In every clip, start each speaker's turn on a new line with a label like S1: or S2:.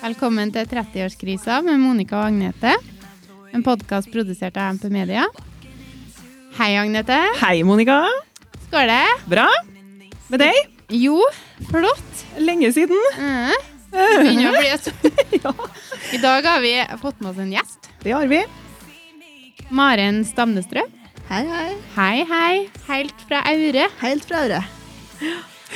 S1: Velkommen til 30-årskrisa med Monica og Agnete. En podkast produsert av MP Media. Hei, Agnete.
S2: Hei, Monica.
S1: Skål det.
S2: Bra? Med deg?
S1: Jo, flott.
S2: Lenge siden.
S1: Mm. Begynner å bli et-
S2: Ja,
S1: I dag har vi fått med oss en gjest.
S2: det har vi.
S1: Maren Stamnestrø.
S3: Hei, hei.
S1: Hei, hei. Helt fra Aure.
S3: Helt fra Aure.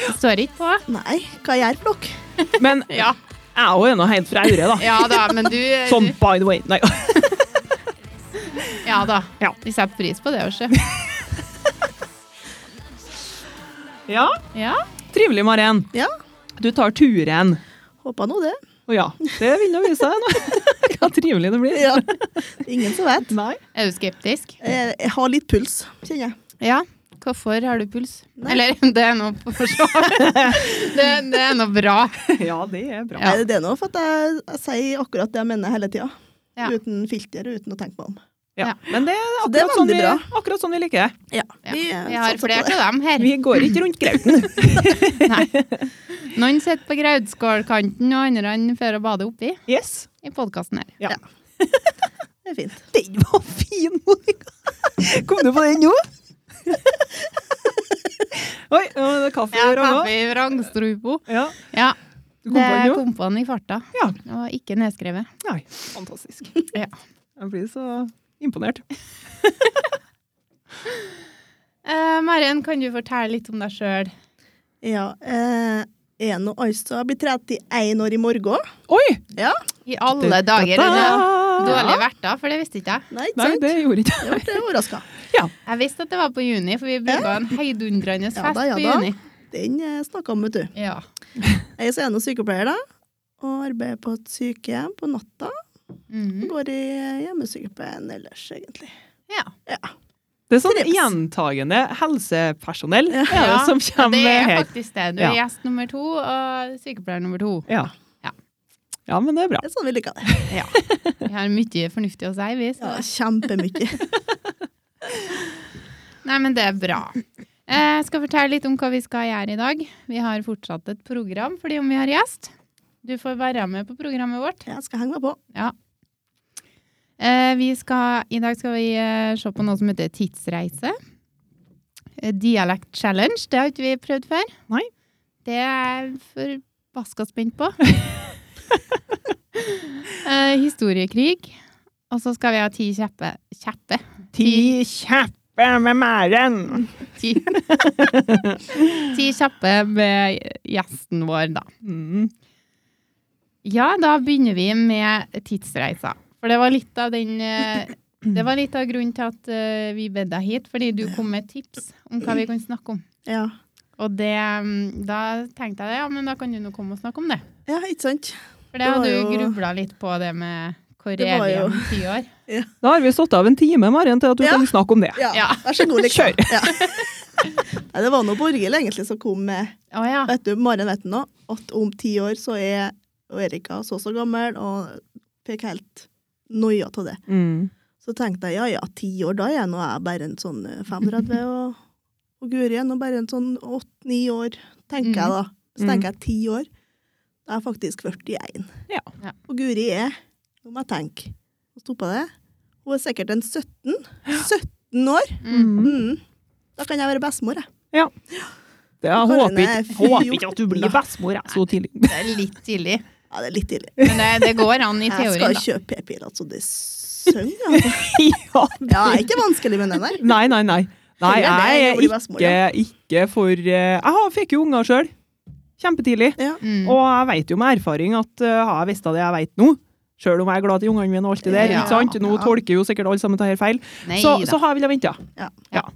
S1: Det står ikke på.
S3: Nei, hva gjør dere?
S2: Men jeg er jo ennå helt fra Aure, da.
S1: Ja da, men du
S2: Sånn by the way. Nei.
S1: Ja da.
S2: Ja.
S1: Vi setter pris på det også.
S2: Ja,
S1: Ja.
S2: trivelig, Maren.
S3: Ja,
S2: Du tar turen.
S3: håpa nå det.
S2: Å ja, det vil nå vise seg nå. Hva trivelig det blir.
S3: Ja. Ingen som vet.
S2: Nei.
S1: Er du skeptisk?
S3: Jeg, jeg har litt puls, kjenner jeg.
S1: Ja. Hvorfor har du puls?
S3: Nei.
S1: Eller det er nå for så vidt. Det, det er nå bra.
S2: Ja, det er bra.
S1: Ja.
S3: Nei, Det er noe for at jeg, jeg sier akkurat det jeg mener hele tida.
S1: Ja.
S3: Uten filter og uten å tenke meg om.
S2: Ja.
S1: Ja.
S2: Men det er
S3: Så det er
S2: akkurat sånn,
S3: veldig
S2: vi,
S3: bra.
S2: akkurat sånn vi liker det.
S3: Ja,
S1: Ja.
S3: vi,
S1: Vi,
S3: eh,
S1: har
S3: satser på
S1: flere
S3: det.
S1: av dem her.
S2: Vi går ikke rundt grauten.
S1: Nei. Noen sitter på Graudskålkanten, og andre får å bade oppi
S2: Yes.
S1: i podkasten her.
S2: Ja.
S3: Ja. Det er fint.
S2: Den var fin, Monica! Kom du på den nå? Oi, nå er det kaffe i øra nå.
S1: kaffe i vrangstrupo.
S2: Ja.
S1: Ja,
S2: Du kom på
S1: det
S2: den nå?
S1: kom på den i farta.
S2: Ja.
S1: Og ikke nedskrevet.
S2: Nei, fantastisk.
S1: Ja.
S2: Jeg blir så imponert.
S1: Eh, Maren, kan du fortelle litt om deg sjøl?
S3: Ja, eh, jeg er nå altså Jeg blir 31 år i morgen.
S2: Oi!
S3: Ja.
S1: I alle dager. Er det dårlige verter, for det visste ikke jeg.
S3: Nei, ikke
S2: Nei,
S3: sant?
S2: det gjorde ikke
S3: Jeg ble overraska.
S1: Jeg visste at det var på juni, for vi bygga en heidundrende fest
S3: Ja da, ja
S1: på
S3: da.
S1: juni.
S3: Den eh, snakka om, vet du.
S1: Ja.
S3: Jeg er så er jeg nå sykepleier, da. Og arbeider på et sykehjem på natta.
S1: Mhm.
S3: Går i eh, hjemmesykepleien ellers, egentlig.
S1: ja.
S3: Ja.
S2: Det er sånn
S3: Trives.
S2: gjentagende helsepersonell er det
S1: Ja,
S2: som kommer
S1: Det er
S2: her.
S1: faktisk det. Du er
S2: Ja.
S1: gjest nummer to og sykepleier nummer to.
S2: Ja.
S1: Ja.
S2: ja, men det er bra.
S3: Det er sånn vi liker det.
S1: Vi har mye fornuftig å si, vi. Så.
S3: Ja, Kjempemye.
S1: Nei, men det er bra. Eh, Jeg skal fortelle litt om hva vi skal gjøre i dag. Vi har fortsatt et program fordi om vi har gjest. Du får være med på programmet vårt.
S3: Jeg skal henge meg på.
S1: Ja. Eh, Vi skal, I dag skal vi eh, se på noe som heter tidsreise. Eh, Dialect challenge, det har ikke vi prøvd før.
S2: Nei.
S1: Det er jeg forbaska spent på. Eh, Historiekrig. Og så skal vi ha ti kjeppe. Kjeppe? Ti
S2: kjappe med Mæren!
S1: Ti. Ti kjappe med gjesten vår, da.
S2: Mm.
S1: Ja, da begynner vi med tidsreiser. For det var litt av den eh, Det var litt av grunnen til at eh, vi bed deg hit, fordi du kom med tips om hva vi kan snakke om.
S3: Ja.
S1: Og det mm, Da tenkte jeg det, ja, men da kan du nå komme og snakke om det.
S3: ja, ikke sant?
S1: For
S3: Det
S1: det hadde
S3: var
S1: du
S3: jo-
S1: grubla litt på, det med hvor
S3: Det
S1: er
S3: var
S1: vi
S3: jo-
S1: om ti år?
S2: Da har vi satt av en time, Maren, til at du
S3: Ja.
S2: kan snakke om det.
S3: Ja.
S1: Ja.
S3: Vær så god, liksom.
S2: Kjør.
S3: Ja. Nei, det var noe Borghild egentlig som kom med
S1: Å ja.
S3: Vet du, Maren vet nå at om ti år så er og Erika så så gammel, og fikk helt noia av det.
S2: Mm.
S3: Så tenkte jeg ja ja, ti år, da er jeg nå er jeg bare en sånn eh, 35, og, og Guri er nå bare en sånn åtte-ni år, tenker jeg da. Så
S2: Mm.
S3: tenker jeg ti år. Da er jeg faktisk 41.
S2: Ja.
S1: Ja.
S3: Og Guri er, nå må jeg tenke, og stoppa det, hun er sikkert en 17. 17 år!
S1: Mm.
S2: Mhm.
S3: Mm. Da kan jeg være bestemor, jeg.
S2: Det, jeg
S3: Kanskje
S2: håper
S3: det
S2: ikke,
S3: er
S2: håper ikke at du blir
S3: 14 da.
S2: bestemor jeg, så tidlig.
S1: Det er litt tidlig.
S3: Ja, det er litt tidlig.
S1: Men det, det går an i
S3: Jeg
S1: teorien,
S3: skal
S1: da.
S3: kjøpe p-pil, altså. Det sønger, altså.
S2: ja,
S3: Ja, det er ikke vanskelig med den der.
S2: Nei, nei, nei. Nei,
S3: Heller det
S2: jeg
S3: enn å
S2: er
S3: bli bestemor,
S2: ikke, ikke for eh, Jeg har- fikk jo unger sjøl. Kjempetidlig.
S3: Ja.
S1: Mm.
S2: Og jeg vet jo med erfaring at eh, har jeg visst av det jeg vet nå, sjøl om jeg er glad til ungene mine og alt det der,
S1: Ja.
S2: ikke sant? Nå
S3: Ja.
S2: tolker jo sikkert alle sammen det her feil,
S1: Nei
S2: så,
S1: da.
S2: så har jeg villet vente.
S3: Ja.
S2: ja.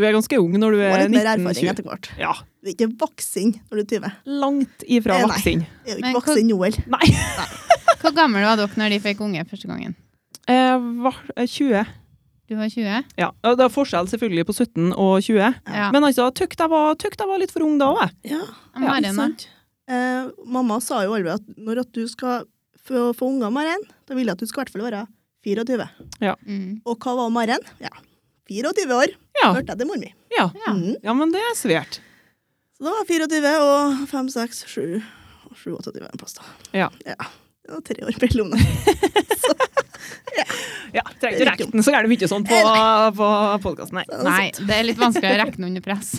S2: Du er ganske ung når du
S3: Får
S2: er
S3: litt mer erfaring
S2: 19-20.
S3: etter hvert.
S2: Ja.
S3: Du er ikke voksen når du er 20.
S2: Langt ifra
S3: Eh, nei.
S2: voksen.
S3: Jeg er jo
S1: Men
S3: ikke voksen nå heller.
S2: Nei.
S1: Hvor gammel var dere når de fikk unge første gangen?
S2: Jeg var eh, 20.
S1: Du var 20?
S2: Ja. Og Det er forskjell selvfølgelig på 17 og 20,
S1: Ja.
S2: men altså, tøkt jeg var, tøkt jeg var litt for ung da òg, jeg.
S3: Ja,
S1: Maren,
S3: ikke
S1: da?
S3: sant? Eh, mamma sa jo aldri at når at du skal få, få unger, Maren, da vil jeg at du skal i hvert fall være 24.
S1: Mm.
S3: Og hva var Maren? Ja, 24 år,
S2: Ja.
S3: hørte jeg til mor mi.
S2: Ja.
S1: Ja.
S3: Mm.
S2: ja, men det er svært.
S3: Så da var jeg 24 og 5, 6, 7, 7 28 en plass da.
S2: Ja.
S3: ja. det var tre år mellom der.
S2: Ja, Trenger ikke rekke den så gærent mye sånn på, på podkasten, nei.
S3: Så det var
S1: Nei,
S3: sånn.
S1: det er litt vanskelig å regne under press.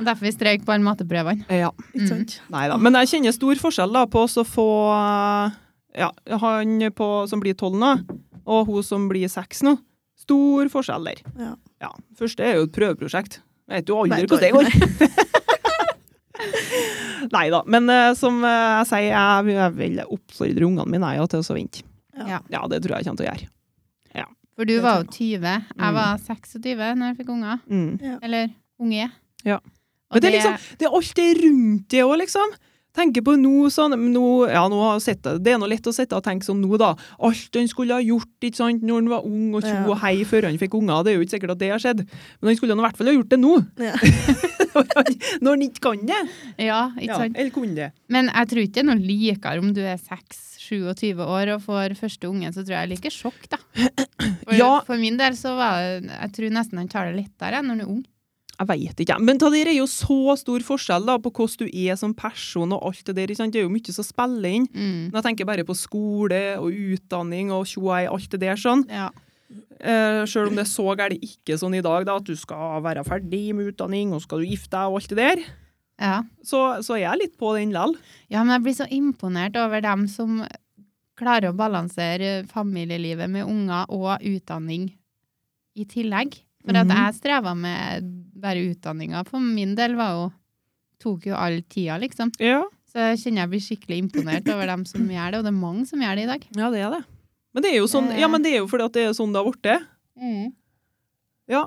S1: Og derfor vi streik på alle matteprøvene.
S2: Ja,
S3: Ikke sant?
S2: nei da. Men jeg kjenner stor forskjell da på å få ja, han på, som blir tolv nå, og hun som blir seks nå. Stor forskjell der.
S3: Ja.
S2: Ja, Første er jo et prøveprosjekt. Vet jo aldri
S3: Vet
S2: hvordan det
S3: aldri,
S2: går. Nei da. Men eh, som eh, jeg sier, jeg, jeg vil oppfordre ungene mine jeg, til å så vente.
S3: Ja.
S1: Ja.
S2: Ja, det tror jeg jeg kommer til å gjøre.
S1: For du
S3: Det
S1: var jo
S3: tror
S1: 20. Jeg var 26 når jeg fikk unger.
S2: Mm.
S1: Eller unge.
S2: Ja.
S1: Og
S2: Men det er liksom, det er alt det rundt det òg, liksom. Tenker på nå sånn nå, ja, nå har jeg sett det. det er nå lett å sitte og tenke sånn nå, da. Alt han skulle ha gjort ikke sant, når han var ung og tjo
S3: Ja.
S2: og hei før han fikk unger, det er jo ikke sikkert at det har skjedd. Men han skulle nå i hvert fall ha gjort det nå.
S3: Ja.
S2: Når han ikke kan det.
S1: Ja, ikke
S2: Ja,
S1: sant?
S2: eller kunne det.
S1: Men jeg tror ikke det er noe likere om du er 6-27 år og får første ungen, så tror jeg jeg liker sjokk, da. For,
S2: Ja.
S1: for min del så var det Jeg tror nesten han tar det lettere enn når han er ung.
S2: Jeg veit ikke. Men det er jo så stor forskjell da, på hvordan du er som person og alt det der. Ikke sant? Det er jo mye som spiller inn.
S1: Mm.
S2: Men jeg tenker bare på skole og utdanning og tjo og hei, alt det der sånn.
S1: Ja.
S2: Eh, Sjøl om det er så gærent ikke sånn i dag, da, at du skal være ferdig med utdanning, og skal du gifte deg og alt det der,
S1: Ja.
S2: så, så er jeg litt på den lell.
S1: ja, men jeg blir så imponert over dem som klarer å balansere familielivet med unger og utdanning i tillegg. For at
S2: Mhm.
S1: jeg streva med bare utdanninga. For min del var jo Tok jo all tida, liksom.
S2: Ja.
S1: Så jeg kjenner jeg blir skikkelig imponert over dem som gjør det, og det er mange som gjør det i dag.
S2: det er det. Men det er jo sånn, ja, men det er jo fordi at det er sånn det har blitt. Ja.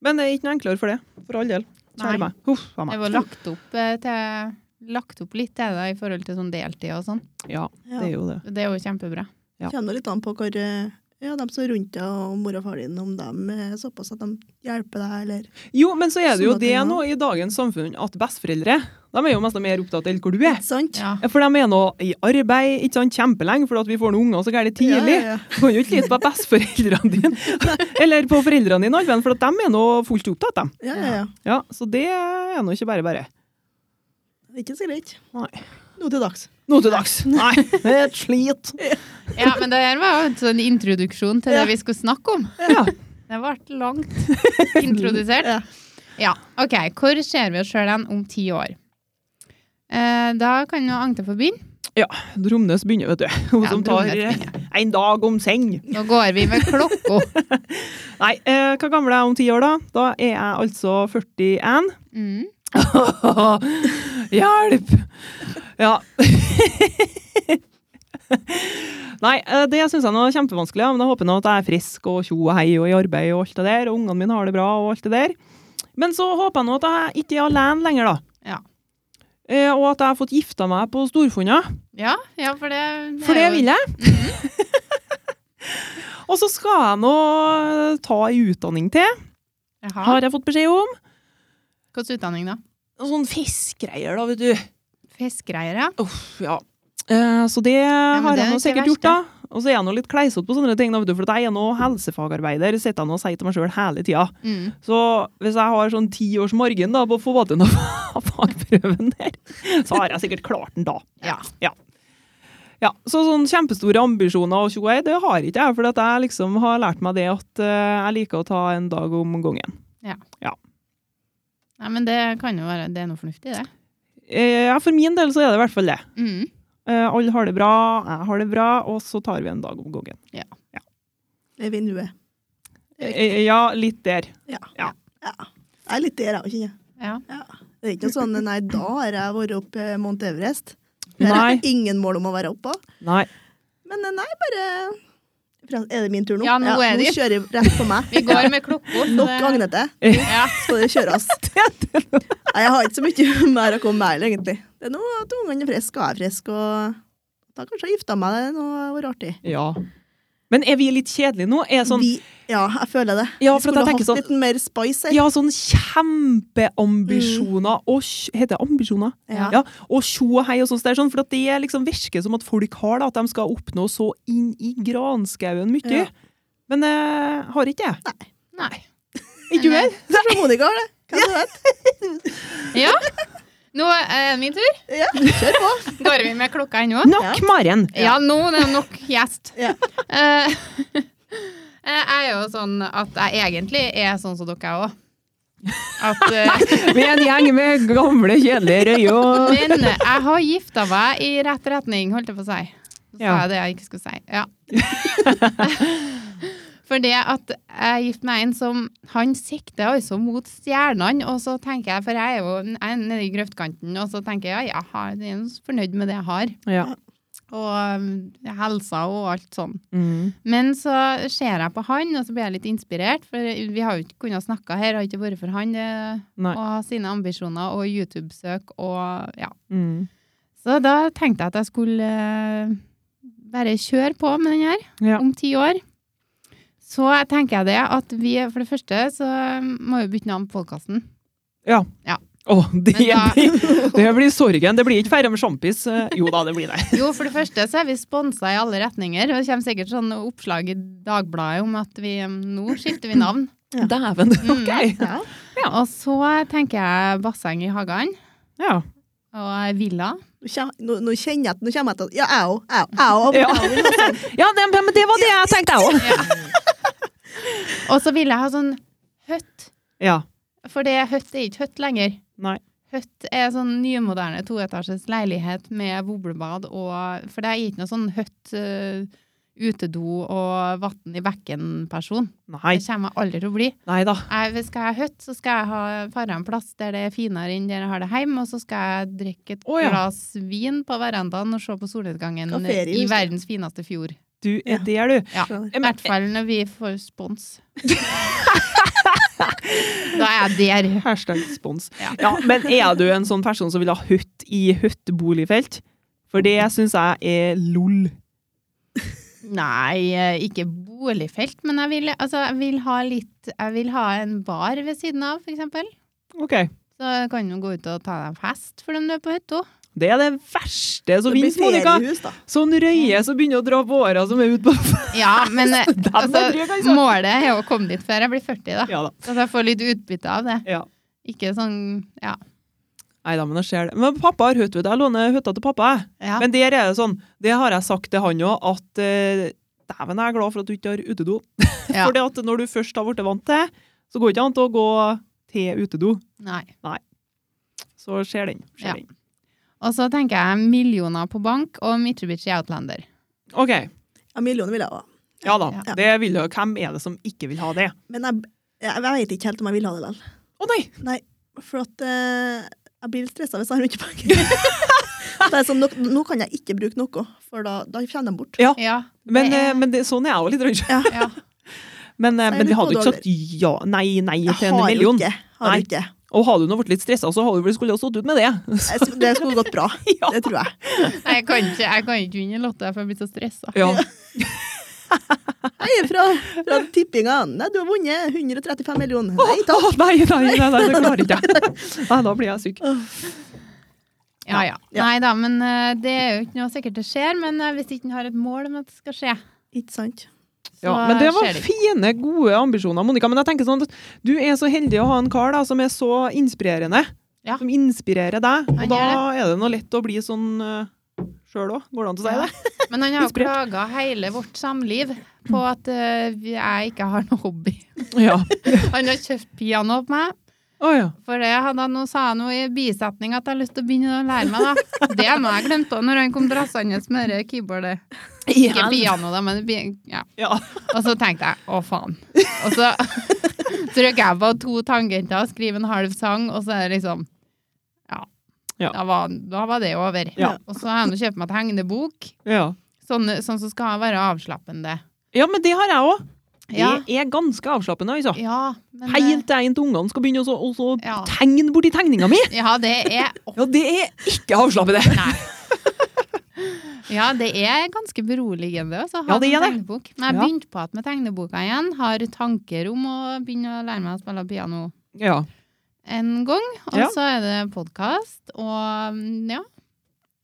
S2: Men det er ikke noe enklere for det. For all del. Kjære
S1: Nei.
S2: meg. Huff a
S1: Det
S2: meg.
S1: var lagt opp, eh, til, lagt opp litt til det i forhold til sånn deltid og sånn.
S2: Ja,
S3: Ja.
S2: det er jo det.
S1: Det er jo kjempebra.
S2: Ja.
S3: Kjenner litt an på hvor eh, ja, de som er rundt deg og mor og far din, om de er såpass at de hjelper deg, eller
S2: Jo, men så er det jo
S3: Sånne
S2: det
S3: ting, ja.
S2: nå i dagens samfunn at besteforeldre de er jo mest mer opptatt av hvor du er.
S3: Ikke sant?
S1: Ja.
S2: For de er nå i arbeid ikke sant, kjempelenge, for at vi får noen unger så gærent tidlig.
S3: Ja, ja,
S2: Du kan jo ikke lite på besteforeldrene dine, eller på foreldrene dine, alven, for at de er nå fullt opptatt. dem.
S3: ja. ja, ja, ja.
S2: Ja, Så det er nå ikke bare bare.
S3: Det er ikke så greit.
S2: Nei.
S3: Nå til dags.
S2: Nå til dags. Nei, det er et slit.
S1: ja, men det her var jo en sånn introduksjon til det
S3: Ja.
S1: vi skulle snakke om.
S2: Ja.
S1: Det ble langt introdusert.
S3: Ja.
S1: Ja, ok. Hvor ser vi oss sjøl hen om ti år? Eh, da kan jo Agnete få begynne.
S2: Dromnes begynner, vet du. Hun
S1: Ja,
S2: som tar
S1: Dromnes
S2: eh,
S1: begynner.
S2: en dag om seng.
S1: Nå går vi med klokka.
S2: Nei, eh, hva gammel er jeg om ti år, da? Da er jeg altså 41.
S1: Mm.
S2: Hjelp! Ja. Nei, eh, det syns jeg nå er kjempevanskelig, ja, men jeg håper nå at jeg er frisk og tjo og hei og i arbeid og alt det der, og ungene mine har det bra og alt det der. Men så håper jeg nå at jeg ikke er alene lenger, da.
S1: Ja.
S2: Eh, Og at jeg har fått gifta meg på Storfonna,
S1: Ja, ja, for det, det
S2: for det
S1: er jo-
S2: vil jeg. og så skal jeg nå ta ei utdanning til,
S1: Jaha.
S2: har jeg fått beskjed om.
S1: Hvilken utdanning, da?
S2: Noen sånn fiskegreier, da, vet du.
S1: Fiskegreier, ja.
S2: Uff, ja. Eh, så det har
S1: det
S2: jeg
S1: er
S2: nå
S1: ikke
S2: sikkert
S1: verst,
S2: gjort, da. Og så er jeg nå litt kleisete på sånne ting, da, vet du, for at jeg er nå helsefagarbeider, sitter jeg nå og sier til meg sjøl hele tida.
S1: Mm.
S2: Så hvis jeg har sånn ti års margin da, på å få til noe fagprøven der, så har jeg sikkert klart den da.
S1: ja.
S2: Ja, Så sånn kjempestore ambisjoner og tjoei, det har ikke jeg, for at jeg liksom har lært meg det at eh, jeg liker å ta en dag om gangen.
S1: Nei, men det kan jo være Det er noe fornuftig, det.
S2: Eh, Ja, for min del så er det i hvert fall det.
S1: Mm.
S2: Eh, alle har det bra, jeg har det bra, og så tar vi en dag om gangen.
S3: Lev i nuet. Det er viktig.
S2: Eh, Ja, litt der.
S3: Ja.
S2: Ja.
S3: ja. Jeg er litt der, jeg òg, kjenner jeg.
S1: Ja.
S3: Det er ikke noe sånn nei, da har jeg vært oppe eh, Mount Everest. Det har
S2: Nei.
S3: jeg ingen mål om å være oppe.
S2: Nei.
S3: Men eh, nei, bare Er det min tur nå?
S1: Ja, nå er
S3: nå
S1: det.
S3: kjører jeg rett på meg.
S1: Vi går med klokka. så
S3: Nok
S1: det-
S3: Agnete.
S1: Ja.
S3: Skal det kjøres? Nei, jeg har ikke så mye mer å komme med heller, egentlig. Det er nå at ungene er friske, og jeg er frisk, og da kanskje jeg gifta meg. Det er noe vært artig.
S2: Ja. Men er vi litt kjedelige nå? Er sånn,
S3: Vi, ja, jeg føler det.
S2: Ja,
S3: vi
S2: for at
S3: skulle
S2: jeg tenker
S3: hatt
S2: sånn-
S3: litt mer spice her.
S2: ja, sånn kjempeambisjoner og tj- Heter det ambisjoner?
S1: Ja.
S2: Ja. Og tjo og hei og sånt der, sånn. For at det liksom virker som at folk har det, at de skal oppnå så inn i granskauen mye.
S3: Ja.
S2: Men eh, har ikke jeg.
S1: Nei.
S2: Ikke du
S1: Nei.
S2: heller?
S3: Kanskje Monica har det. Hvem vet?
S1: Ja. Nå er det min tur.
S3: Ja, kjør på.
S1: Går vi med klokka ennå?
S2: Nok Maren!
S1: Ja, nå er det nok gjest.
S3: Ja.
S1: Eh, jeg er jo sånn at jeg egentlig er sånn som dere òg. At eh,
S2: Vi er en gjeng med gamle, kjedelige røye og
S1: Men jeg har gifta meg i rett retning, holdt jeg på å si. Så sa
S2: Ja.
S1: jeg det jeg ikke skulle si. Ja. For det at jeg gifter meg en som Han sikter altså mot stjernene, og så tenker jeg, for jeg er jo jeg er nede i grøftkanten, og så tenker jeg ja, jeg er jo fornøyd med det jeg har,
S2: ja.
S1: og um, helsa og alt sånn.
S2: Mm.
S1: Men så ser jeg på han, og så blir jeg litt inspirert, for vi har jo ikke kunnet snakke her, har ikke vært for han eh,
S2: Nei.
S1: å ha sine ambisjoner og YouTube-søk og ja.
S2: Mm.
S1: Så da tenkte jeg at jeg skulle eh, bare kjøre på med den her
S2: Ja.
S1: om ti år. Så tenker jeg det at vi, for det første så må vi bytte navn på podkasten.
S2: ja.
S1: Ja.
S2: Åh, det,
S1: Men da-
S2: blir- det blir sorgen. Det blir ikke Færre med sjampis. Eh, Jo da, det blir det.
S1: Jo, for det første så er vi sponsa i alle retninger, og det kommer sikkert sånne oppslag i Dagbladet om at vi eh, nå skifter vi navn.
S3: Ja.
S2: Dæven, ok.
S3: Ja.
S1: Og så tenker jeg basseng i hagen
S2: Ja.
S1: og ei villa.
S3: Nå, kjem- nå, nå kjenner jeg at nå kommer jeg til å Ja, jeg òg. Jeg òg.
S2: Ja. ja, det, men det var det jeg tenkte, jeg òg.
S1: Og så vil jeg ha sånn høtt,
S2: Ja.
S1: for det høtt er ikke høtt lenger.
S2: Nei.
S1: Høtt er sånn nymoderne toetasjes leilighet med boblebad og For det er ikke noe sånn høtt eh, utedo og vann i bekken-person.
S2: Nei.
S1: Det kommer jeg aldri til å bli.
S2: Nei da.
S1: Jeg, skal jeg ha høtt, så skal jeg ha fare en plass der det er finere enn der jeg har det hjemme, og så skal jeg drikke et
S2: Å, ja.
S1: glass vin på verandaen og se på solnedgangen
S3: Skal ha ferie,
S1: i
S3: husker jeg.
S1: verdens fineste fjord.
S2: Du er der, du.
S1: Ja. I hvert fall når vi får spons. da er jeg der.
S2: Hashtag spons.
S1: Ja.
S2: Ja. men er du en sånn person som vil ha høtt i høtt boligfelt? For det syns jeg er lol.
S1: Nei, eh, ikke boligfelt, men jeg vil, altså, jeg vil ha litt Jeg vil ha en bar ved siden av, for eksempel.
S2: Ok.
S1: Så kan du gå ut og ta deg en fest for dem du er på hytta.
S2: Det er det verste
S3: Det
S2: som
S3: blir
S2: finnes, Monica.
S3: feriehus, da.
S2: Sånn røye som begynner å dra på åra som er ute på
S1: Ja, men eh, altså,
S2: er drøy, altså.
S1: målet er jo å komme dit før jeg blir 40, da.
S2: Ja da.
S1: Så at jeg får litt utbytte av det.
S2: Ja.
S1: Ikke sånn Ja.
S2: Nei da, men jeg ser det. Men pappa har høtt, vet du. Jeg låner høtta til pappa, jeg.
S1: ja.
S2: Men der er det sånn, det har jeg sagt til han òg, at eh, dæven, jeg er glad for at du ikke har utedo.
S1: Ja.
S2: For at når du først har blitt vant til det, så går det ikke an å gå til utedo.
S1: Nei.
S2: Så skjer den. Skjer
S1: Ja.
S2: den.
S1: Og så tenker jeg millioner på bank og Mitsubishi Outlander.
S2: OK.
S3: Ja, millioner vil jeg ha.
S2: Ja da.
S1: Ja.
S2: Det vil jo, hvem er det som ikke vil ha det?
S3: Men jeg, jeg, jeg vet ikke helt om jeg vil ha det likevel.
S2: Å nei!
S3: For at eh, jeg blir litt stressa hvis jeg har mye penger. det er sånn, nå, nå kan jeg ikke bruke noe, for da, da kommer de bort.
S1: Ja.
S2: Men,
S1: det er-
S2: eh, men det, sånn er jeg òg litt redd.
S1: ja.
S2: Men, eh,
S3: Så er
S2: men
S3: det
S2: vi hadde jo ikke
S3: to dollar.
S2: sagt ja, nei, nei
S3: Jeg
S2: til en
S3: har jo
S2: million.
S3: ikke. Har
S2: Nei.
S3: jo ikke.
S2: Og hadde du nå blitt litt stressa, så hadde du vel skulle ha stått ut med det.
S3: Jeg s- Det skulle gått bra.
S2: Ja.
S3: Det tror jeg.
S1: Nei, jeg kan ikke, jeg kan ikke vinne i Lotto, for jeg blir så stressa.
S2: Ja.
S3: Nei, fra, fra tippinga. Nei, du har vunnet 135 millioner. Nei, takk.
S2: Å, nei, nei, nei, nei, det klarer ikke jeg. Nei, da blir jeg syk.
S1: Ja, ja.
S3: Ja.
S1: Nei da, men eh, det er jo ikke noe sikkert det skjer, men eh, hvis ikke en har et mål om at det skal skje,
S3: Ikke sant?
S1: så
S2: Ja, men det
S1: skjer
S2: var
S1: det ikke.
S2: fine, gode ambisjoner, Monica. Men jeg tenker sånn at du er så heldig å ha en kar da, som er så inspirerende.
S1: Ja.
S2: Som inspirerer deg. Og
S1: Han
S2: da
S1: gjør
S2: er det noe lett å bli sånn uh, sjøl òg. Går det an til å si det?
S1: Men han har jo
S2: Inspirert.
S1: plaga hele vårt samliv på at eh, vi- jeg ikke har noe hobby.
S2: Ja.
S1: Han har kjøpt piano på meg.
S2: Å ja.
S1: For det hadde han, nå sa han jo i bisetning at jeg har lyst til å begynne å lære meg, da. Det må jeg glemte også når han kom drassende med det keyboardet. Ikke piano, da, men bi- ja.
S2: Ja.
S1: Og så tenkte jeg å faen. Og så trykket jeg på to tangenter, skriver en halv sang, og så er det liksom Ja.
S2: Ja.
S1: Da, var, da var det over.
S2: Ja.
S1: Og så har jeg nå kjøpt meg et hengnebok,
S2: ja.
S1: sånn, sånn som skal være avslappende.
S2: Ja, men det har jeg òg. Det
S1: Ja.
S2: er ganske avslappende, altså.
S1: Ja, men, eh,
S2: Helt til en til ungene skal begynne å så- å så
S1: Ja.
S2: tegne borti tegninga mi!
S1: ja, det er
S2: Ja, det er ikke avslappende!
S1: Nei. Ja, det er ganske beroligende også, å ha
S2: Ja, det
S1: sånn
S2: er det.
S1: tegnebok. Men jeg
S2: Ja.
S1: begynte på at med tegneboka igjen. Har tanker om å begynne å lære meg å spille piano
S2: Ja.
S1: en gang. Og
S2: Ja.
S1: så er det podkast og mm, ja,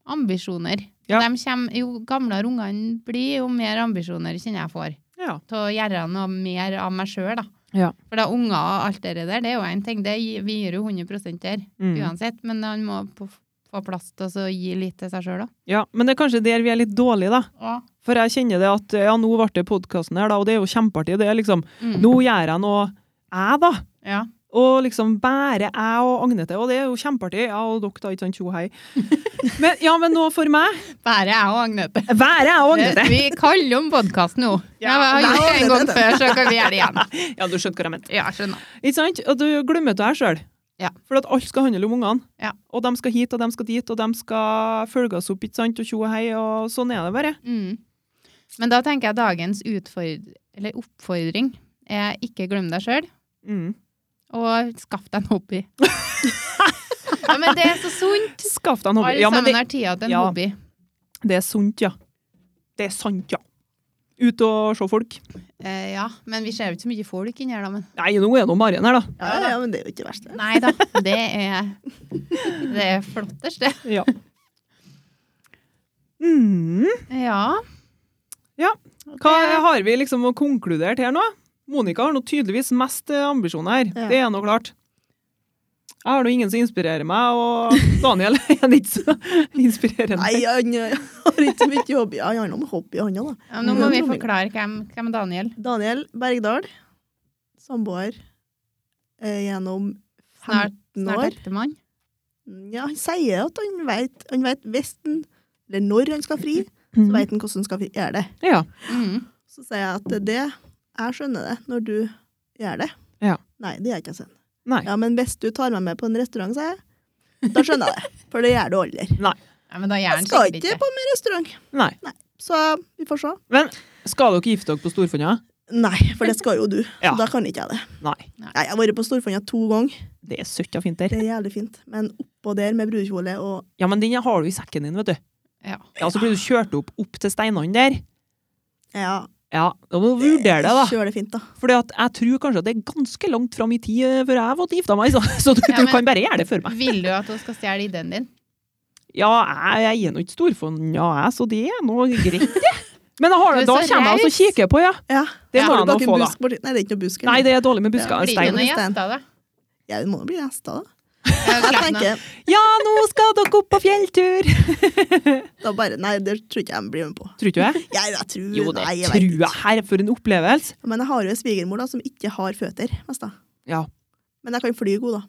S1: ambisjoner.
S2: Ja.
S1: De kommer, jo gamlere ungene blir, jo mer ambisjoner kjenner jeg får.
S2: Ja.
S1: Til å gjøre noe mer av meg sjøl, da.
S2: Ja.
S1: For da unger og alt det der, det er jo én ting. Det gir, vi gir jo 100 der
S2: Mm.
S1: uansett, men han må på, få plass til å så gi litt til seg sjøl òg.
S2: Ja, men det er kanskje der vi er litt dårlige, da. For jeg kjenner det at ja, nå ble det podkasten her, da, og det er jo kjempeartig. Det er liksom
S1: Mm.
S2: Nå gjør jeg noe, jeg, da.
S1: Ja.
S2: Og liksom bare jeg og Agnete, og det er jo kjempeartig. Ja, og dere, da. Ikke sant, tjo hei. Men, ja, men nå for meg
S1: Bare jeg og Agnete.
S2: Være jeg og Agnete.
S1: Vi kaller om podkast nå.
S2: Ja,
S1: Ja, jeg har
S3: det er
S1: gjort det en gang
S3: Agnete.
S1: før, så kan vi gjøre det igjen.
S2: Ja, du skjønte hva jeg mente.
S1: Ja, skjønner.
S2: Ikke sant? Og du glemmer deg sjøl.
S1: Ja.
S2: For at alt skal handle om ungene.
S1: Ja.
S2: Og de skal hit, og de skal dit, og de skal følge oss opp, ikke sant, og tjo og hei, og sånn er det bare.
S1: Mm. Men da tenker jeg dagens utford eller oppfordring er ikke glem deg sjøl,
S2: Mm.
S1: og skaff deg en hobby. ja, men det er så sunt.
S2: Skaff deg en hobby.
S1: Alle
S2: Ja,
S1: sammen
S2: men det,
S1: har tida til en
S2: ja.
S1: hobby.
S2: det er sunt, ja. Det er sant, ja. Ut og se folk.
S1: Eh, ja, men vi ser jo ikke så mye folk inni her, da. Men...
S2: Nei, nå er nå Maren her, da.
S3: Ja, ja, men det er jo ikke verst, det.
S1: Nei da, det er, det er flottest, det.
S2: Ja. Mm.
S1: Ja.
S2: Ja. Hva
S1: Det-
S2: har vi liksom konkludert her nå? Monica har nå tydeligvis mest eh, ambisjoner her.
S3: Ja.
S2: Det er nå klart. Jeg har nå ingen som inspirerer meg, og Daniel er han ikke så inspirerende.
S3: Nei, han eh, har ikke så mye hobby. Han har noe hobby, han òg, da.
S1: Ja, Nå må vi forklare hvem, hvem Daniel
S3: Daniel Bergdal, samboer eh, gjennom 15
S1: snart, snart
S3: år.
S1: ektemann.
S3: Ja, han sier at han vet, han vet hvis han, eller når han skal fri, så vet han hvordan han skal fri- gjøre det.
S2: Mm. Ja.
S1: Mm.
S3: Så sier jeg at det, jeg skjønner det når du gjør det.
S2: Ja.
S3: Nei, det gjør jeg ikke. Sen.
S2: Nei.
S3: Ja, men hvis du tar meg med på en restaurant, sier jeg, da skjønner jeg det. For det gjør du aldri.
S1: Ja, men da gjør
S3: Jeg
S1: han
S3: skal
S1: sikkert
S3: ikke
S1: ikke
S3: på min restaurant.
S2: Nei.
S3: Så vi får se.
S2: Men skal dere gifte dere på Storfonda?
S3: Nei, for det skal jo du.
S2: Ja.
S3: Så da kan ikke jeg det.
S2: Nei.
S3: Nei, Jeg har vært på Storfonda to ganger.
S2: Det er søtt og fint der.
S3: Det er jævlig fint. Men oppå der med brudekjole og
S2: Ja, men den har du i sekken din, vet du.
S1: Ja.
S2: Ja, så blir du kjørt opp, opp til steinene der.
S3: Ja,
S2: Ja, da må du vurdere det, da.
S3: kjør det fint, da.
S2: Fordi at jeg tror kanskje at det er ganske langt fram i tid eh, før jeg har fått gifta meg, så, så du,
S1: Ja,
S2: du
S1: men-
S2: kan bare gjøre det for meg.
S1: Vil du at hun skal stjele ideen din?
S2: Ja, jeg, jeg er nå ikke storfond, ja, jeg, så det er nå greit, det. Men jeg har, det-
S1: Du
S2: da
S1: er så
S2: kommer jeg og
S1: raus.
S2: kikker på, ja.
S3: Ja.
S2: Det
S1: Ja.
S2: må
S3: Har du
S2: jeg nå
S3: bak en
S2: få, da.
S3: busk borti Nei, det er ikke noe busk.
S2: Nei, det er dårlig med busker.
S1: Blir det
S2: Stein.
S1: noen
S3: Stein.
S1: gjester, da?
S3: Ja, det må jo bli gjester, da.
S1: Jeg har
S3: Jeg
S1: glemt noe.
S3: tenker,
S2: Ja, nå skal dere opp på fjelltur!
S3: da bare, Nei, det tror ikke jeg blir med på.
S2: Tror ikke du det?
S3: Jeg, jeg tror,
S2: Jo, det
S3: nei, jeg vet
S2: tror
S3: ikke.
S2: jeg. Her, for en opplevelse.
S3: Men jeg har jo en svigermor da, som ikke har føtter. Mest, da.
S2: Ja.
S3: Men jeg kan fly god, da.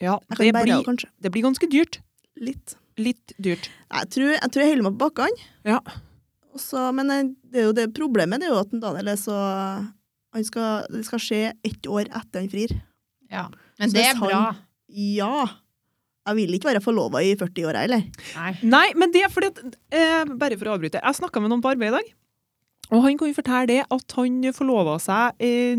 S2: Ja,
S3: Jeg
S2: det
S3: kan bære
S2: blir,
S3: henne kanskje.
S2: det blir ganske dyrt.
S3: Litt.
S2: Litt dyrt.
S3: Nei, Jeg tror jeg, tror jeg holder meg på bakkene.
S2: Ja.
S3: Og så- Men jeg- det er jo det problemet det er jo at en Daniel er så han skal, Det skal skje ett år etter han frir.
S1: Ja. Men
S3: Så
S1: det
S3: hvis
S1: er
S3: han-
S1: bra.
S3: Ja! Jeg vil ikke være forlova i 40 år, jeg, eller?
S1: Nei.
S2: Nei, men det er fordi at eh, Bare for å avbryte. Jeg snakka med noen på arbeid i dag, og han kan jo fortelle det at han forlova seg i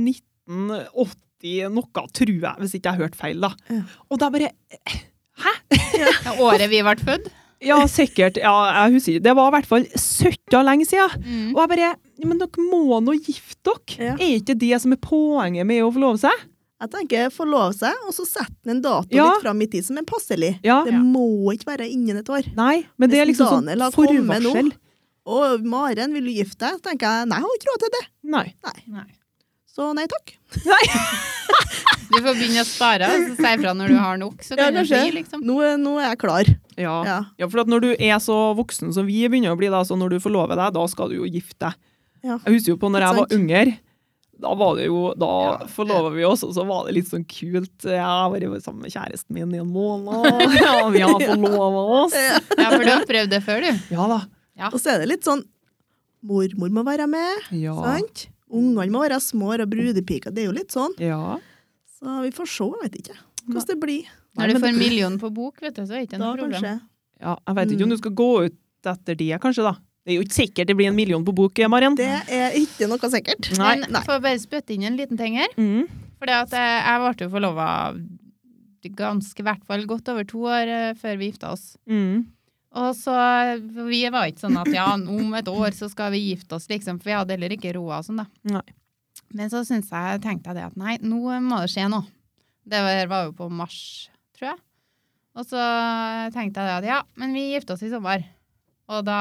S2: 1980 noe, tror jeg, hvis ikke jeg hørte feil, da.
S3: Ja.
S2: Og da bare
S1: Det er året vi ble født.
S2: Ja, sikkert. Ja, jeg husker ikke. Det var i hvert fall 70 lenge siden.
S1: Mm.
S2: Og jeg bare «Ja, Men dere må nå gifte dere!
S3: Ja.
S2: Er ikke det som er poenget med å forlove seg?
S3: Jeg tenker forlove seg, og så setter han en dato
S2: Ja.
S3: litt fram i tid som er passelig.
S2: Ja.
S3: Det må ikke være innen et år.
S2: Nei, men det er
S3: Hvis
S2: liksom sånn
S3: Daniel har kommet nå-
S2: forvarsel.
S3: Og Maren, vil du gifte deg? Så tenker jeg nei, jeg har ikke råd til det.
S2: Nei.
S1: Nei.
S3: Så nei takk.
S1: Du får begynne å spare og så si ifra når du har nok. Så
S3: Ja,
S1: kan det
S3: kanskje.
S1: bli, liksom.
S3: Nå, er- nå er jeg klar.
S2: Ja.
S3: Ja.
S2: Ja, for at når du er så voksen som vi begynner å bli, da, så når du forlover deg, da skal du jo gifte deg.
S3: Ja.
S2: Jeg husker jo på når jeg
S3: Ikke
S2: var yngre. Da var det jo, da
S1: Ja.
S2: forlova vi oss, og så var det litt sånn kult. Jeg har vært sammen med kjæresten min i en måned, ja, vi har forlova oss.
S3: Ja.
S1: Ja, for du har prøvd det før, du.
S2: Ja da.
S3: Og så er det litt sånn Mormor må være med,
S2: Ja.
S3: sant? Ungene må være små, og brudepika. Det er jo litt sånn.
S2: ja.
S3: Så vi får se, jeg vet ikke. Hvordan det blir.
S1: Når du
S2: Nei, men-
S1: får en million på bok, vet du, så er det ikke
S3: Da
S1: noe problem.
S3: kanskje.
S2: ja. Jeg vet
S3: Mm.
S2: ikke om du skal gå ut etter det, kanskje, da. Det er jo ikke sikkert det blir en million på bok, Maren.
S3: Det er ikke noe sikkert.
S2: Nei.
S1: Men
S3: Nei.
S1: får jeg bare spytte inn en liten ting her.
S2: Mm.
S1: For jeg, jeg ble jo forlova ganske, i hvert fall godt over to år eh, før vi gifta oss.
S2: Mm.
S1: Og så, Vi var ikke sånn at ja, om et år så skal vi gifte oss, liksom, for vi hadde heller ikke råd. og sånn da.
S2: Nei.
S1: Men så synes jeg, tenkte jeg det at nei, nå må det skje noe. Det var, var jo på mars, tror jeg. Og så tenkte jeg det at ja, men vi gifter oss i sommer. Og da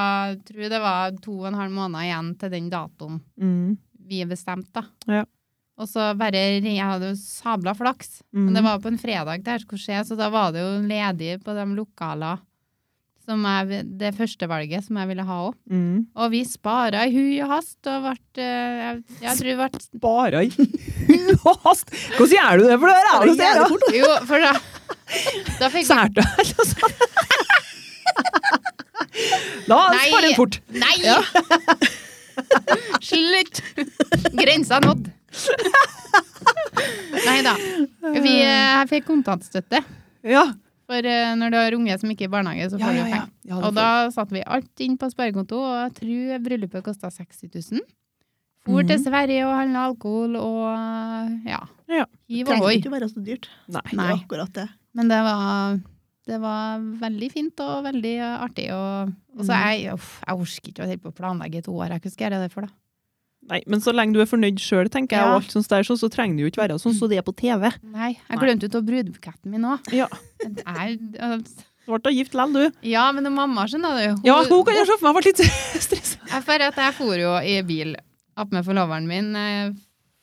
S1: tror jeg det var to og en halv måned igjen til den datoen
S2: Mm.
S1: vi bestemte. da.
S2: Ja.
S1: Og så bare ring- Jeg hadde jo sabla flaks. Men det
S2: Mhm.
S1: var på en fredag det her skulle skje, så da var det jo ledig på de lokalene som jeg, det første valget som jeg ville ha òg.
S2: Mm.
S1: Og vi spara i hui og hast og ble eh, Jeg, jeg tror vi ble
S2: Bare i hast! Hvordan gjør du det for det her? er det å se, da?
S1: Jo, for da, da fikk vi
S2: Særte jeg, altså. Da
S1: Nei.
S2: sparer en fort.
S1: Nei! Slutt! Grensa nådd. Nei da. Vi, eh, jeg fikk kontantstøtte.
S2: Ja.
S1: For eh, når du har unge som ikke er i barnehage, så
S2: Ja,
S1: får du
S2: ja, ja.
S1: penger.
S2: Ja, det
S1: Og da satte vi alt inn på sparekonto, og jeg tror bryllupet kosta 60 000. For til
S2: Mhm.
S1: Sverige og handla alkohol og ja.
S2: Ja.
S1: Hiv og
S3: Trenger
S1: hoi.
S3: ikke å være så dyrt.
S2: får- Nei.
S1: Nei.
S3: Det er akkurat det.
S1: Men det var, det var veldig fint og veldig eh, artig. Og, og så jeg,
S2: Mhm.
S1: uff, jeg orker ikke å holde på å planlegge et år. Jeg hva skal jeg gjøre det for, da?
S2: Nei, men så lenge du er fornøyd sjøl, tenker jeg,
S1: Ja.
S2: og alt sånt der, så, så trenger det jo ikke være sånn som det er på TV.
S1: Nei, jeg
S2: Nei.
S1: glemte ut av brudebuketten min òg.
S2: Ja. Du ble da gift likevel, du.
S1: altså, Ja, men og mamma skjønner du.
S2: Ja, hun kan jeg se for meg ble litt stressa.
S1: Jeg får at jeg for jo i bil opp med forloveren min. eh,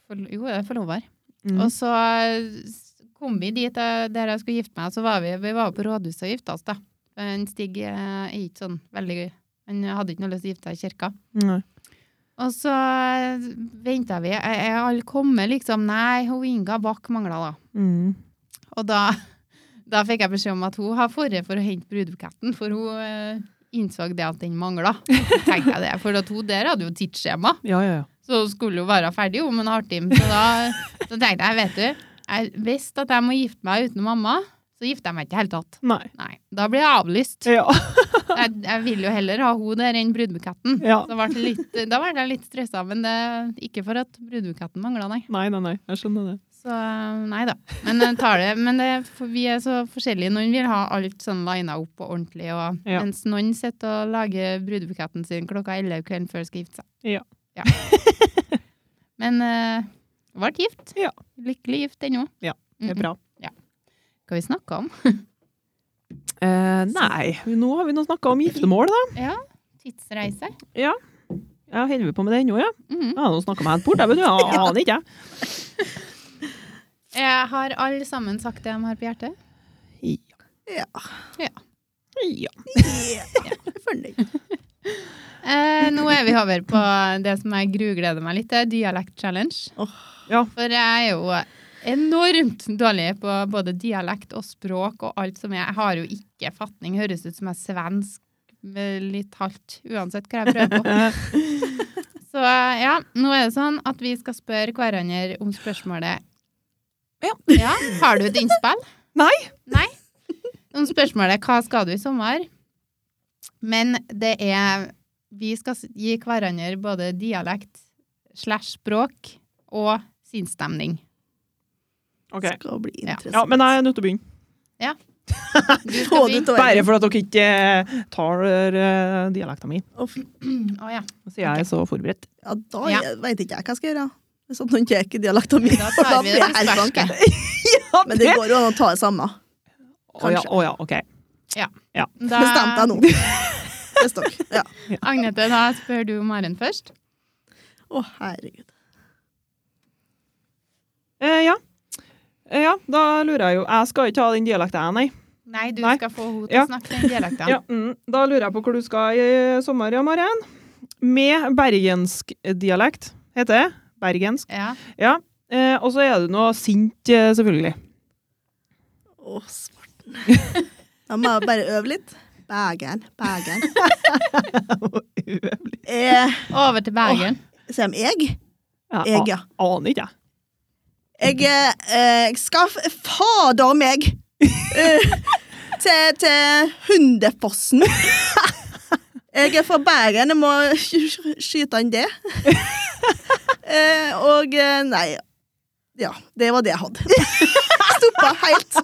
S1: For, jo, jeg er forlover. Og så kom vi dit eh, der jeg skulle gifte meg, så var vi, vi var på rådhuset og gifta oss, da. Men Stig eh, er ikke sånn veldig Han hadde ikke noe lyst til å gifte seg i kirka.
S2: Nei.
S1: Og så venta vi. Er er alle kommet, liksom? Nei, hun Inga Bach mangla, da.
S2: Mm.
S1: Og da, da fikk jeg beskjed om at hun har forret for å hente brudebuketten, for hun eh, innså det at den mangla. tenkte jeg det, For at hun der hadde jo tidsskjema,
S2: Ja, ja, ja.
S1: så hun skulle jo være ferdig om en halvtime. Så da så tenkte jeg, vet du, jeg visste at jeg må gifte meg uten mamma, så gifter jeg meg ikke i det hele tatt.
S2: Nei.
S1: Nei, da blir jeg avlyst.
S2: Ja.
S1: Jeg, jeg vil jo heller ha hun der enn brudebuketten.
S2: Ja.
S1: Så ble det litt, da ble jeg litt stressa, men det, ikke for at brudebuketten mangla, nei.
S2: Nei, nei, nei. Jeg skjønner det.
S1: Så nei da. Men, eh, tar det, men det, for vi er så forskjellige. Noen vil ha alt sånn lina opp og ordentlig, og,
S2: Ja.
S1: mens noen sitter og lager brudebuketten sin klokka 11 kvelden før de skal gifte seg.
S2: Ja.
S1: Men eh, ble gift.
S2: Ja.
S1: Lykkelig gift ennå.
S2: Ja, Det
S1: Mm,
S2: er bra.
S1: Hva vi snakka om?
S2: Eh, nei, nå har vi nå snakka om giftermål, da.
S1: Ja, tidsreise.
S2: Ja, Holder vi på med det ennå, ja?
S1: Mhm.
S2: Ja, nå snakka jeg helt bort, jeg, vet du. Jeg aner ikke, jeg.
S1: Eh, har alle sammen sagt det de har på hjertet?
S3: Ja.
S2: Ja.
S3: ja. Jeg er fornøyd.
S1: Eh, nå er vi over på det som jeg grugleder meg litt til, dialekt challenge.
S2: Ja.
S1: For jeg er jo enormt dårlig på både dialekt og språk og alt som er. Jeg har jo ikke fatning. Høres ut som jeg er svensk med litt halvt, uansett hva jeg prøver på.
S2: Eh,
S1: Så eh, ja, nå er det sånn at vi skal spørre hverandre om spørsmålet
S2: Ja.
S1: Har du et innspill?
S2: Nei.
S1: Nei? Om spørsmålet 'Hva skal du i sommer?' Men det er Vi skal s- gi hverandre både dialekt slash språk og sinnsstemning.
S2: OK.
S3: Det skal bli
S1: Ja.
S3: interessant.
S2: Ja, men jeg er nødt til å begynne.
S1: Du
S3: Få
S1: skal
S3: det
S1: bli
S3: ut av
S2: Bare
S3: verden.
S2: for at dere ikke eh, tar eh, dialekta mi.
S3: Uff.
S1: Å ja.
S2: Så jeg er så forberedt.
S3: Ja, da
S1: Ja.
S3: jeg, vet ikke jeg hva jeg skal gjøre. Hvis at noen tar ikke dialekten min,
S1: Da tar vi
S3: blir
S1: det
S3: jeg
S1: på
S3: helt blank.
S1: sparket.
S2: Ja,
S3: Men det går jo an å ta det samme.
S2: Å ja, å ja, OK.
S3: Bestem deg nå. Hvis dere- Ja.
S1: Agnete, da spør du Maren først.
S3: Å, herregud.
S2: Eh, ja. Eh, ja, da lurer jeg jo Jeg skal ikke ha den dialekta, jeg, nei.
S1: Nei, du
S2: Nei.
S1: skal få henne til
S2: Ja.
S1: å snakke den dialekten.
S2: Ja, mm. Da lurer jeg på hvor du skal i sommer, ja, Maren. Med bergensk dialekt, heter det. Bergensk.
S1: Ja.
S2: Ja. Eh, og så er du nå sint, eh, selvfølgelig.
S3: Å, smarten. Da må jeg bare øve litt. Bægeren, bægeren. Eh,
S1: Over til Bergen.
S3: Sier de jeg? Jeg,
S2: Jeg
S3: ja.
S2: aner ikke, jeg.
S3: Jeg eh, jeg skal f- fader meg eh, til, til Hundefossen. Jeg er fra Bergen, jeg må sk- sk- skyte inn det. Eh, og eh, nei Ja, det var det jeg hadde. Stoppa helt.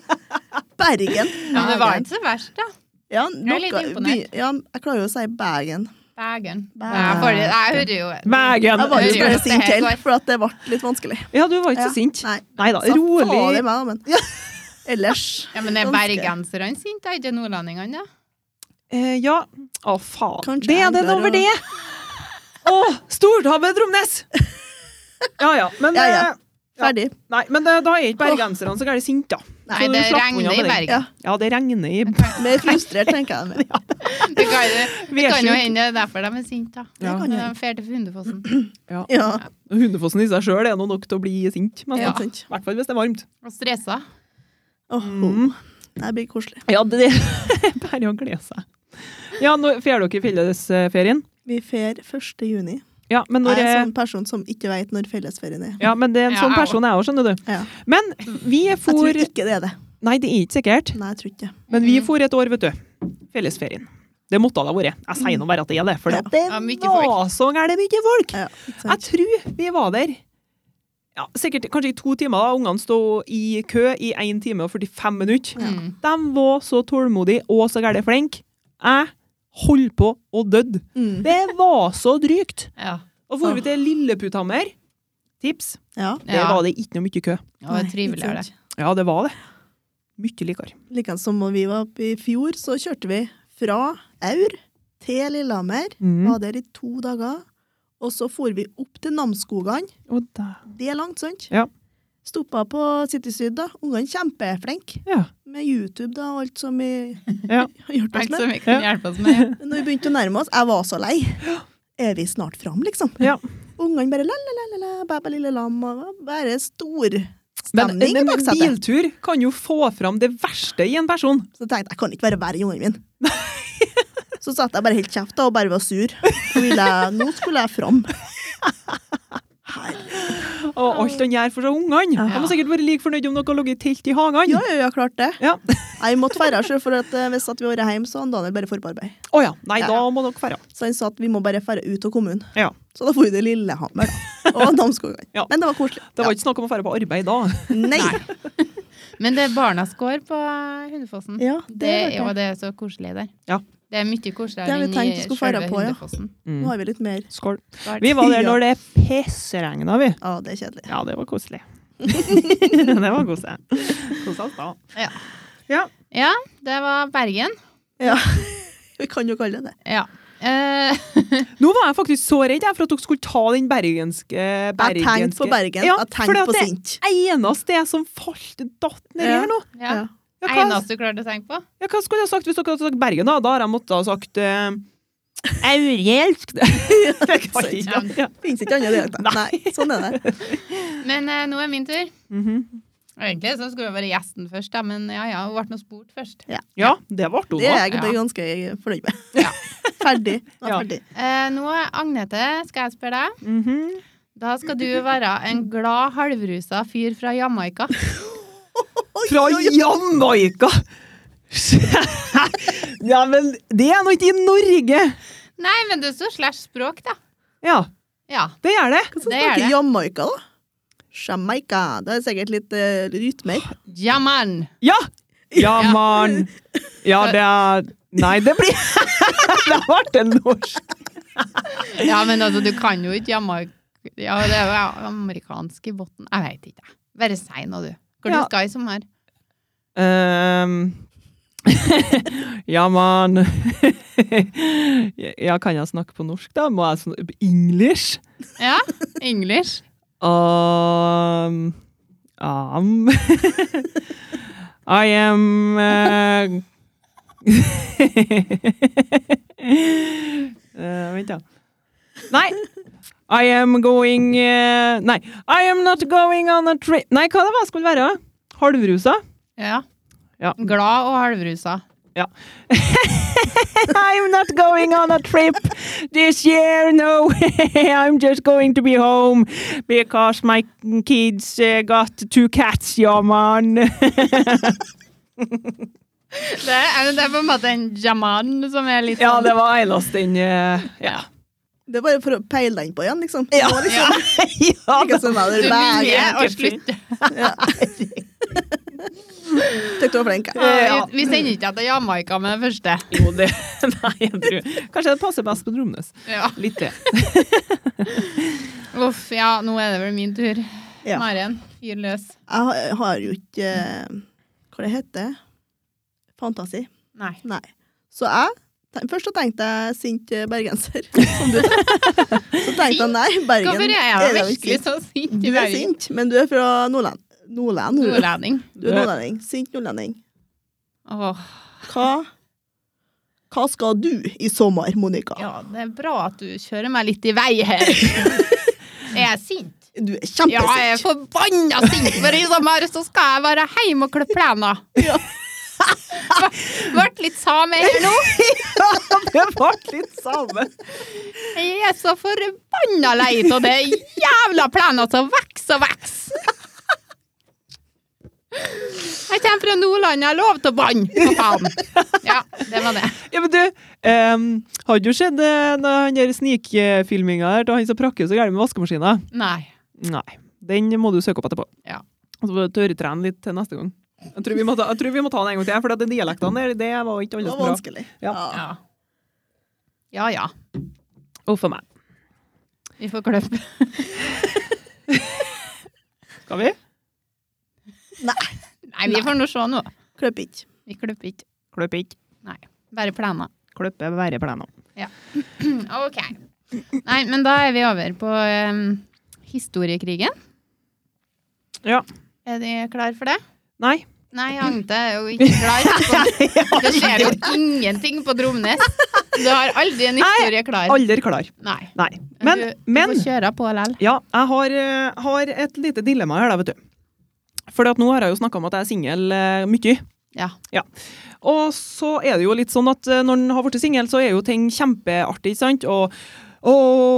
S3: Bergen.
S1: Men det var ikke så verst, da.
S3: Ja,
S1: Jeg er litt
S3: noe-
S1: imponert.
S3: Ja, jeg klarer jo å si Bergen.
S1: Bergen.
S3: Bergen.
S1: Jeg, får, jeg hører jo
S2: Bergen!
S3: Jeg var jo
S1: det gjør
S3: bare
S1: at det
S3: sint
S1: her
S3: til,
S1: går.
S3: for at det ble litt vanskelig.
S2: Ja, du var ikke
S3: Ja.
S2: så sint.
S3: Nei.
S2: Nei da.
S3: Så fader
S2: Rolig.
S3: meg, men ellers
S1: Ja, men er
S3: ganske-
S1: bergenserne sinte, er ikke nordlendingene, da?
S2: Eh, ja. Å, faen.
S3: Kanskje
S2: det er
S3: jeg
S2: den
S3: bør
S2: over
S3: å-
S2: det! Å, Stortabbe Dromnes! Ja ja. Men
S3: Ja, ja.
S2: eh,
S3: Ferdig.
S2: Nei, men det, da er ikke bergenserne så gærent sinte.
S1: Nei, det regner i Bergen.
S3: Ja.
S2: Ja, det regner i
S3: Vi er frustrert, tenker jeg. med.
S1: Det kan, jo- det kan jo
S2: Vesjuk.
S1: hende det er derfor de er sinte, da.
S2: Ja.
S1: Når de drar til Hundefossen.
S3: Ja.
S2: Hundefossen i seg sjøl er nå nok til å bli sint. Men
S1: Ja.
S2: i hvert fall hvis det er varmt.
S1: Og stressa.
S3: Åh,
S2: Mm.
S3: Det blir koselig.
S2: Ja, det er bare å glede seg. Ja, når Får dere fellesferien?
S3: Vi fer 1. juni.
S2: Ja, men når
S3: Jeg er
S2: er
S3: en sånn person som ikke vet når fellesferien er.
S2: ja, men det er en
S1: Ja,
S2: sånn
S1: jeg
S2: person jeg òg, skjønner du.
S3: Ja.
S2: Men vi
S3: Jeg
S2: for
S3: tror ikke det er det.
S2: Nei, det er ikke sikkert.
S3: Nei, jeg tror ikke det.
S2: Men
S1: Mm.
S2: vi for et år, vet du. Fellesferien. Det måtte det ha vært. Jeg sier nå bare at det er det, for
S3: Ja.
S2: det
S1: Ja, mye folk.
S2: var så gærent mye folk!
S3: Ja, ikke
S2: Jeg
S3: sant.
S2: tror vi var der ja, sikkert kanskje i to timer. da. Ungene sto i kø i 1 time og 45 minutter.
S3: Ja.
S1: Mm.
S2: De var så tålmodige og så gærent flinke. Jeg holdt på å døde.
S3: Mm.
S2: Det var så drygt.
S1: Ja.
S2: Og for vi til Lilleputthammer Tips.
S3: Ja.
S2: Der
S1: Ah. Ja.
S2: var det ikke noe mye kø.
S1: Det var
S3: Nei,
S1: triveligere.
S3: ikke sant.
S2: Ja, det var det. Mye likere.
S3: Likeens som når vi var oppe i fjor, så kjørte vi fra Aur til Lillehammer.
S2: Mm.
S3: Var der i to dager. Og så for vi opp til Namsskogan.
S2: Og da-
S3: Det er langt, sant?
S2: Ja.
S3: Stoppa på City Syd, da. Ungene kjempeflinke
S2: Ja.
S3: med YouTube da, og alt som vi
S2: Ja.
S3: har hjulpet oss
S1: Alt
S3: med.
S1: som vi kan hjelpe oss med.
S3: Når vi begynte å nærme oss, jeg var så lei. Er vi snart fram, liksom?
S2: Ja.
S3: Ungene bare la-la-la-la, bæ-bæ lille lam, og bare stor
S2: Men
S3: stemning i
S2: en
S3: baksetet.
S2: biltur kan jo få fram det verste i en person.
S3: Så tenkte jeg, jeg kan ikke være verre i ungene mine. Så satt jeg bare helt kjeft da, og bare var sur. Så ville jeg, nå skulle jeg fram. Her.
S2: Og alt han gjør for seg ungene. De må sikkert være like fornøyd om dere har ligget i telt i hagen.
S3: Ja, ja, ja, klart det.
S2: Ja.
S3: Jeg måtte fære selv, for at, eh, hvis at vi var hjemme, så hadde Daniel bare forarbeid.
S2: Å ja. Nei,
S3: Ja.
S2: da må dere dra.
S3: Så han sa at vi må bare fære ut av kommunen.
S2: Ja.
S3: Så da får vi til Lillehammer da. og Namsskogan.
S2: Ja.
S3: Men det var koselig.
S2: Det var ikke snakk om å dra på arbeid da.
S3: ja. Nei.
S1: Men det er barnas gård på eh, Hundefossen.
S3: Ja,
S1: Mm. Det,
S3: det var det.
S1: og det er så koselig der.
S2: Ja.
S1: Det er mye
S3: Det har
S1: koseligere
S3: vi
S1: enn
S3: tenkt
S1: i
S3: å skulle
S1: selve
S3: ferde på, ja.
S1: Hundefossen.
S3: Nå har vi litt mer.
S2: Skål.
S1: Skål.
S2: Vi var der
S3: Ja.
S2: når det pissregna, vi.
S3: Ja, det er kjedelig.
S2: Ja, det var koselig. det var koselig. Kosa oss da.
S1: Ja.
S2: Ja.
S1: ja, det var Bergen.
S3: Vi kan jo kalle det det.
S1: Ja. Eh,
S2: Nå var jeg faktisk så redd jeg, for at dere skulle ta den bergenske,
S3: Jeg
S2: bergenske.
S3: tenkte på Bergen.
S2: Ja,
S3: jeg
S2: fordi
S3: tenkte
S2: at
S3: på
S2: det-
S3: Sint.
S2: Eneste jeg som falt datt nedi
S3: Ja.
S2: her nå.
S1: ja.
S3: Ja.
S2: Ja, hva,
S1: Eneste du klarte å tenke på?
S2: ja, hva skulle jeg sagt hvis dere hadde sagt Bergen? Da Da har jeg måttet ha sagt eh, Aurielsk. Det kan jeg ikke.
S1: sant.
S2: Ja.
S3: Fins ikke andre dialekter. Nei. sånn er det.
S1: Men eh, nå er min tur.
S2: Mhm.
S1: Egentlig så skulle jeg være gjesten først, da, men ja ja, hun ble nå spurt først.
S2: ja, det ble hun
S3: Det er
S2: da.
S3: jeg det er ganske fornøyd med.
S1: Ja.
S3: Ferdig.
S2: Ja.
S3: Nå er jeg ferdig.
S1: Eh, nå, Agnete, skal jeg spørre deg.
S2: Mhm.
S1: Da skal du være en glad, halvrusa fyr fra Jamaica.
S3: Oi,
S2: Fra
S3: oi, oi.
S2: Jamaica! ja, men det er nå ikke i Norge!
S1: Nei, men det står slash språk, da.
S2: Ja,
S1: Ja.
S2: det gjør det.
S3: Hva som
S1: Det
S3: står
S1: er
S3: til
S1: det.
S3: Jamaica, da? Jamaica. Det er sikkert litt eh, rytmer.
S1: Jaman.
S2: Ja! Ja,
S1: Ja.
S2: mann. Ja, det er Nei, det blir Det ble en norsk.
S1: Ja, men altså, du kan jo ikke Jamaica Ja, det er jo amerikansk i bunnen. Jeg veit ikke, jeg. Bare si noe, du. Hvor
S2: Ja.
S1: du skal i sommer?
S2: Ehm, ja, mann. ja, kan jeg snakke på norsk, da? Må jeg snakke English?
S1: Ja? English?
S2: Um, um. I am uh, Eh, Vent, da. Nei. I am going eh, Nei. I am not going on a trip Nei, hva det var jeg skulle være? Halvrusa?
S1: Ja.
S2: Ja.
S1: Glad og halvrusa.
S2: I'm not going on a trip this year, no. I'm just going to be home because my kids uh, got two cats, ja, man.
S1: Det er, det er på en måte en jaman som er litt
S2: ja,
S1: sånn-
S2: det var eneste den eh, Ja.
S3: Det er bare for å peile den på igjen, liksom. Ja. Nå, liksom.
S2: ja
S3: Ikke sånn at
S1: Du
S3: det er
S1: begynner
S3: bare-
S1: å slutte.
S3: Takk, du var flink.
S2: Ja.
S1: Vi, vi sender ikke deg til Jamaica med det første.
S2: Jo, det Nei, jeg tror Kanskje det passer best på Dromnes.
S1: Ja.
S2: Litt det.
S1: Uff, ja, nå er det vel min tur.
S3: Ja.
S1: Maren, fyr løs.
S3: Jeg har- har jo ikke eh, Hva det heter Fantasi.
S1: Nei.
S3: Nei. Så jeg ten- Først så tenkte jeg sint eh, bergenser. Som du. Så tenkte jeg nei, Bergen
S1: Hvorfor er jeg
S3: da
S1: virkelig
S3: sint?
S1: så sint
S3: Du
S1: i
S3: er
S1: Bergen?
S3: sint, men du er fra Nordland. Nordland, du.
S1: Nordlending.
S3: Du er nordlending. Sint nordlending.
S1: Åh,
S3: Hva, hva skal du i sommer, Monica?
S1: ja, det er bra at du kjører meg litt i vei her. Er jeg sint?
S3: Du er
S1: Ja, jeg er
S3: kjempesint.
S1: forbanna sint, for i sommer så skal jeg være hjemme og klippe plener.
S3: Ja.
S1: Vært litt same her nå.
S2: Det ble litt samme.
S1: Jeg er så forbanna lei av det jævla plener som vokser og vokser. Jeg kommer fra Nordland, jeg har lov til å banne, for faen. Ja, det var det.
S2: Ja, men du, um, har du sett eh, den der snikfilminga der til han som prakker så gærent med vaskemaskina?
S1: Nei.
S2: Nei. Den må du søke opp etterpå.
S1: Ja.
S2: Og så får du tørretrene litt til neste gang. Jeg tror vi må ta, jeg tror vi må ta den en gang til, for at de dialektene der, det var ikke
S3: Det
S2: alle
S3: var
S2: som bra.
S3: vanskelig.
S2: Ja.
S3: Ja.
S1: Ja. ja ja.
S2: Uff a meg.
S1: Vi får kløppe.
S2: Skal vi?
S1: Nei, vi får nå se nå.
S3: Kløp ikke.
S1: Vi kløpper ikke.
S2: Kløp ikke.
S1: Bare planer.
S2: Kløppe være plena.
S1: OK. Nei, men da er vi over på em, historiekrigen.
S2: Ja.
S1: Er de klar for det?
S2: Nei.
S1: Nei, Agnete er jo ikke klar. Det skjer jo ingenting på Dromnes. Du har aldri en historie klar.
S2: Aldri klar.
S1: Nei.
S2: Nei. Men,
S1: du, du
S2: men
S1: får kjøre på likevel.
S2: Ja, jeg har, eh, har et lite dilemma her, da, vet du. For nå har jeg jo snakka om at jeg er singel eh, mye.
S1: Ja.
S2: Og så er det jo litt sånn at eh, når en har blitt singel, så er jo ting kjempeartig, ikke sant? Og å,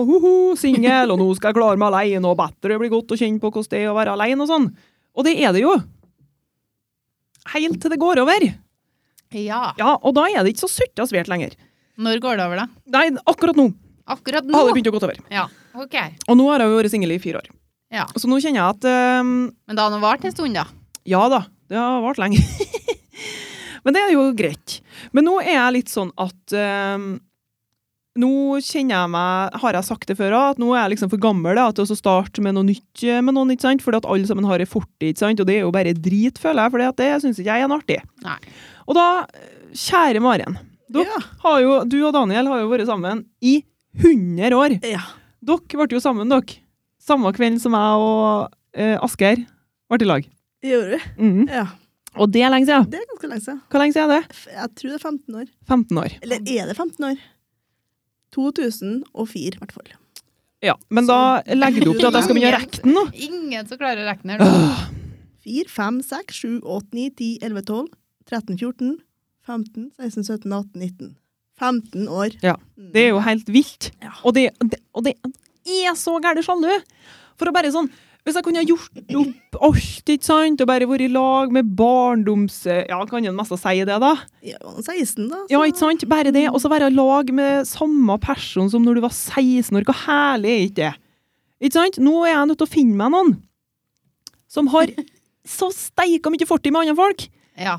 S2: hoho, singel, og nå skal jeg klare meg aleine, og bedre blir godt å kjenne på hvordan det er å være aleine, og sånn. Og det er det jo. Helt til det går over.
S1: ja.
S2: Ja, og da er det ikke så sutta svært lenger.
S1: Når går det over, da?
S2: Nei, akkurat nå
S1: Akkurat nå?
S2: har det begynt å gå over.
S1: Ja. OK.
S2: Og nå har jeg jo vært singel i fire år.
S1: Ja.
S2: Så nå kjenner jeg at eh,
S1: Men da har det vart en stund, da.
S2: Ja da, det har vart lenge. Men det er jo greit. Men nå er jeg litt sånn at ehm, Nå kjenner jeg meg Har jeg sagt det før òg? At nå er jeg liksom for gammel da, til å starte med noe nytt eh, med noen. ikke sant? Fordi at alle sammen har ei fortid, ikke sant? og det er jo bare drit, føler jeg. For det syns ikke jeg er noe artig.
S1: Nei.
S2: Og da, eh, kjære Maren, Du-
S3: Ja.
S2: har jo, du og Daniel har jo vært sammen i 100 år.
S3: ja.
S2: Dere ble jo sammen, dere. Samme kveld som jeg og eh, Asgeir ble i lag.
S3: Gjorde du?
S2: Mhm.
S3: Ja.
S2: Og det er lenge siden.
S3: Det er ganske lenge siden.
S2: Hvor lenge siden er det?
S3: F- Jeg tror det er 15 år.
S2: 15 år.
S3: Eller er det 15 år? 2004, i hvert fall.
S2: Ja, Men da legger du opp til at jeg skal begynne å rekke den nå.
S1: Ingen som klarer å regne her nå.
S3: 4, 5, 6, 7, 8, 9, 10, 11, 12, 13, 14, 15, 16, 17, 18, 19. 15 år.
S2: Ja, Det er jo helt vilt.
S3: Ja.
S2: Og det, det, og det er så gæren sjalu! For å bare sånn Hvis jeg kunne ha gjort opp alt, ikke sant, og bare vært i lag med barndoms... Ja, kan en mest si det, da?
S3: Ja, han er 16, da.
S2: Ja, ikke sant? Bare det. Og så være i lag med samme person som når du var 16 år. Hvor herlig er ikke det? Ikke sant? Nå er jeg nødt til å finne meg noen som har så steika mye fortid med andre folk.
S1: Ja.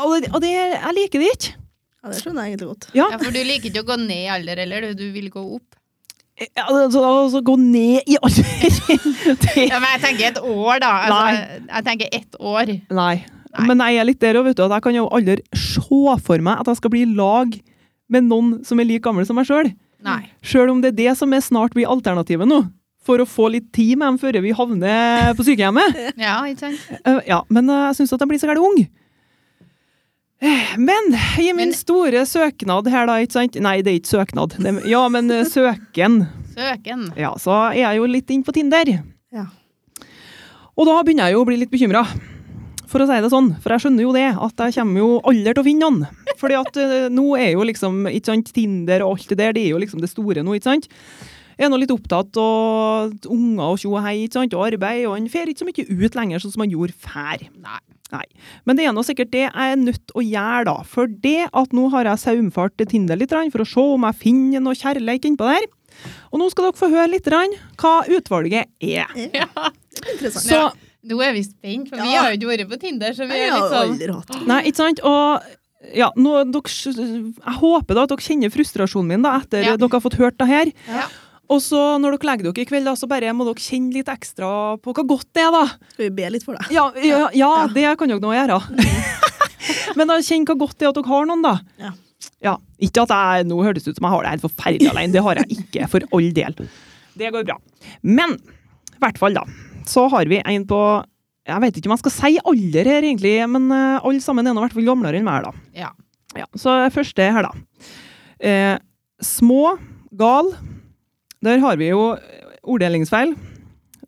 S2: Og, det- og det, jeg liker det ikke.
S3: Ja, det skjønner jeg egentlig godt.
S2: Ja,
S1: ja, for du liker ikke å gå ned i alder heller, du. Du vil gå opp.
S2: ja, altså, altså gå ned i alder det,
S1: Ja, men jeg tenker et år, da. Altså,
S2: Nei.
S1: jeg tenker ett år.
S2: Nei.
S1: Nei.
S2: Men jeg er litt der òg, vet du. At jeg kan jo aldri se for meg at jeg skal bli i lag med noen som er like gammel som meg sjøl.
S1: Nei.
S2: Sjøl om det er det som er snart blir alternativet nå. For å få litt tid med dem før vi havner på sykehjemmet.
S1: Ja, ikke sant?
S2: Eh, Ja, men eh, jeg syns at de blir så gæren ung. Eh, Men i min
S1: Men-
S2: store søknad her, da, ikke sant Nei, det er ikke søknad. Det- Ja, men eh, søken.
S1: Søken.
S2: Ja, så er jeg jo litt inn på Tinder.
S3: Ja.
S2: Og da begynner jeg jo å bli litt bekymra, for å si det sånn. For jeg skjønner jo det, at jeg kommer jo aldri til å finne noen. Fordi at eh, nå er jo liksom ikke sant, Tinder og alt det der, det er jo liksom det store nå, ikke sant. Jeg er nå litt opptatt av unger og tjo og hei, ikke sant, og arbeid, og en fer ikke så mye ut lenger, sånn som man gjorde før.
S1: Nei.
S2: Nei. Men det er nå sikkert det jeg er nødt til å gjøre, da. For det at nå har jeg saumfart til Tinder litt, grann, for å se om jeg finner noe kjærleik innpå der. Og nå skal dere få høre litt grann hva utvalget er.
S3: Ja.
S1: Ja.
S3: Det er interessant.
S2: Så,
S1: Nå er vi spent, for vi
S3: Ja.
S1: har jo ikke vært på Tinder, så vi
S3: Jeg
S1: er
S3: har
S1: litt
S3: jo
S1: sånn
S3: aldri hatt
S2: nei, ikke sant? Og ja, nå, dere, s- jeg håper da at dere kjenner frustrasjonen min da, etter
S1: Ja.
S2: dere har fått hørt det her.
S1: Ja.
S2: Og så når dere legger dere i kveld, da, så bare må dere kjenne litt ekstra på hva godt det er, da.
S3: Skal vi be litt for deg?
S2: Ja, Mm. ja, ja det kan dere nå gjøre. Men da kjenn hva godt det er at dere har noen, da.
S3: Ja.
S2: Ja, ikke at jeg, Nå hørtes det ut som jeg har det helt forferdelig alene. Det har jeg ikke, for all del. Det går bra. Men i hvert fall, da. Så har vi en på Jeg vet ikke om jeg skal si alder her, egentlig, men eh, alle sammen er nå i hvert fall gamlere enn meg, da.
S1: Ja.
S2: ja. Så første her, da. Eh, små, gal. Der har vi jo orddelingsfeil.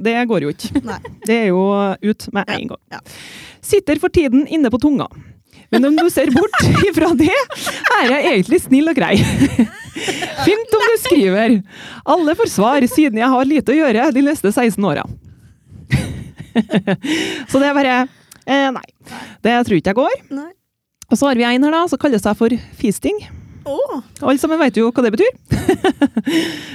S2: Det går jo ikke.
S3: Nei.
S2: Det er jo ut med en gang.
S3: ja.
S2: Sitter for tiden inne på tunga. Men om du ser bort ifra det, er jeg egentlig snill og grei. Fint om du skriver. Alle får svar siden jeg har lite å gjøre de neste 16 åra. Så det er bare eh, Nei. Det tror ikke jeg går.
S3: Nei.
S2: Og så har vi en her da, som kaller seg for fisting.
S3: Å,
S2: Alle sammen vet jo hva det betyr.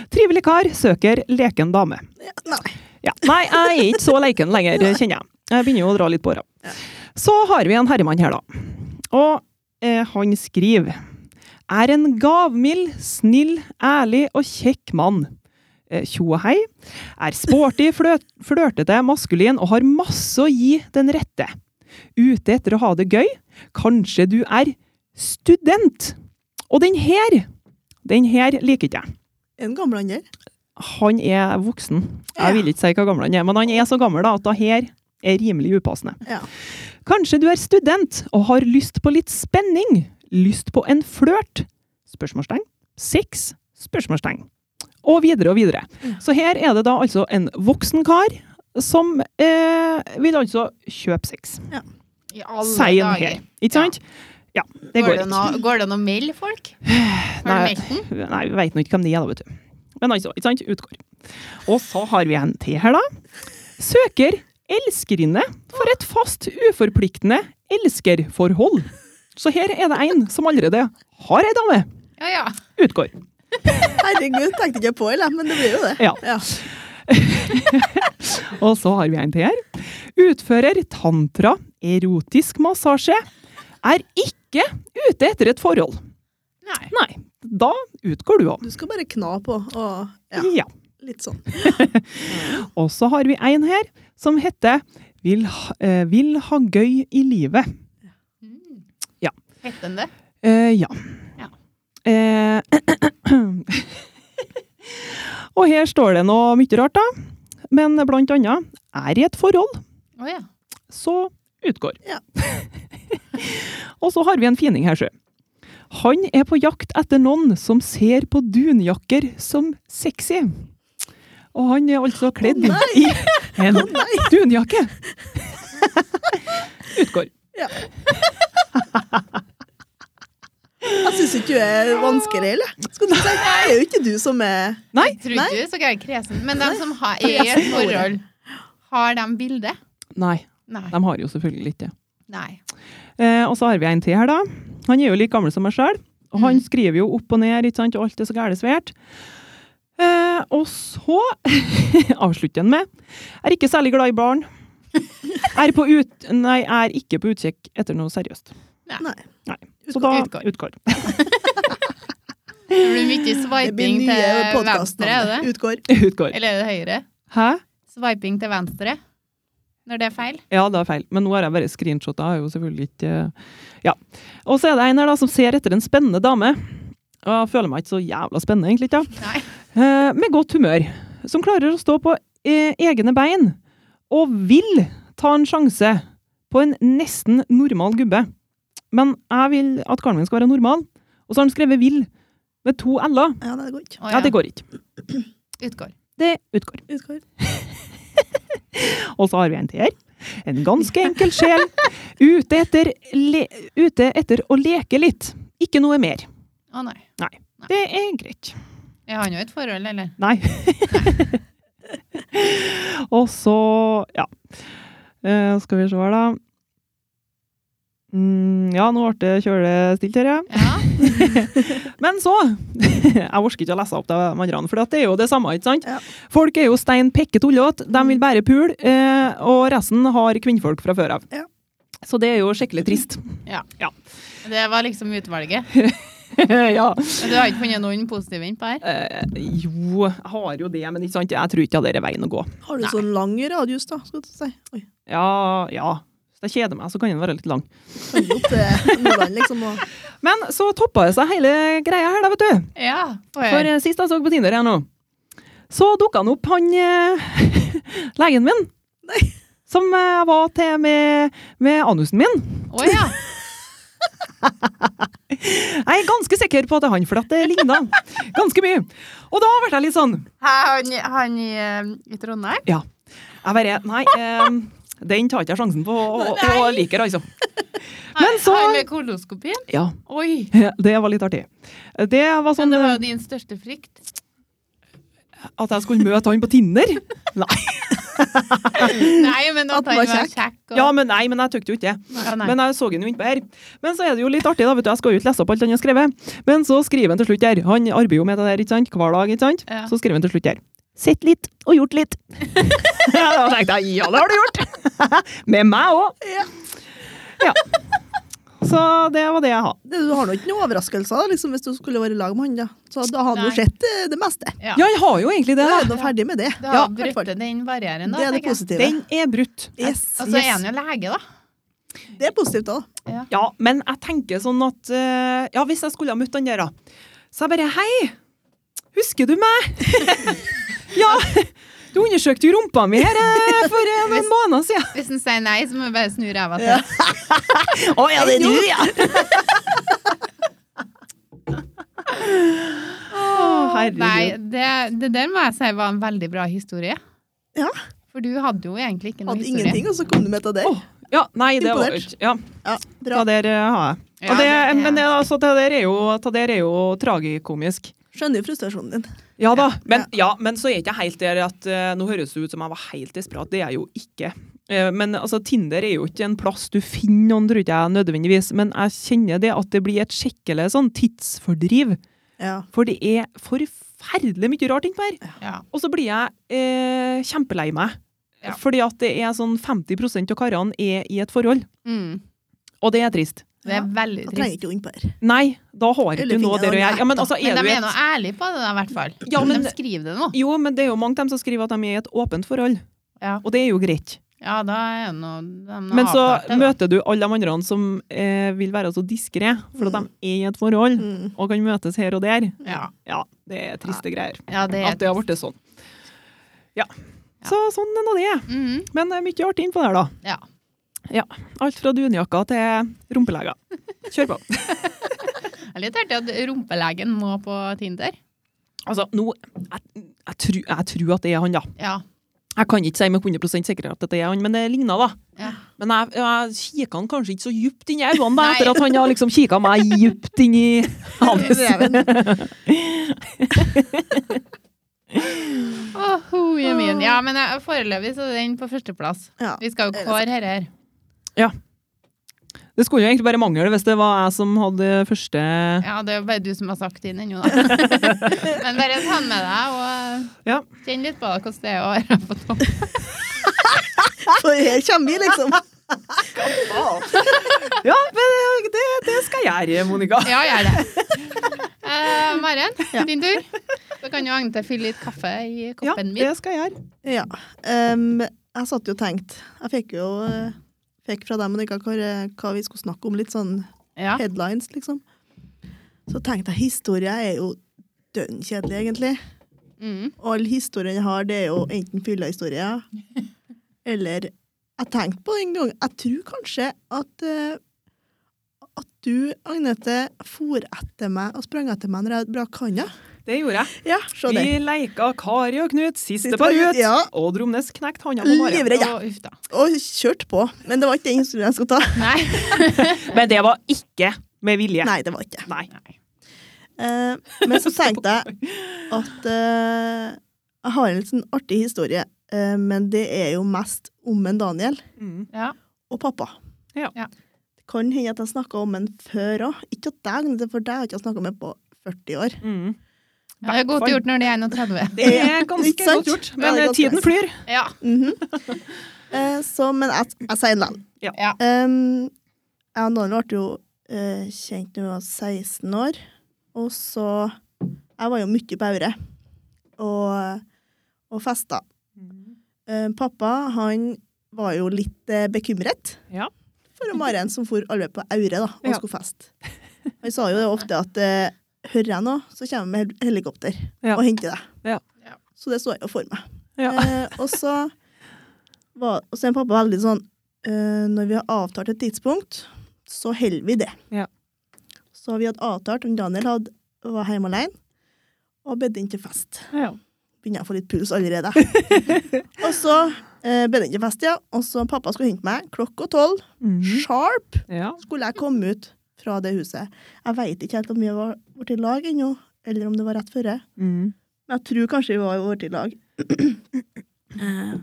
S2: Trivelig kar søker leken dame.
S3: ja, nei.
S2: Ja. Nei, jeg er ikke så leken lenger, kjenner jeg. Jeg begynner jo å dra litt på åra. Så har vi en herremann her, da. Og eh, han skriver Er en gavmild, snill, ærlig og kjekk mann. Eh, Tjo og hei. Er sporty, flø- flørtete, maskulin og har masse å gi den rette. Ute etter å ha det gøy. Kanskje du er student? Og den her, den her liker ikke jeg.
S3: En gamlander.
S2: Han er voksen. Jeg vil ikke si hva gammel han er, men han er så gammel da, at det her er rimelig upassende.
S3: Ja.
S2: Kanskje du er student og har lyst på litt spenning? Lyst på en flørt? Spørsmålstegn. Sex? Spørsmålstegn. Og videre og videre. Så her er det da altså en voksen kar som eh, vil altså kjøpe sex.
S1: I alle
S2: Seien
S1: dager.
S2: her. Ikke sant? Ja, det
S1: Går
S2: går
S1: det,
S2: ikke.
S1: noe, går det noe meld, folk? Har du
S2: Nei.
S1: meldt den?
S2: Nei, vi veit nå ikke hvem det er, da, vet du. Men altså, ikke sant? Utgår. Og så har vi en til her, da. Søker elskerinne for et fast, uforpliktende elskerforhold. Så her er det en som allerede har ei dame.
S1: Ja, ja.
S2: Utgår.
S3: Herregud, tenkte ikke jeg på, eller? men det blir jo det.
S2: Ja.
S3: Ja.
S2: Og så har vi en til her. Utfører tantra, erotisk massasje. Er ikke ute etter et forhold.
S1: Nei.
S2: Nei, da utgår du av.
S3: Du skal bare kna på og ja,
S2: Ja.
S3: litt sånn.
S2: Og så har vi en her som heter vil, ha- eh, 'Vil ha gøy i livet'.
S1: Mm.
S2: Ja.
S1: Hette den det?
S2: Eh, ja.
S1: Ja.
S2: Eh, og her står det noe mye rart, da. Men blant annet 'Er i et forhold',
S1: Å ja.
S2: så utgår.
S3: Ja.
S2: og så har vi en fining her, sjø. Han er på jakt etter noen som ser på dunjakker som sexy. Og han er altså kledd
S3: nei!
S2: i en dunjakke. Utgår.
S3: Jeg syns ikke du er vanskelig, eller? Skal du si, det er jo ikke du som er
S2: Nei,
S1: Tror ikke du er så gærent kresen. Men de som har, er i et forhold, har de bilde?
S2: Nei,
S1: Nei.
S2: de har jo selvfølgelig ikke det.
S1: Nei.
S2: Eh, og så har vi en til her, da. Han er jo like gammel som meg sjøl. Og han
S1: Mhm.
S2: skriver jo opp og ned, ikke sant, og alt er så gæle svært. Eh, og så avslutter han med Er ikke særlig glad i barn. Er, på ut, nei, er ikke på utkikk etter noe seriøst.
S3: Nei.
S2: Så da
S1: Utgår.
S2: utgår.
S1: Det blir mye
S3: Det blir
S1: swiping
S3: nye
S1: til
S3: podkast
S1: venstre, er det?
S3: Utgår.
S2: utgår.
S1: Eller er det høyre?
S2: Hæ?
S1: Swiping til venstre når det er feil?
S2: Ja, det er feil. Men nå har jeg bare screenshotet. Jeg har jo selvfølgelig ikke eh, Ja. Og så er det en her da som ser etter en spennende dame. Og jeg føler meg ikke så jævla spennende, egentlig. ikke, da.
S1: Nei.
S2: Eh, med godt humør, som klarer å stå på eh, egne bein og vil ta en sjanse på en nesten normal gubbe. Men jeg vil at karen min skal være normal, og så har han skrevet 'vil' med to l-er.
S3: Ja, nei, det går ikke.
S1: Å,
S2: Ja, det går ikke.
S1: Utgår.
S2: Det utgår.
S3: Utgår.
S2: Og så har vi en til her. En ganske enkel sjel ute etter, le ute etter å leke litt. Ikke noe mer.
S1: Å nei.
S2: Det er greit.
S1: Er han jo i et forhold, eller?
S2: Nei. og så Ja. Eh, skal vi se her, da. Mm, ja, nå ble det kjølestilt her, ja.
S1: Ja.
S2: Men så Jeg orker ikke å lese opp det med andre, for at det er jo det samme, ikke sant?
S3: Ja. Mm.
S2: Folk er jo stein pikke tullete. De vil bare pule, eh, og resten har kvinnfolk fra før av.
S3: Ja. Mm.
S2: Så det er jo skikkelig trist.
S1: Det var liksom utvalget.
S2: ja.
S1: Men Du har ikke funnet noen positive inn på her?
S2: Eh, jo, jeg har jo det, men ikke sant? jeg tror ikke det er veien å gå.
S3: Har du sånn lang radius, da? Skal du si. Oi.
S2: Ja, ja. Hvis jeg kjeder meg, så kan den være litt lang.
S3: Kan du opp til Nordland, liksom, og
S2: Men så toppa det seg hele greia her, da, vet du.
S1: Ja, får jeg
S2: For
S1: høre.
S2: eh, sist jeg så på Tinder her nå, så dukka han opp, han eh, legen min. Som eh, jeg var til med, med anusen min.
S1: Å ja.
S2: Jeg er ganske sikker på at det er han, for at det ligna ganske mye. Og da ble jeg litt sånn
S1: Han, han i, eh, i Trondheim?
S2: Ja. Jeg bare Nei, em, den tar ikke jeg sjansen på å, å, å like, altså. Men så
S1: Han med koloskopien?
S2: Ja,
S1: Oi!
S2: det var litt artig. Det var
S1: Men
S2: sånn
S1: det var
S2: eh,
S1: jo din største frykt.
S2: at jeg skulle møte han på Tinder. Nei,
S1: Nei, men at
S3: At
S1: han
S3: han
S1: var
S3: var
S1: kjekk. Og...
S2: ja, men, nei, men jeg tykte jo ikke det.
S1: Ja, nei.
S2: Men jeg så han jo innpå her. Men så er det jo litt artig, da. vet du, Jeg skal jo ikke lese opp alt han har skrevet. Men så skriver han til slutt her. Han arbeider jo med det der ikke sant? hver dag. ikke sant?
S1: Ja.
S2: Så skriver han til slutt her. Sett litt og gjort litt. da tenkte jeg ja, det har du gjort! med meg òg. Ja. Så det var det jeg hadde.
S3: det, Du har nå ikke noen overraskelser da, liksom, hvis du skulle vært i lag med han, da. Så da hadde
S1: Nei.
S3: du sett eh, det meste.
S1: Ja.
S2: Ja, jeg har jo egentlig det.
S3: Da er
S2: da.
S3: du ferdig med det.
S1: Da ja,
S3: i hvert fall.
S1: brøtte den barrieren, da.
S3: Det er det
S1: tenker jeg.
S3: positive.
S2: Den er brutt.
S3: Yes,
S1: Og så er
S3: yes.
S1: han jo lege, da.
S3: Det er positivt òg.
S2: Ja, men jeg tenker sånn at eh, Ja, hvis jeg skulle ha møtt han der, da. Så jeg bare Hei! Husker du meg? ja! Du undersøkte jo rumpa mi her eh, for eh, noen måneder siden.
S1: Hvis han sier nei, så må vi bare snu ræva til.
S3: Ja.
S2: Å ja, det er du, ja!
S1: Nei,
S2: herregud.
S1: det, det der må jeg si var en veldig bra historie.
S3: Ja.
S1: For du hadde jo egentlig ikke noe
S3: Hadde
S1: historie.
S3: ingenting, og så kom du med til det.
S2: Åh, Ja, nei, det var
S3: Imponert.
S2: Ja,
S3: Ja,
S2: ta
S3: bra.
S2: der eh, har jeg.
S1: Ja,
S2: Og det,
S1: det-
S2: men det, altså, det der er jo, det der er jo tragikomisk.
S3: Skjønner jo frustrasjonen din.
S2: Ja da, Eh, men, ja, men så er ikke jeg helt der at eh, Nå høres det ut som jeg var helt desperat, det er jeg jo ikke. Eh, men altså, Tinder er jo ikke en plass du finner noen, tror ikke jeg nødvendigvis. Men jeg kjenner det at det blir et skikkelig sånn tidsfordriv.
S3: Ja.
S2: For det er forferdelig mye rart innpå her.
S1: Ja.
S2: Og så blir jeg eh, kjempelei meg.
S1: Ja.
S2: Fordi at det er sånn 50 av karene er i et forhold.
S1: Mm.
S2: Og det er trist.
S1: Det er
S3: Ja.
S1: veldig
S3: Da trenger
S1: trist.
S3: ikke du innpå her.
S2: Nei, da har ikke du
S3: Eller
S2: noe
S3: finner
S2: der å
S3: noen
S2: gjøre. Ja, men altså,
S1: Men
S2: er du
S1: de er
S2: et
S1: nå ærlige på det, da, i hvert fall.
S2: Ja, men-
S1: De skriver det nå.
S2: Jo, men det er jo mange av dem som skriver at de er i et åpent forhold.
S1: Ja.
S2: Og det er jo greit.
S1: Ja, da er det noe de
S2: Men
S1: avklart
S2: så
S1: det, da.
S2: møter du alle de andre som eh, vil være så diskré, for at de er i et forhold
S3: Mm.
S2: og kan møtes her og der.
S1: Ja.
S2: Ja, det er triste greier.
S1: ja, det
S2: At
S1: er
S2: det har blitt sånn. Ja. Så sånn er nå det.
S1: Mhm.
S2: Men det er mye artig innpå der, da.
S1: Ja.
S2: Ja. Alt fra dunjakker til rumpeleger. Kjør på.
S1: Det er litt artig at rumpelegen må på Tinder.
S2: Altså, nå Jeg, jeg, tror, jeg tror at det er han, da.
S1: Ja.
S2: Jeg kan ikke si med 100 sikkerhet at det er han, men det ligner, da.
S1: ja.
S2: Men jeg, jeg kikket han kanskje ikke så djupt inn i øynene da,
S1: Nei.
S2: etter at han har liksom kikket meg djupt inn i hans.
S3: Reven.
S1: Åh, hoje min. Ja, men jeg- foreløpig så er den på førsteplass.
S3: Ja.
S1: Vi skal jo kåre her her.
S2: Det skulle jo egentlig bare mangle hvis det var jeg som hadde første
S1: Ja, det er jo bare du som har sagt din ennå, da. men bare ta den med deg og eh,
S2: Ja.
S1: kjenn litt på det, hvordan det er å være på topp.
S3: For her kommer vi, liksom.
S2: Ja, men det, det skal jeg gjøre, Monika.
S1: Ja, gjør det. Eh, Maren, din tur. Da kan jo Agnete fylle litt kaffe i
S2: Ja,
S1: koppen min.
S2: det skal jeg gjøre.
S3: Ja. Ehm, jeg satt jo og tenkte Jeg fikk jo eh, fikk fra deg, Monica, hva, eh, hva vi skulle snakke om. Litt sånn
S1: Ja.
S3: headlines, liksom. Så tenkte jeg historie er jo dønn kjedelig, egentlig.
S1: Mm.
S3: All historien jeg har, det er jo enten fyllehistorier eller Jeg tenkte på det en gang. Jeg tror kanskje at eh, at du, Agnete, for etter meg og sprang etter meg når jeg brakk handa.
S2: Det gjorde jeg.
S3: Ja, se
S2: Vi
S3: det.
S2: leka Kari og Knut, siste
S3: Siste
S2: par
S3: par ut,
S2: ut,
S3: ja.
S2: og Dromnes knekte handa på Maren.
S3: Livredd, ja.
S1: Å, uff da.
S3: Og kjørte på. Men det var ikke den historien jeg skulle ta.
S1: Nei.
S2: Men det var ikke med vilje.
S3: Nei, det var ikke det.
S2: Nei.
S3: Eh, men så tenkte jeg at eh, jeg har en litt sånn artig historie, eh, men det er jo mest om en Daniel
S2: Mm.
S1: Ja.
S3: og pappa.
S2: Ja.
S1: Ja.
S3: Det kan hende at jeg snakka om en før òg. Ikke at deg, Agnete, for deg har jeg ikke snakka med på 40 år.
S2: Mm.
S1: Ja, det er godt gjort når de er 31.
S2: Det er
S3: Ikke
S2: ganske
S3: sant?
S2: godt gjort,
S3: Ja,
S2: men
S3: det er godt
S2: tiden
S3: press.
S2: flyr.
S1: Ja.
S3: Mhm. eh, så, men jeg, jeg sier det likevel.
S1: Ja.
S3: Um, jeg og Daniel ble jo eh, kjent da vi var 16 år. Og så Jeg var jo mye på Aure
S2: Mhm.
S3: og, og festa. Eh, pappa, han var jo litt eh, bekymret
S2: Ja.
S3: for Maren som for alle på Aure da, og
S2: Ja.
S3: skulle feste. Han sa jo ofte at eh, hører jeg nå, så kommer jeg med hel- helikopter
S2: Ja.
S3: og henter deg.
S2: Ja.
S1: Ja.
S3: Så det så jeg jo for meg.
S2: Ja.
S3: Eh, og så var og så er pappa veldig sånn eh, Når vi har avtalt et tidspunkt, så holder vi det.
S2: Ja.
S3: Så vi hadde avtalt om Daniel hadde, var hjemme alene og bedt inn til fest.
S2: Ja.
S3: Begynner jeg å få litt puls allerede. og så eh, bedt inn til fest, ja. Og så pappa skulle hente meg klokka tolv.
S2: Mhm.
S3: Sharp
S2: ja.
S3: skulle jeg komme ut fra det huset. Jeg veit ikke helt om vi var vært i lag ennå, eller om det var rett før.
S2: Mhm.
S3: Men jeg tror kanskje vi var vært i lag. Eh,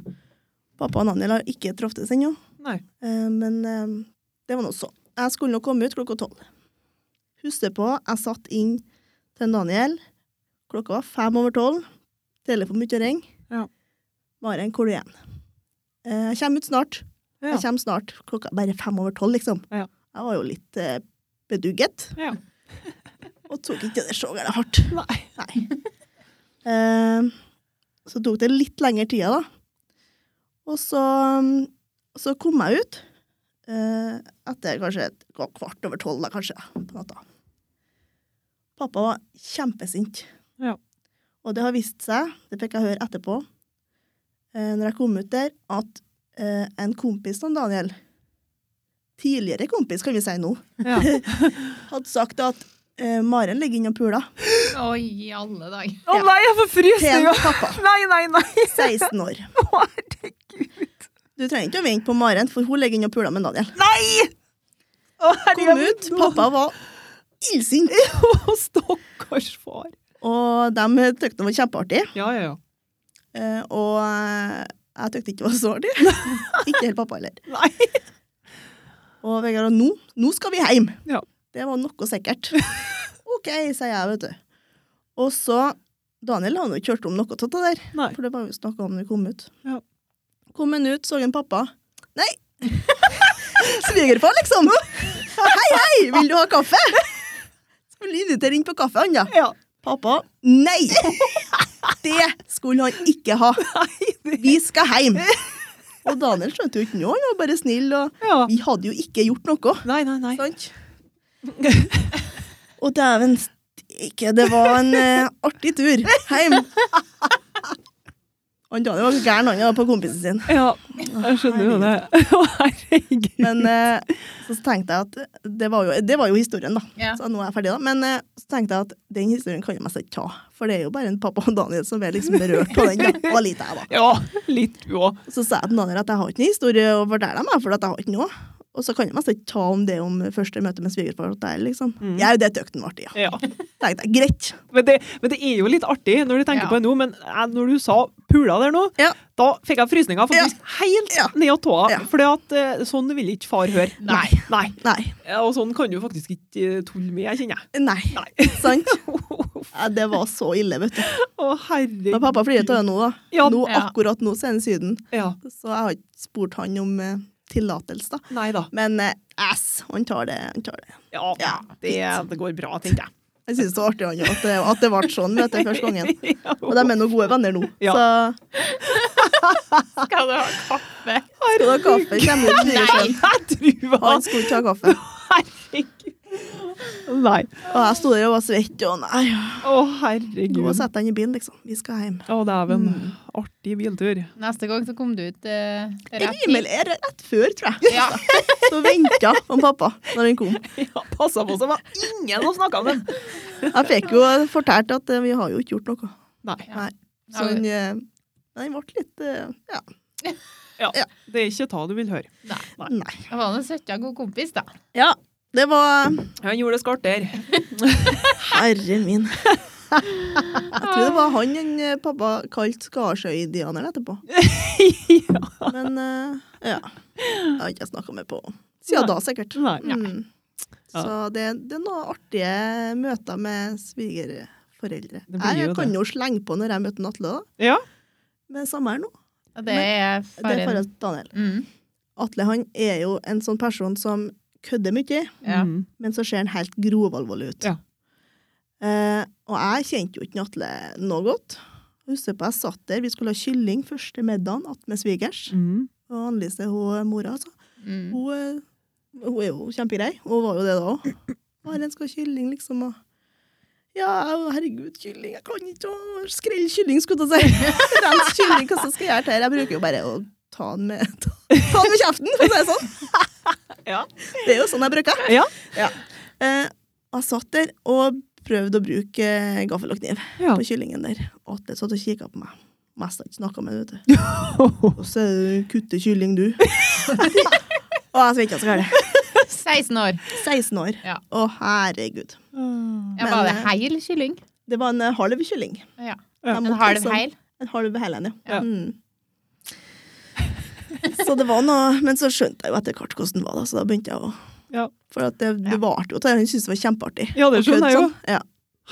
S3: Pappa og Daniel har ikke truffes ennå,
S2: Nei.
S3: eh, men eh, det var nå så. Jeg skulle nå komme ut klokka tolv. Husker på, jeg satt inn til Daniel. Klokka var fem over tolv. Telefonen begynte å ringe.
S2: Ja.
S3: Maren, hvor er du igjen? Eh, Jeg kommer ut snart.
S2: Ja.
S3: Jeg kommer snart. Klokka er bare fem over tolv, liksom.
S2: Ja.
S3: Jeg var jo litt eh, bedugget,
S2: Ja.
S3: og tok ikke det så gærent hardt.
S2: Nei.
S3: Nei. Eh, så tok det litt lengre tid, da. Og så, mm, så kom jeg ut eh, etter kanskje et- det var kvart over tolv, da, kanskje, på natta. Pappa var kjempesint.
S2: Ja.
S3: Og det har vist seg, det fikk jeg høre etterpå, eh, når jeg kom ut der, at eh, en kompis av Daniel, tidligere kompis, kan vi si nå,
S2: Ja.
S3: hadde sagt at eh, Maren ligger inne og puler
S1: Oi, i alle dager.
S2: Å nei, jeg får
S3: til
S2: frysninger!
S3: en pappa.
S2: Nei, nei, nei!
S3: 16 år.
S2: Herregud!
S3: Du trenger ikke å vente på Maren, for hun ligger inne og puler med Daniel.
S2: Nei! Å,
S3: Kom ut, pappa var illsint.
S2: Å, Stakkars far.
S3: Og de tykte det var kjempeartig.
S2: Ja, ja, ja.
S3: eh, Og eh, jeg tykte ikke det var så artig. Ikke helt pappa heller.
S2: Nei.
S3: Og Vegard, og nå, nå skal vi hjem.
S2: Ja.
S3: Det var noe sikkert. OK, sier jeg, vet du. Og så Daniel har nå ikke hørt om noe av det der,
S2: Nei.
S3: for det var jo snakka om da vi kom ut.
S2: Ja.
S3: Kom han ut, så han pappa. Nei! Svigerfar, liksom! Hei, hei! Vil du ha kaffe? Så vil han invitere inn på kaffe, han, da.
S2: Ja.
S3: Pappa, nei! Det skulle han ikke ha.
S2: Nei, det...
S3: Vi skal hjem! Og Daniel skjønte jo ikke noe, han var bare snill. Og
S2: Ja. Sånn.
S3: vi hadde jo ikke gjort noe.
S2: Nei, nei, nei.
S3: Sant? Og dæven ikke, det var en eh, artig tur hjem. Han Daniel var gæren han var på kompisen sin.
S2: Ja, jeg skjønner jo det. Å, herregud.
S3: Men eh, så tenkte jeg at det var, jo, det var jo historien, da.
S1: Ja.
S3: Så nå er jeg ferdig, da. Men eh, så tenkte jeg at den historien kan jeg mest ikke ta. For det er jo bare en pappa og Daniel som er liksom berørt på den. Da. Og litt jeg, da.
S2: Ja, litt du òg.
S3: Så sa jeg til Daniel at jeg har ikke noen historie å fortelle dem, jeg, for at jeg har ikke noe. Og så kan jeg mest ikke ta om det om første møte med svigerfar og deg, liksom.
S2: Mm.
S3: Ja, det tøkte han var artig, ja.
S2: Ja.
S3: Tenkte jeg, greit.
S2: Men det, men det er jo litt artig når du tenker
S1: Ja.
S2: på det nå, men jeg- når du sa pula der nå,
S3: Ja.
S2: da fikk jeg frysninger faktisk helt
S3: Ja.
S2: ned av tåa.
S3: Ja.
S2: For sånn vil ikke far høre.
S1: Nei.
S2: Nei.
S3: Nei.
S2: Ja, Og sånn kan du faktisk ikke eh, tulle med, jeg kjenner jeg.
S3: Nei.
S2: Nei.
S3: Sant?
S2: Å,
S3: Ja, det var så ille, vet du.
S2: herregud.
S3: Men pappa flirer av det nå, da.
S2: Ja.
S3: Nå,
S1: Ja.
S3: akkurat nå så er han i Syden.
S2: Ja.
S3: Så jeg har ikke spurt han om eh, tillatelse, da.
S2: Nei da.
S3: Men eh, ass, han tar det. Han tar det.
S2: Ja,
S3: Ja,
S2: det, det går bra, tenker jeg.
S3: Jeg synes det var artig han, at, det, at det ble sånn vet du, første gangen.
S2: Ja.
S3: Og de er nå gode venner nå.
S2: Ja.
S3: Så
S1: Skal du ha kaffe?
S3: skal du ha kaffe? Kjem ut
S2: Nei,
S3: svigersønn.
S2: jeg tror
S3: Han
S2: han
S3: skulle ikke ha kaffe.
S2: Herregud. Nei.
S3: Og jeg sto der og var svett. Og nei,
S2: Å, herregud.
S3: gå og sett han i bilen, liksom. Vi skal hjem.
S2: Å, dæven. Artig biltur.
S1: Neste gang så kom du ut eh, rett tid.
S3: Rimelig er rett før, tror jeg.
S1: Ja.
S3: Så venta han pappa når han kom.
S2: Ja, passa på så var ingen som snakka om den.
S3: Jeg fikk jo fortalt at eh, vi har jo ikke gjort noe.
S2: Nei.
S3: Nei. Så han eh, Men han ble litt eh, Ja.
S2: Ja, det er ikke ta du vil høre.
S3: Nei.
S1: Det var en søtta god kompis, da.
S3: Ja, det var
S2: Mm. Han gjorde det skarpt der.
S3: Herre min. Jeg tror det var han en eh, pappa kalte Skarsøy-Dianer etterpå. Men eh, ja. Jeg har ikke snakka med på siden
S2: Nei.
S3: da, sikkert.
S2: Nei.
S3: Mm.
S2: Ja.
S3: Så det, det er noen artige møter med svigerforeldre.
S2: Det blir
S3: Jeg,
S2: jo
S3: kan
S2: det.
S3: jo slenge på når jeg møter Atle, da.
S2: Ja.
S3: Med samboeren nå.
S1: Og det er
S3: Det er
S1: faren.
S3: forhold til Daniel.
S1: Mm.
S3: Atle han er jo en sånn person som kødder mye,
S1: Ja.
S2: Mm.
S3: men så ser han helt grovalvorlig ut.
S2: Ja.
S3: Eh, og jeg kjente jo ikke Atle noe godt. Husker på jeg satt der, vi skulle ha kylling første middagen att med svigers.
S2: Mm.
S3: Og Annelise, hun mora, altså.
S1: Mm.
S3: Hun, eh, hun er jo kjempegrei, og hun var jo det da òg. Den skal ha kylling, liksom. Og ja, å, herregud, kylling, jeg kan ikke å, skrelle kylling, skulle jeg til å si. Rens kylling, hva skal jeg gjøre til? Jeg bruker jo bare å ta den med, ta, ta den med kjeften, for å si det sånn.
S2: Ja.
S3: Det er jo sånn jeg bruker.
S2: Ja.
S3: Eh, jeg satt der og prøvde å bruke eh, gaffel og kniv
S2: Ja.
S3: på kyllingen der. Atle satt og kikka på meg. Mest ikke snakka med henne, vet du. Og så er du kutte kylling, du. og jeg vet ikke hva jeg skal gjøre.
S1: 16 år.
S3: 16 år.
S1: Ja.
S3: Å, herregud.
S1: Ja,
S3: Men,
S1: var det
S3: eh,
S1: heil kylling?
S3: Det var en eh, halv kylling.
S1: Ja.
S2: Ja.
S3: Jeg
S1: En
S3: måtte
S1: halv
S3: liksom-
S1: heil?
S3: En halv hel en, ja.
S2: Ja.
S3: Mm. så det var noe Men så skjønte jeg jo etter hvert hvordan det var, da, så da begynte jeg å
S2: Ja.
S3: For at det, det
S1: Ja.
S3: varte jo til jeg syntes det var kjempeartig.
S2: Ja, det
S3: Å kødde
S2: skjønner jeg jo.
S3: sånn. Ja.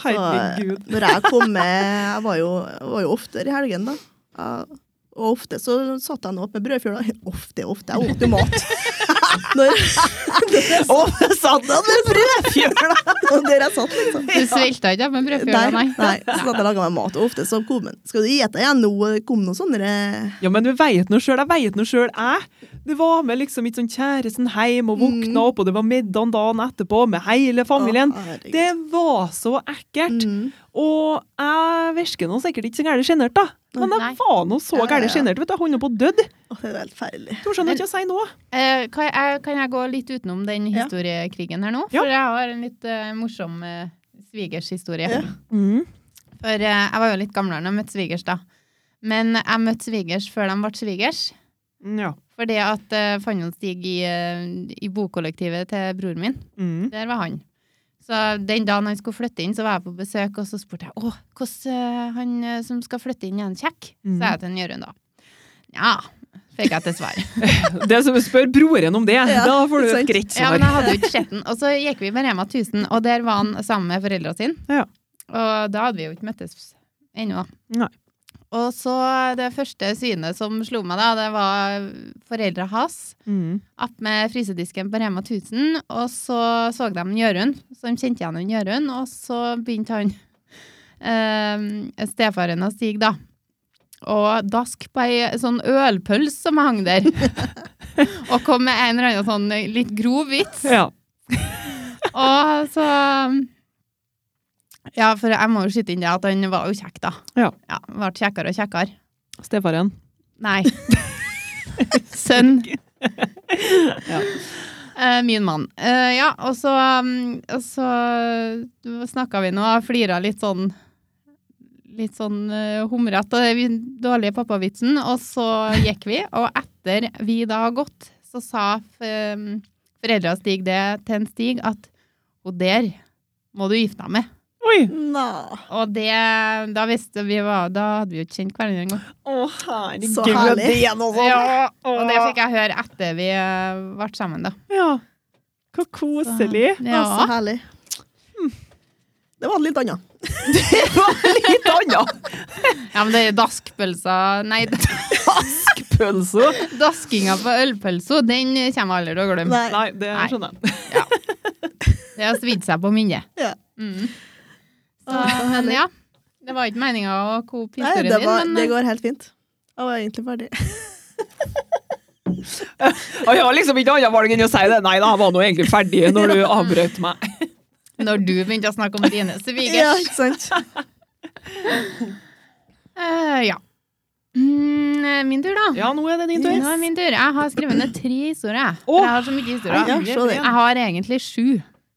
S2: Herregud.
S3: Og eh, Når jeg kom med Jeg var jo, jeg var jo oftere i helgen, da. Jeg, og ofte så satt jeg nå opp med brødfjøla. Ofte, ofte. Jeg åt jo mat. når,
S2: Å, jeg satt den med brødfjøla!
S3: der jeg satt, liksom.
S1: Du svelta ikke med brødfjøla, nei?
S3: nei. Så satt jeg og laga meg mat, og ofte så kom han. Skal du ete igjen nå? Og Det kom noen sånne
S2: Ja, men jeg veit nå sjøl, jeg veit nå sjøl, jeg. Det var med liksom mitt sånn kjæresten hjem og våkna opp, og det var middag dagen etterpå med hele familien.
S3: Å, herregud.
S2: Det var så ekkelt.
S3: Mm.
S2: Og jeg virker nå sikkert ikke så gærent sjenert, da. Men
S1: Nei.
S2: jeg var nå så
S3: Ja, ja,
S2: gærent
S3: ja.
S2: sjenert, vet du. Jeg holdt nå på å dø.
S3: Å, det er helt forferdelig.
S2: Du skjønner ikke å si noe.
S1: Eh, kan, jeg, kan jeg gå litt utenom den
S3: Ja.
S1: historiekrigen her nå?
S2: Ja.
S1: For jeg har en litt eh, morsom eh, svigershistorie.
S3: Ja.
S2: Mm.
S1: For eh, jeg var jo litt gamlere når jeg møtte svigers, da. Men jeg møtte svigers før de ble svigers.
S2: Ja.
S1: For det at uh, Fannelstig i, eh, i bokollektivet til broren min,
S2: Mm.
S1: der var han. Så den dagen han skulle flytte inn, så var jeg på besøk, og så spurte jeg åh, hvordan eh, han eh, som skal flytte inn, er han kjekk?
S2: Mhm.
S1: Sa jeg til han Jørund da. Ja, fikk jeg til svar.
S2: Det som spør broren om det,
S3: Ja,
S2: da får du
S3: sant.
S2: et greit
S1: Ja,
S2: svar.
S1: men jeg hadde jo ikke sett den. Og så gikk vi med Rema 1000, og der var han sammen med foreldrene sine.
S2: Ja.
S1: Og da hadde vi jo ikke møttes ennå.
S2: Nei.
S1: Og så det første synet som slo meg, da, det var foreldra hans
S2: Mm.
S1: opp med frysedisken på Rema 1000, og så så de Jørund, så de kjente igjen en Jørund, og så begynte han eh, stefaren å stige, da. Og dask på ei sånn ølpølse som hang der. og kom med en eller annen sånn litt grov vits.
S2: Ja.
S1: Og så Ja, for jeg må jo skyte inn det at han var jo kjekk, da.
S2: Ja.
S1: ja Ble kjekkere og kjekkere.
S2: Stefaren.
S1: Nei. Sønn.
S2: Ja.
S1: Eh, min mann. Eh, ja, og så, um, og så snakka vi nå og flira litt sånn Litt sånn uh, humrete av den dårlige pappavitsen, og så gikk vi. Og etter vi da har gått, så sa um, foreldra Stig det til en Stig at hun der må du gifte deg med.
S2: Oi!
S3: Nå.
S1: Og det, da visste vi hva Da hadde vi jo ikke kjent hverandre engang.
S2: Å, herregud.
S3: Så herlig.
S2: det er noe sånt.
S1: Ja, og det fikk jeg høre etter vi eh, ble sammen, da.
S2: Ja. Hva koselig.
S3: Ja. altså, Så
S1: Ja.
S3: herlig.
S2: Hmm.
S3: Det var litt annet.
S2: Det var litt annet.
S1: ja, men det er daskpølser Nei,
S2: Askpølse.
S1: daskinga på ølpølsa, den kommer jeg aldri til å glemme.
S3: Nei.
S2: Nei, det
S1: Nei.
S2: skjønner jeg.
S1: Det har svidd seg på minnet.
S3: Ja.
S1: Mm. Så,
S3: Å, så
S1: men
S3: herlig.
S1: ja. Det var ikke meninga å kope
S3: Nei,
S1: historien
S3: det,
S1: din,
S3: var,
S1: men eh,
S3: det går helt fint. Jeg var egentlig ferdig.
S2: Og jeg har liksom ikke annet valg enn å si det. Nei da, jeg var nå egentlig ferdig når du avbrøt meg.
S1: eh, når du begynte å snakke om dine svigers
S3: Ja, ikke sant?
S1: Eh, ja. Mm, min tur, da.
S2: Ja, nå er det din tur.
S1: Nå er min tur. Jeg har skrevet ned tre historier. jeg.
S2: Åh.
S1: Jeg har så mye historier.
S3: Ja, se det.
S1: Jeg har egentlig sju,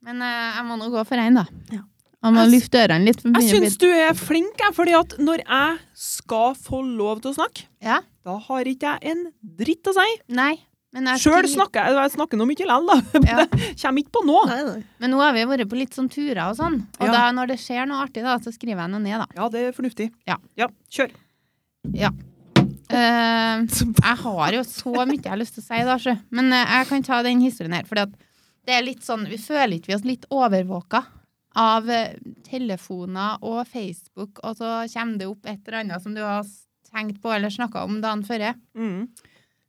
S1: men eh, jeg må nå gå for én, da.
S3: Ja.
S1: Jeg må
S2: Jeg s-
S1: lufte ørene litt. for det
S2: Jeg
S1: begynner å bli-
S2: syns du er flink, jeg, fordi at når jeg skal få lov til å snakke,
S1: Ja?
S2: da har ikke jeg en dritt å si.
S1: Nei. Men jeg
S2: Sjøl
S1: skriver-
S2: snakker jeg jeg snakker nå mye likevel, da.
S1: Ja.
S2: Kommer ikke på nå.
S3: Nei, nei.
S1: Men nå har vi vært på litt sånn turer og sånn, og
S2: Ja.
S1: da når det skjer noe artig, da, så skriver jeg noe ned, da.
S2: Ja, det er fornuftig.
S1: Ja.
S2: kjør.
S1: Eh, jeg har jo så mye jeg har lyst til å si, da, sjø. Men eh, jeg kan ta den historien her, for det er litt sånn Vi føler ikke vi oss litt overvåka av eh, telefoner og Facebook, og så kommer det opp et eller annet som du har s- tenkt på eller snakka om dagen før.
S2: Mm.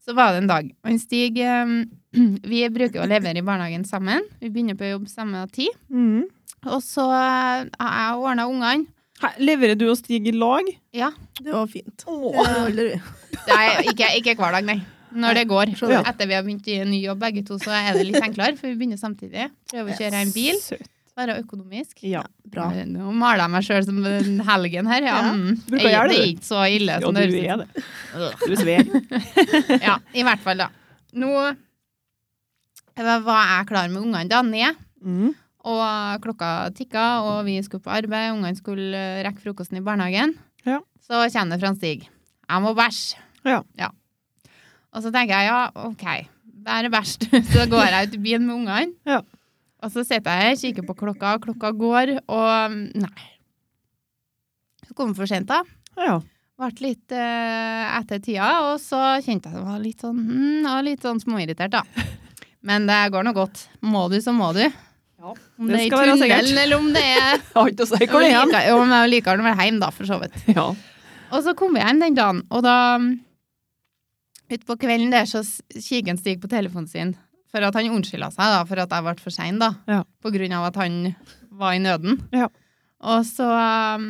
S1: Så var det en dag. Og en Stig eh, Vi bruker å levere i barnehagen sammen. Vi begynner på jobb samme tid.
S2: Mm.
S1: Og så har jeg ordna ungene.
S2: Her, leverer du og Stig i lag?
S1: Ja.
S3: Det var fint.
S2: Åh.
S3: Det holder vi.
S1: Nei, ikke, ikke hver dag, nei. når det går.
S2: Ja.
S1: Etter vi har begynt i en ny jobb begge to, så er det litt enklere, for vi begynner samtidig. Prøver å kjøre en bil,
S2: Søt.
S1: være økonomisk. Eh,
S2: Ja.
S3: Bra.
S1: Nå maler jeg meg sjøl som den helgen her. Ja.
S3: Ja.
S1: Mm.
S2: Du bruker å
S1: Jeg-
S2: gjøre det,
S1: det er
S2: du.
S1: ikke så ille
S2: ja,
S1: som
S2: du
S1: det
S2: er
S1: høres ut.
S2: det. Du er svær.
S1: Ja, i hvert fall, da. Nå var jeg klar med ungene da, ned.
S2: Mm.
S1: Og klokka tikka, og vi skulle på arbeid. Ungene skulle eh, rekke frokosten i barnehagen.
S2: Ja.
S1: Så kommer det fra en Stig. Jeg må bæsje.
S2: Ja.
S1: Og så tenker jeg ja, OK, bare bæsj. du. Så går jeg ut i byen med ungene.
S2: Ja.
S1: Og så sitter jeg her, kikker på klokka, og klokka går, og mm, nei. Så kom jeg for sent, da.
S2: Ja.
S1: Ble litt eh, etter tida, og så kjente jeg at jeg var litt sånn, mm, jeg var litt sånn småirritert, da. Men det går nå godt. Må du, så må du.
S2: Ja,
S1: om
S2: det
S1: det er i
S2: skal være
S1: tunnelen,
S2: sikkert.
S1: eller om det er
S2: Jeg har ikke å si
S1: Om
S2: hvor det
S1: jeg
S2: er hen.
S1: liker- om jeg liker den vel hjem, da, for så vidt.
S2: Ja.
S1: Og så kom jeg hjem den dagen, og da mm, Utpå kvelden der så s- kikker en Stig på telefonen sin for at han unnskylda seg da, for at jeg ble for sein, da.
S2: Ja.
S1: På grunn av at han var i nøden.
S2: Ja.
S1: Og så um,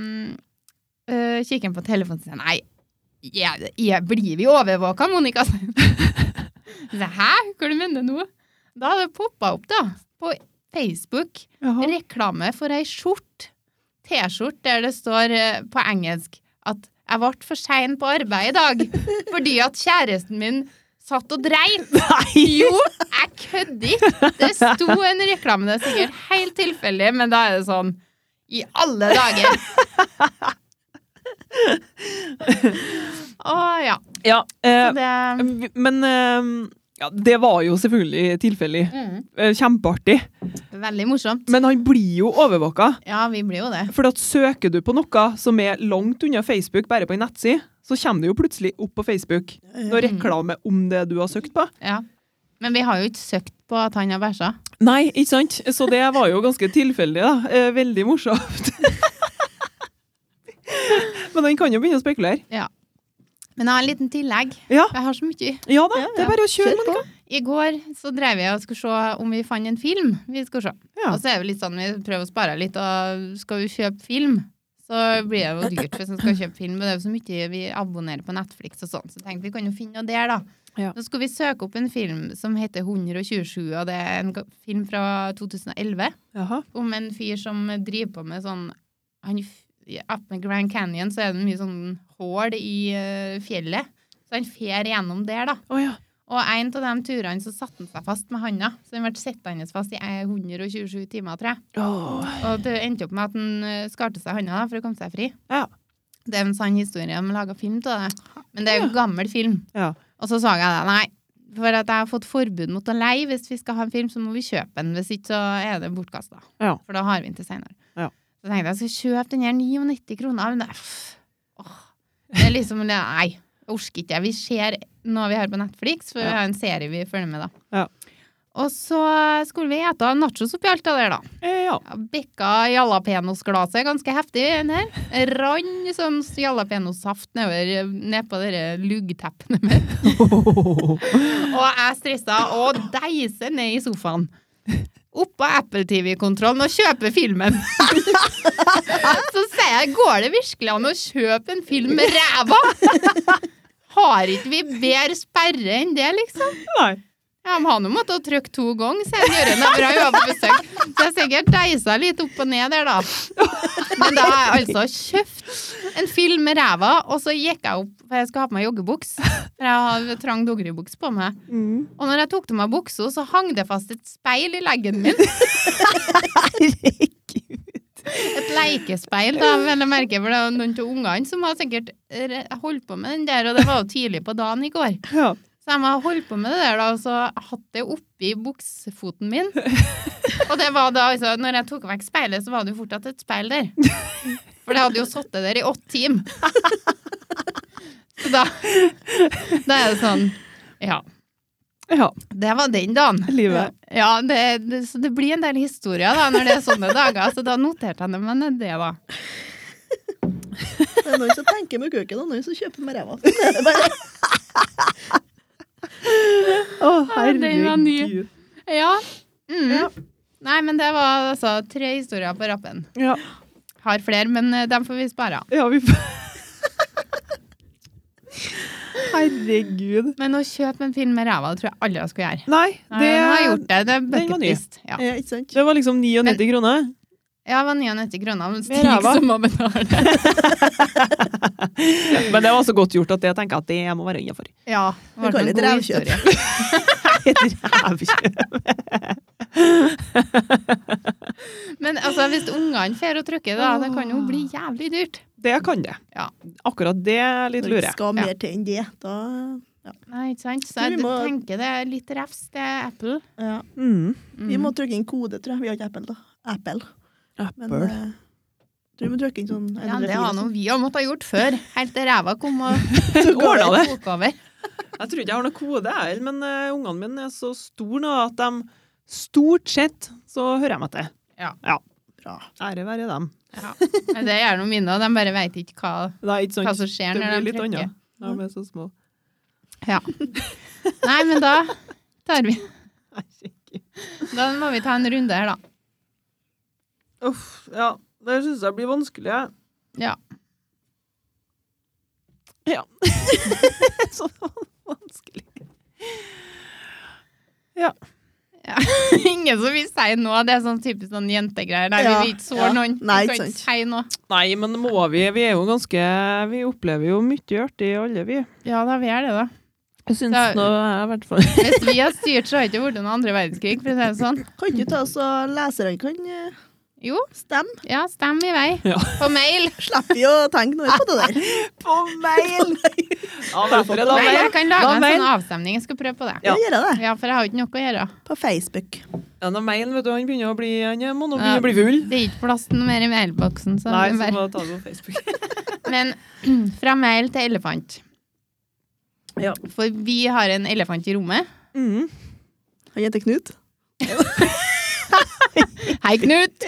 S1: øh, kikker han på telefonen sin Nei, jeg, jeg blir vi overvåka, Monica? sa hun. Så jeg, Hæ? Hva du mener du nå? Da hadde det poppa opp, da. På Facebook
S2: Jaha.
S1: reklame for ei skjort, T-skjort, der det står eh, på engelsk at jeg ble for sein på arbeid i dag fordi at kjæresten min satt og dreit.
S2: Nei!
S1: Jo, jeg kødder ikke! Det sto en reklame, det er sikkert helt tilfeldig, men da er det sånn I alle dager! Å ja.
S2: Ja. Eh,
S1: Så det
S2: men eh, ja, det var jo selvfølgelig tilfeldig.
S1: mm,
S2: Eh, Kjempeartig.
S1: Veldig morsomt.
S2: Men han blir jo overvåka.
S1: Ja, vi blir jo det.
S2: For at søker du på noe som er langt unna Facebook, bare på en nettside, så kommer det jo plutselig opp på Facebook noe reklame om det du har søkt på.
S1: Ja. Men vi har jo ikke søkt på at han har bæsja.
S2: Nei, ikke sant? Så det var jo ganske tilfeldig, da. Eh, Veldig morsomt. Men han kan jo begynne å spekulere.
S1: Men jeg har en liten tillegg.
S2: Ja,
S1: Jeg har så mye.
S2: ja da, det er bare å kjøre. Monica.
S1: I går så drev jeg og skulle se om vi fant en film. Vi skulle se.
S2: Ja.
S1: Og så er vi litt sånn, vi prøver å spare litt, og skal vi kjøpe film, så blir det jo dyrt hvis vi skal kjøpe film. Men det er jo så mye vi abonnerer på Netflix og sånn, så tenkte vi kan jo finne noe der, da.
S2: Ja.
S1: Nå skal vi søke opp en film som heter 127, og det er en ga- film fra 2011
S2: Jaha.
S1: om en fyr som driver på med sånn han, f- i- Opp med Grand Canyon så er det mye sånn hål i eh, fjellet, så han fer gjennom der, da.
S2: Å ja.
S1: Og en av de turene så satte han seg fast med handa. Så han ble sittende fast i eh, 127 timer, tror jeg.
S2: Åh.
S1: Og det endte opp med at han eh, skarte seg handa da, for å komme seg fri.
S2: Ja.
S1: Det er en sann historie. De laga film av det. Men det er jo gammel film.
S2: Ja.
S1: Og så sa jeg det. Nei, for at jeg har fått forbud mot å leie. Hvis vi skal ha en film, så må vi kjøpe den. Hvis ikke, så er det bortkasta.
S2: Ja.
S1: For da har vi den til seinere.
S2: Ja.
S1: Så tenkte jeg jeg skal kjøpe den her 99 kroner. Men det, pff, åh. det er liksom Nei, jeg orker ikke. Vi ser noe vi har på Netflix, for
S2: Ja.
S1: vi har en serie vi følger med, da.
S2: Ja.
S1: Og så skulle vi ete nachos oppi alt det der, da.
S2: Eh, ja.
S1: Ja, Bikka jalapeños-glasset ganske heftig, den her. Rann sånn jalapeños-saft nedover nedpå det der luggteppene mine. Og jeg stressa og deiser ned i sofaen. Oppå Apple TV-kontrollen og kjøper filmen. Så sier jeg, går det virkelig an å kjøpe en film med ræva? Har ikke vi bedre sperre enn det, liksom?
S2: Nei.
S1: Ja, men Han har måttet trykke to ganger, sier han Jørund. når han var på besøk. Så jeg sikkert deisa litt opp og ned der, da. Men da har jeg altså kjøpt en film med ræva, og så gikk jeg opp, for jeg skal ha på meg joggebuks. For jeg har trang dogeribuks på meg.
S2: Mm.
S1: Og når jeg tok til meg buksa, så hang det fast et speil i leggen min. Et leikespeil, da, vel å merke. For det var noen av ungene som har sikkert eh, holdt på med den der, og det var jo tidlig på dagen i går.
S2: Ja.
S1: Så jeg må ha holdt på med det der, da, og så hatt det oppi buksefoten min. Og det var da, altså, når jeg tok vekk speilet, så var det jo fortsatt et speil der. For det hadde jo sittet der i åtte timer. Så da, da er det sånn Ja.
S2: ja.
S1: Det var den dagen.
S2: Livet.
S1: Ja, det, det, så det blir en del historier da, når det er sånne dager. Så da noterte jeg det, men det da.
S3: Det er noen som tenker med kuken, og noen som kjøper med ræva. Det er bare-
S2: Å,
S1: Ja, den var ny.
S2: herregud.
S1: Ja. Mm. Nei, men det var altså tre historier på rappen.
S2: Ja.
S1: Har flere, men eh, dem får vi spare.
S2: Ja, vi Herregud.
S1: Men å kjøpe en film med ræva, det tror jeg aldri jeg skulle gjøre.
S2: Nei,
S1: Nei,
S2: det,
S1: jeg har gjort det. Det er
S2: den var ny.
S1: bucketlist. Ja.
S3: Eh, ikke sant?
S2: det var liksom 99 kroner.
S1: ja, det var 99 kroner. Men Stig
S2: ræva.
S1: som må betale.
S2: Men det var så godt gjort at jeg tenker at det må være innafor.
S1: Ja, det
S3: Det går
S1: ble en
S3: litt
S1: god
S3: rævkjøp.
S1: historie. Men altså, hvis ungene får og trykker, da, det kan jo bli jævlig dyrt.
S2: Det kan det.
S1: Ja.
S2: Akkurat det er litt
S3: Når det
S2: lurer.
S3: skal
S1: Ja.
S3: mer til enn det, da ja.
S1: Nei, ikke sant? Så
S3: Vi
S1: jeg
S3: må-
S1: tenker det er litt refs til Apple.
S3: Ja.
S2: Mm.
S1: Mm.
S3: Vi må trykke inn kode, tror jeg. Vi har ikke Apple, da. Apple. Men
S2: Apple.
S3: eh, tror vi må trykke inn sånn
S1: Ja, det
S3: 104
S1: har
S3: sånn.
S1: noe vi har måttet ha gjort før. Helt til ræva kom og
S2: Ordna det.
S1: tok over.
S2: Jeg tror ikke jeg har noe kode, jeg heller, men eh, ungene mine er så store nå at de stort sett så hører jeg meg til.
S1: Ja.
S3: Bra.
S2: Ære være dem.
S1: Ja. Men Det er noe minne, og de bare vet ikke hva,
S2: Det er ikke
S1: hva
S2: sant.
S1: som skjer
S2: Sånn, Det blir
S1: når de
S2: litt
S1: trykker.
S2: annet. De er så små.
S1: Ja. Nei, men da tar vi
S2: Herregud.
S1: Da må vi ta en runde her, da.
S2: Uff, ja. Det syns jeg blir vanskelig. jeg.
S1: Ja.
S2: Ja. så vanskelig.
S1: Ingen som vil si noe. Det er sånn typisk sånn jentegreier. Der
S3: Ja,
S1: vi vil ikke såre
S3: ja.
S1: noen. Vi
S3: Nei,
S1: kan
S3: ikke
S1: ikke si noe.
S2: Nei, men må vi? Vi er jo ganske Vi opplever jo mye artig, alle vi.
S1: Ja, da vi er det, da.
S2: Jeg syns
S1: Da-
S2: nå jeg i hvert fall
S1: Hvis vi har styrt, så har det ikke vært noen andre verdenskrig, for å si det sånn.
S3: Kan ikke ta oss og leserne kan eh,
S1: Jo,
S3: stemme?
S1: ja, stem i vei.
S2: Ja.
S1: På mail.
S3: Slipper vi å tenke noe på det der.
S2: På mail! Ja, derfor er sånn. det
S1: Nei, jeg
S2: mail.
S1: kan lage
S2: Da
S1: en
S2: mail.
S1: sånn avstemning. Jeg skal prøve på det.
S2: Ja.
S3: Ja. Gjøre det
S1: Ja, for jeg har jo ikke noe å gjøre.
S3: på Facebook.
S2: Ja, da mail, vet du, han begynner å bli Han er mono-
S1: Ja.
S2: begynner å bli full.
S1: Det er ikke plass til noe mer i mailboksen. Så
S2: Nei,
S1: det er
S2: så
S1: bare.
S2: må jeg ta det på Facebook.
S1: Men fra mail til elefant.
S2: Ja.
S1: For vi har en elefant i rommet.
S2: Mm.
S3: Han heter Knut.
S1: Hei, Knut!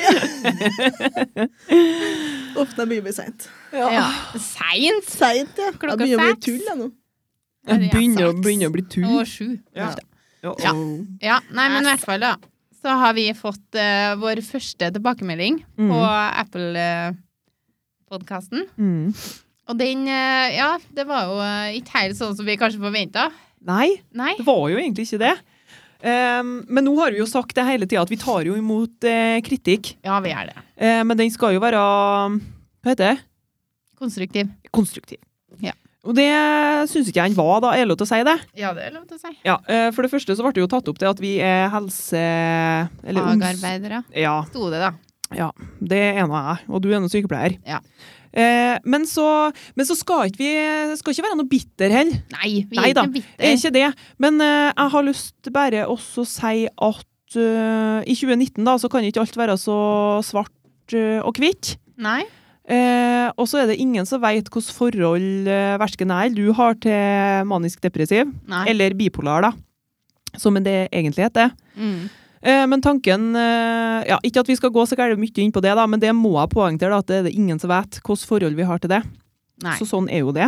S3: Ofte blir vi seint.
S2: Ja.
S1: Ja. Seint!
S3: Seint, ja.
S1: Klokka
S3: Jeg begynner å bli
S1: seks.
S3: tull, jeg nå.
S2: Jeg begynner, å-
S1: Seks.
S2: begynner å bli tull.
S1: Og sju.
S2: Ja.
S1: Ja.
S2: Ja. Mm. og-
S1: Ja, nei, men i hvert fall da Så har vi fått eh, vår første tilbakemelding
S2: Mhm.
S1: På Apple-podcasten
S2: Mm.
S1: Og den, eh, ja, det var jo eh, Ikke helt sånn som vi kanskje forventet
S2: Nei,
S1: Nei,
S2: det var jo egentlig ikke det. Ehm, men nå har vi jo sagt det hele tida, at vi tar jo imot eh, kritikk.
S1: ja vi er det
S2: Eh, men den skal jo være Hva heter det?
S1: Konstruktiv
S2: konstruktiv.
S1: Ja.
S2: Og det syns ikke jeg han var, da. Er det lov til å si det?
S1: Ja, det er lov til å si
S2: Ja, eh, For det første så ble det jo tatt opp til at vi er helse... Eller oms-
S1: Fagarbeidere
S2: Ja,
S1: Stod det da
S2: det er nå jeg. Og du er nå sykepleier.
S1: Ja.
S2: Eh, men, så, men så skal ikke vi skal ikke være noe bitter heller.
S1: Nei, vi
S2: Nei
S1: er
S2: da,
S1: ikke
S2: Er
S1: bitter
S2: ikke det. Men eh, jeg har lyst bare også å si at eh, i 2019 da, så kan ikke alt være så svart eh, og hvitt.
S1: Nei,
S2: Eh, og så er det ingen som vet hvilke forhold eh, versken jeg eller du har til manisk depressiv,
S1: nei
S2: eller bipolar, da. Som det egentlig heter.
S1: mm.
S2: Eh, men tanken eh, ja, Ikke at vi skal gå så gærent mye inn på det, da, men det må jeg poengtere, da, at det er det ingen som vet hvilke forhold vi har til det.
S1: Nei,
S2: Så sånn er jo det.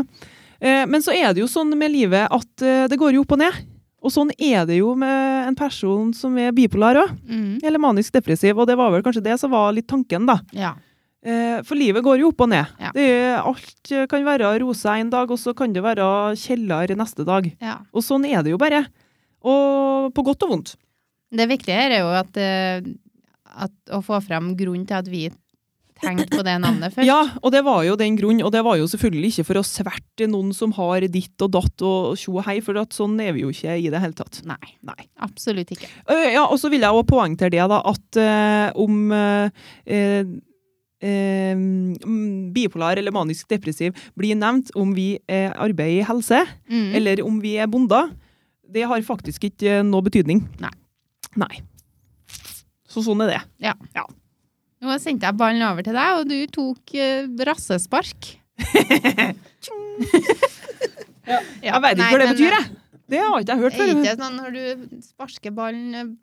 S2: Eh, men så er det jo sånn med livet at eh, det går jo opp og ned. Og sånn er det jo med en person som er bipolar òg,
S1: mm.
S2: eller manisk depressiv, og det var vel kanskje det som var litt tanken, da.
S1: ja
S2: Eh, For livet går jo opp og ned.
S1: Ja.
S2: Det er, alt eh, kan være rosa en dag, og så kan det være kjeller neste dag.
S1: ja.
S2: Og sånn er det jo bare. Og på godt og vondt.
S1: Det viktige her er jo at, eh, at Å få frem grunnen til at vi Tenkte på det navnet først
S2: Ja, og det var jo den grunn, og det var jo selvfølgelig ikke for å sverte noen som har ditt og datt og tjo og hei, for at sånn er vi jo ikke i det hele tatt.
S1: Nei,
S2: Nei.
S1: absolutt ikke
S2: Ø, Øh, Ja, og så vil jeg jo poengtere det, da, at eh, om eh, eh, eh, mm, bipolar eller manisk depressiv blir nevnt om vi eh, arbeider i helse,
S1: mm.
S2: eller om vi er bonder, det har faktisk ikke eh, noe betydning.
S1: Nei.
S2: Nei. Så sånn er det.
S1: Nå sendte jeg ballen over til deg, og du tok eh, rassespark. Ja,
S2: jeg vet ikke
S1: nei,
S2: hva det
S1: men, eh,
S2: betyr, jeg. Det har ikke jeg hørt
S1: Er
S2: før.
S1: ikke sånn når du sparker ballen eh,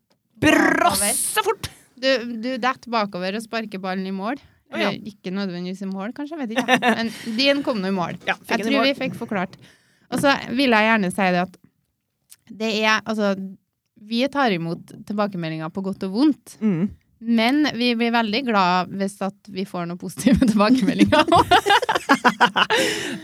S2: Brasse fort!
S1: Du, du detter bakover og sparker ballen i mål.
S2: Å, ja.
S1: Eller ikke nødvendigvis i mål, kanskje. jeg vet ikke. Men din kom nå i mål.
S2: Ja, fikk
S1: Jeg
S2: en i
S1: tror vi
S2: mål.
S1: fikk forklart. Og så vil jeg gjerne si det at det er Altså, vi tar imot tilbakemeldinger på godt og vondt.
S2: Mm.
S1: Men vi blir veldig glad hvis at vi får noen positive tilbakemeldinger.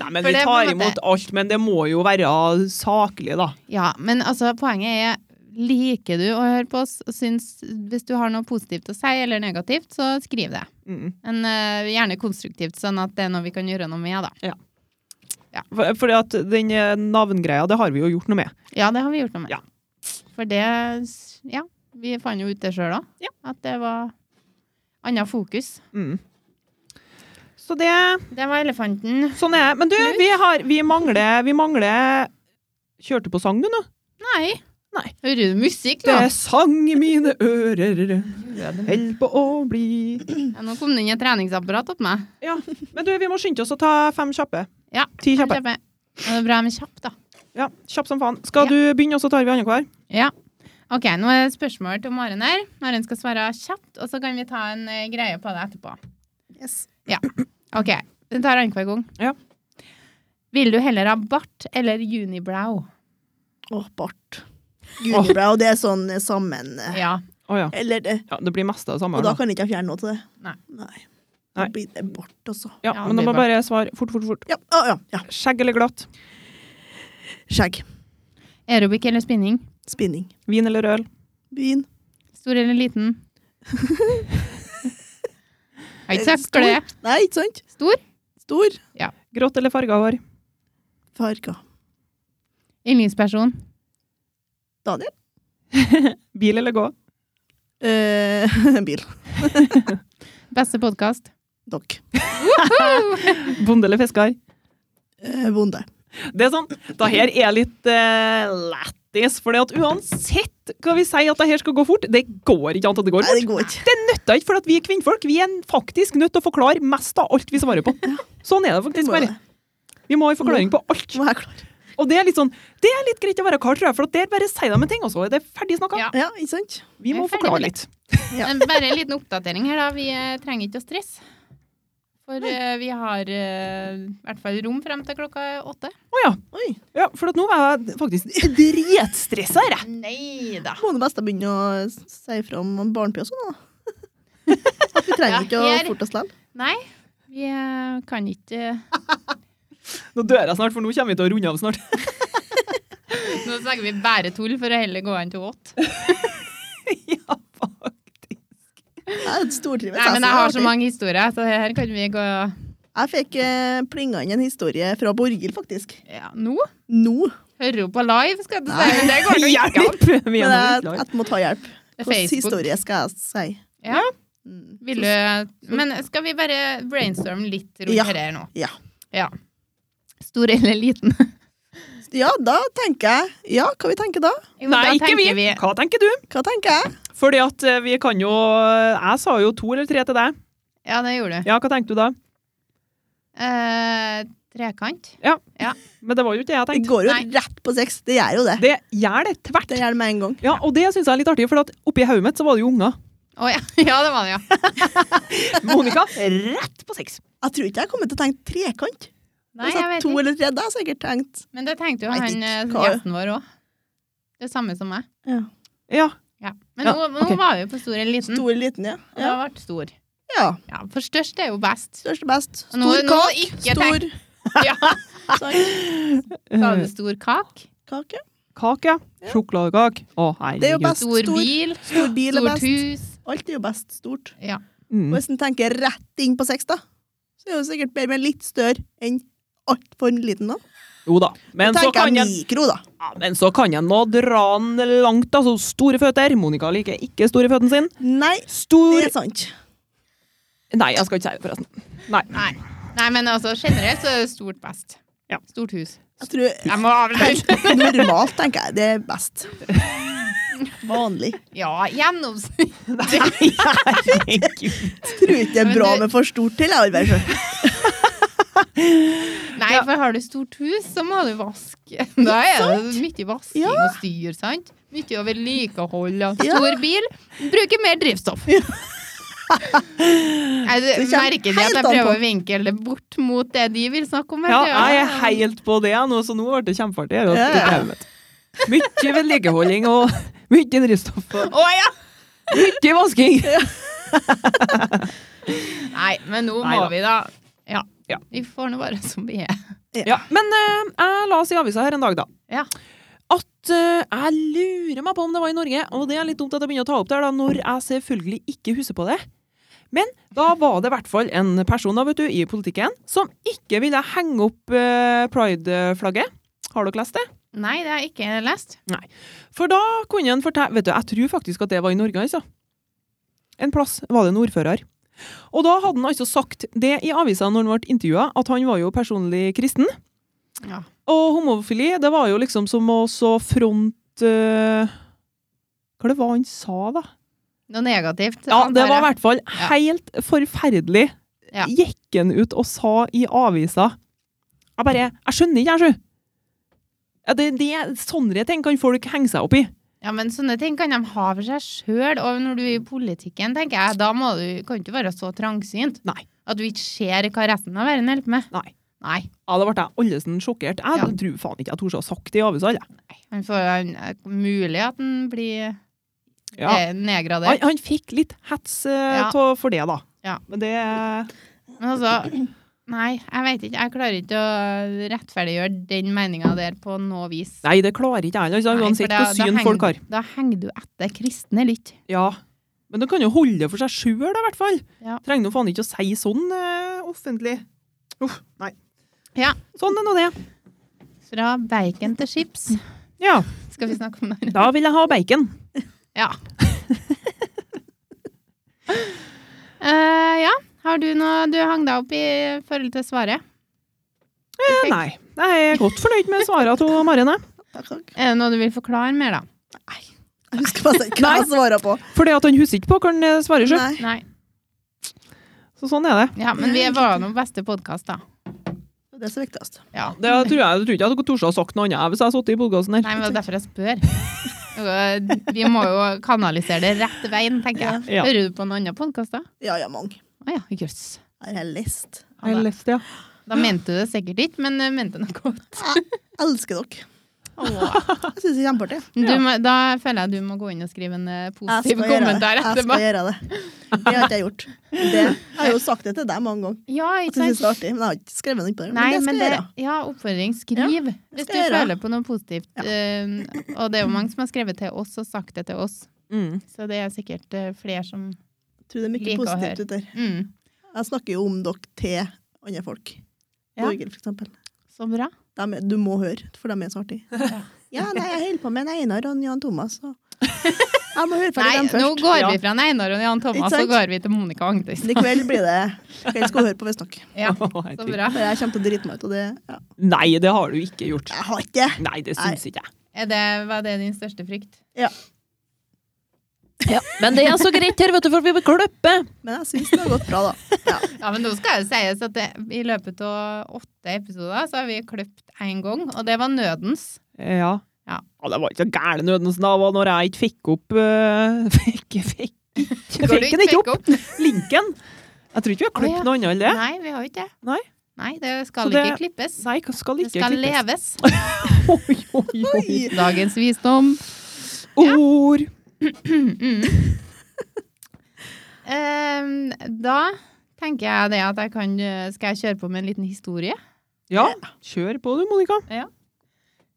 S2: Nei, men
S1: For
S2: vi
S1: det er på
S2: tar
S1: en måte-
S2: imot alt, men det må jo være saklig, da.
S1: ja, men altså, poenget er Liker du å høre på oss? Syns, hvis du har noe positivt å si eller negativt, så skriv det.
S2: Mm.
S1: Men eh, gjerne konstruktivt, sånn at det er noe vi kan gjøre noe med. da.
S2: For, fordi at den eh, navngreia, det har vi jo gjort noe med.
S1: Ja, det har vi gjort noe med.
S2: Ja.
S1: For det Ja, vi fant jo ut det sjøl òg.
S2: Ja.
S1: At det var annet fokus.
S2: Mm. Så det
S1: Det var elefanten.
S2: Sånn er det. Men du, vi, har, vi, mangler, vi mangler Kjørte på sang, du nå?
S1: Nei.
S2: Nei.
S1: Hører du musikk
S2: Det
S1: nå?
S2: er sang i mine ører,
S1: Ja,
S2: held på å bli
S1: nå kom det inn et treningsapparat opp meg.
S2: Ja. Men du, vi må skynde oss å ta fem kjappe.
S1: Ja,
S2: Ti kjappe.
S1: Kjappe. Det er bra med kjapp, da.
S2: Ja, kjapp som faen. Skal du begynne, og så tar vi annenhver?
S1: Ja. Ok, nå er det spørsmål til Maren her. Maren skal svare kjapt, og så kan vi ta en eh, greie på det etterpå.
S3: Yes.
S1: Ok, vi tar annenhver gang.
S2: Ja.
S1: Vil du heller ha bart eller junibrow?
S3: Åh, bart. Unibrow, det er sånn eh, sammen eh,
S1: Ja.
S2: Å ja.
S3: Eller det.
S2: ja. Det blir mest av det samme.
S3: Og da
S2: her nå.
S3: kan jeg ikke fjerne noe til det.
S1: Nei.
S3: Nei. Da
S2: Nei.
S3: blir det bart, altså.
S2: Ja,
S1: Ja,
S2: men
S1: det
S2: da må
S1: blir
S2: bare svare fort, fort, fort.
S3: Ja, å, ja, ja.
S2: Skjegg eller glatt?
S3: Skjegg.
S1: Aerobic eller spinning?
S3: Spinning.
S2: Vin eller øl?
S3: Vin.
S1: Stor eller liten? Jeg har ikke sagt
S3: Stor.
S1: det.
S3: Nei, ikke sant?
S1: Stor?
S3: Stor.
S2: Grått eller farga hår?
S3: Farger.
S1: Yndlingsperson?
S3: Daniel.
S2: Bil eller gå?
S3: Eh, bil.
S1: Beste podkast?
S3: Dokk.
S2: Bonde eller fisker?
S3: Eh, bonde.
S2: Det er sånn, det her er litt eh, lættis, for uansett hva vi sier at det her skal gå fort, det går ikke an at det går
S3: Nei, det
S2: fort.
S3: går ikke.
S2: Det nytter ikke, for at vi er kvinnfolk. Vi er faktisk nødt til å forklare mest av alt vi svarer på. Sånn er det
S3: Det
S2: faktisk
S3: må,
S2: bare.
S3: jeg-
S2: Vi må ha en forklaring på alt.
S3: må jeg klare.
S2: Og det er litt sånn, det er litt greit å være kar, tror jeg, for at der bare sier de en ting, og så er det ferdig snakka.
S1: Ja.
S3: Ja, ikke sant?
S2: Vi
S1: Jeg
S2: må
S1: er ferdig med
S2: forklare litt.
S3: Ja.
S1: Men Bare en liten oppdatering her, da. Vi eh, trenger ikke å stresse. For eh, vi har eh, i hvert fall rom frem til klokka åtte.
S2: Å ja.
S3: Oi.
S2: ja. For at nå er jeg faktisk dritstressa her, jeg.
S1: Nei da.
S3: Må du best begynne å si fra om barnepia og sånn, da? At vi trenger
S1: Ja,
S3: ikke å
S1: her-
S3: forte oss likevel.
S1: Nei, vi eh, kan ikke
S2: Nå dør jeg snart, for nå kommer vi til å runde av snart.
S1: Nå snakker vi bare tull for å heller gå an til åtte.
S2: ja, faktisk.
S3: Jeg stortrives.
S1: Nei, men jeg har så mange historier, så her kan vi gå
S3: Jeg fikk eh, plinga inn en historie fra Borghild, faktisk.
S1: ja, nå.
S3: Nå.
S1: Hører hun på live, skal du si. Men det går nå ikke an.
S2: Hjelp! Vi er nå
S3: Men
S2: ikke
S3: jeg,
S2: klare.
S3: jeg må ta hjelp.
S1: Det er
S3: Hvilken
S1: Facebook.
S3: historie skal jeg si?
S1: Ja.
S3: Mm.
S1: Vil du Men skal vi bare brainstorme litt rundt
S3: Ja.
S1: dette her nå?
S3: Ja.
S1: ja. Stor eller liten?
S3: ja, da tenker jeg Ja, hva vi tenker da?
S1: Jo,
S2: Nei,
S1: da
S2: ikke vi.
S1: tenker vi
S2: Hva tenker du?
S3: Hva tenker jeg?
S2: Fordi at eh, vi kan jo eh, Jeg sa jo to eller tre til deg.
S1: Ja, det gjorde du.
S2: Ja, hva tenkte du da?
S1: Eh, trekant.
S2: Men det var jo ikke det jeg
S3: Det
S2: tenkte.
S3: går jo
S1: Nei.
S3: rett på sex. Det gjør jo det.
S2: Det gjør det tvert.
S3: Det gjør det med en gang.
S2: Ja, og det syns jeg er litt artig, for at oppi hodet mitt så var det jo unger.
S1: Å ja. ja, det var det, ja.
S2: Monica, rett på sex.
S3: Jeg tror ikke jeg kommer til å tenke trekant.
S1: Nei,
S3: Altså,
S1: jeg vet
S3: to
S1: ikke.
S3: eller tre, da har jeg sikkert tenkt
S1: Men det tenkte jo
S3: Vet
S1: han
S3: ikke
S1: eh,
S3: hva-
S1: gjesten vår òg. Det samme som meg.
S2: Ja.
S1: Ja. Men
S2: Ja,
S1: nå, nå
S2: ok.
S1: var vi på stor eller liten.
S3: stor eller liten, ja.
S1: Og det
S3: ja.
S1: har vært stor.
S3: ja.
S1: Ja, for størst er jo best.
S3: Størst og best. Stor
S1: Nå- nå
S3: kak.
S1: ikke
S3: stor
S1: Ja,
S3: sånn,
S1: Sa du stor kak?
S3: kake.
S2: eh, Kake. Sjokoladekake. Å, herregud.
S3: Det er jo best.
S1: Stor
S3: Stor.
S1: bil?
S3: Stor bil er
S1: Stort
S3: best.
S1: hus?
S3: Alt er jo best stort.
S1: Ja.
S3: Og
S2: Mm.
S3: hvis en tenker rett inn på sex, da, så er det jo sikkert bedre med litt større enn altfor liten. da.
S2: Jo da. Men
S3: Da
S2: så,
S3: tenker
S2: kan
S3: jeg
S2: jeg,
S3: mikro, da.
S2: ja, men så kan jeg nå dra den langt, altså. Store føtter. Monica liker ikke store føttene sine.
S3: Nei, det
S2: Stor
S3: er sant.
S2: Nei, jeg skal ikke si det, forresten. Nei.
S1: Nei. Nei, men altså generelt så er det stort best.
S2: Ja.
S1: Stort hus.
S3: Jeg tror
S1: Jeg må avbryte.
S3: Normalt, tenker jeg. Det er best. Vanlig.
S1: Ja, gjennomsnitt.
S2: Nei, herregud.
S3: Tror ikke det er
S1: Men
S3: bra
S1: du-
S3: med for stort til. Jeg vil bare si.
S1: Nei, for har du stort hus, så må du vaske. Da er det mye vasking
S3: Ja.
S1: og styr, sant? Mye å vedlikeholde. og
S3: Ja.
S1: Stor bil bruker mer drivstoff. Nei, du
S3: Det kommer
S1: merker de at
S3: helt
S1: jeg
S3: an
S1: prøver
S3: på.
S1: å vinkle det bort mot det de vil snakke om. vet
S2: Ja,
S1: du.
S2: jeg er helt på det nå, så nå ble det kjempeartig. her, og
S3: Ja,
S2: det
S3: ja.
S2: er jo mitt. Mye vedlikeholding og mye drivstoff og
S1: Å ja!
S2: mye vasking.
S1: Nei, men nå må
S2: Neida.
S1: vi da. Ja.
S2: Ja.
S1: Vi får nå være som vi er.
S2: Ja, men eh, jeg la oss i avisa her en dag, da.
S1: Ja.
S2: At eh, jeg lurer meg på om det var i Norge, og det er litt dumt at jeg begynner å ta opp det her, da, når jeg selvfølgelig ikke husker på det. Men da var det i hvert fall en person da, vet du, i politikken som ikke ville henge opp eh, pride-flagget. Har dere lest det?
S1: Nei, det har jeg ikke lest.
S2: For da kunne han fortelle Vet du, jeg tror faktisk at det var i Norge, altså. En plass var det en ordfører. Og da hadde han altså sagt det i avisa når han ble intervjua, at han var jo personlig kristen.
S1: Ja.
S2: Og homofili, det var jo liksom som å så front eh, Hva det var han sa, da?
S1: Noe negativt.
S2: Ja, det
S1: antar
S2: var i
S1: jeg.
S2: hvert fall helt forferdelig.
S1: Ja.
S2: Gikk han ut og sa i avisa Jeg bare Jeg skjønner ikke, jeg, sju. Ja, Det, det, sånne ting kan folk henge seg opp i.
S1: Ja, men sånne ting kan de ha for seg sjøl. Og når du er i politikken, tenker jeg, da må du, kan du ikke være så trangsynt
S2: Nei.
S1: at du ikke ser hva resten av verden holder på med.
S2: Nei.
S1: Nei.
S2: Ja, da ble jeg allesen sjokkert. Jeg
S1: Ja.
S2: tror faen ikke jeg torde ha sagt det i avisa. jeg.
S1: Han får han, er mulig at han blir
S2: Ja.
S1: eh, nedgradert.
S2: Han, han fikk litt hets eh,
S1: Ja.
S2: ta- for det, da.
S1: Ja.
S2: Men det
S1: Men altså Nei, jeg vet ikke. Jeg klarer ikke å rettferdiggjøre den meninga der på noe vis.
S2: Nei, det klarer ikke jeg heller, altså,
S1: Nei, for
S2: uansett
S1: da-
S2: hva
S1: da
S2: syn
S1: henger-
S2: folk har.
S1: Da henger du etter kristne litt.
S2: Ja. Men du kan jo holde det for seg sjøl, i hvert fall.
S1: Ja.
S2: Trenger nå faen ikke å si sånn eh, offentlig. Uff, nei.
S1: Ja.
S2: Sånn er nå det.
S1: Fra bacon til chips.
S2: Ja.
S1: Skal vi snakke om det?
S2: Da vil jeg ha bacon.
S1: Ja. Eh, ja. Har du noe du hang deg opp i forhold til svaret?
S2: Eh, nei. Jeg er godt fornøyd med svarene til Maren. jeg.
S1: Er det noe du vil forklare mer, da?
S3: Jeg husker bare ikke hva jeg svarer på.
S2: Fordi at han husker ikke på hva han eh, svarer sjøl.
S3: Nei.
S1: Nei.
S2: Så sånn er det.
S1: Ja, men vi var nå beste podkast, da.
S3: Det er det som er viktigst.
S1: Ja.
S2: Det tror jeg, jeg tror ikke jeg hadde tort å ha sagt noe annet jeg, hvis jeg hadde sittet i podkasten her.
S1: Nei, men det er derfor jeg spør. Og eh, Vi må jo kanalisere det rett veien, tenker jeg.
S2: Ja.
S1: Hører du på noen andre podkast, da?
S3: Ja, ja, mange.
S1: Å ja, jøss.
S3: Jeg har en list.
S1: Ja, da-
S2: leste, ja.
S1: Da mente du det sikkert ikke, men eh, mente noe godt.
S3: Elsker dere.
S1: Åh.
S3: Jeg syns det er kjempeartig.
S1: Men Du, må- da føler jeg du må gå inn og skrive en eh,
S3: Jeg
S1: positiv
S3: skal gjøre det.
S1: kommentar
S3: Jeg
S1: etterpå.
S3: skal gjøre det. Det har ikke jeg gjort. Det, jeg har jo sagt det til deg mange ganger.
S1: Ja, ikke
S3: At jeg
S1: sant?
S3: synes det er artig, men jeg har ikke skrevet noe på det.
S1: Nei,
S3: men det
S1: men
S3: skal
S1: det,
S3: jeg gjøre.
S1: ja, oppfordring. Skriv hvis du
S3: skal jeg gjøre.
S1: føler på noe positivt. Eh, og det er jo mange som har skrevet til oss og sagt det til oss.
S2: Mm.
S1: Så det er sikkert eh, flere som
S3: Jeg tror det er mye
S1: Liker å
S3: positivt ut der.
S1: mm,
S3: Jeg snakker jo om dere til andre folk.
S1: Ja.
S3: Borghild, for eksempel.
S1: Så bra.
S3: Dem er- du må høre, for de er så artige.
S1: Ja.
S3: Ja, nei, jeg holder på med en Einar og en Jan Thomas. Og... Jeg må
S1: Nei,
S3: høre ferdig dem
S1: nå
S3: først.
S1: går
S2: Ja.
S1: vi fra en Einar og en Jan Thomas,
S3: Ikke
S1: så
S3: sant?
S1: går vi til Monica Agnes.
S3: I kveld blir det Kveld skal du høre på, visstnok.
S1: Ja,
S2: Å,
S1: så
S2: herregud.
S1: bra.
S3: For jeg kommer til å drite meg ut, og det ja.
S2: Nei, det har du ikke gjort.
S3: Jeg har ikke det.
S2: Nei, det syns ikke jeg.
S1: Er det, var det din største frykt?
S2: Men det er så greit her, vet du, for vi blir kløppet.
S3: Men jeg syns det har gått bra, da. Ja.
S1: Ja, men nå skal det sies at det, i løpet av åtte episoder så har vi kløpt én gang, og det var nødens.
S2: Ja.
S1: Ja.
S2: det var ikke så gæren ødelsen da, var når jeg ikke fikk opp eh, Fikk, fikk,
S1: Går
S2: fikk,
S1: du
S2: den ikke
S1: fikk
S2: opp? Linken. Jeg tror ikke vi
S1: Å, ja.
S2: har klippet noe annet enn det.
S1: Nei, vi har jo ikke det.
S2: Nei.
S1: Nei, det skal
S2: Så det-
S1: ikke klippes.
S2: Nei, hva skal
S1: Det
S2: ikke
S1: skal
S2: klippes?
S1: leves.
S2: Oi, oi, oi.
S3: Oi.
S1: Dagens visdom.
S2: Ord.
S1: Ehm, da tenker jeg det at jeg kan eh, Skal jeg kjøre på med en liten historie?
S2: Ja, kjør på du, Monica.
S1: Eh,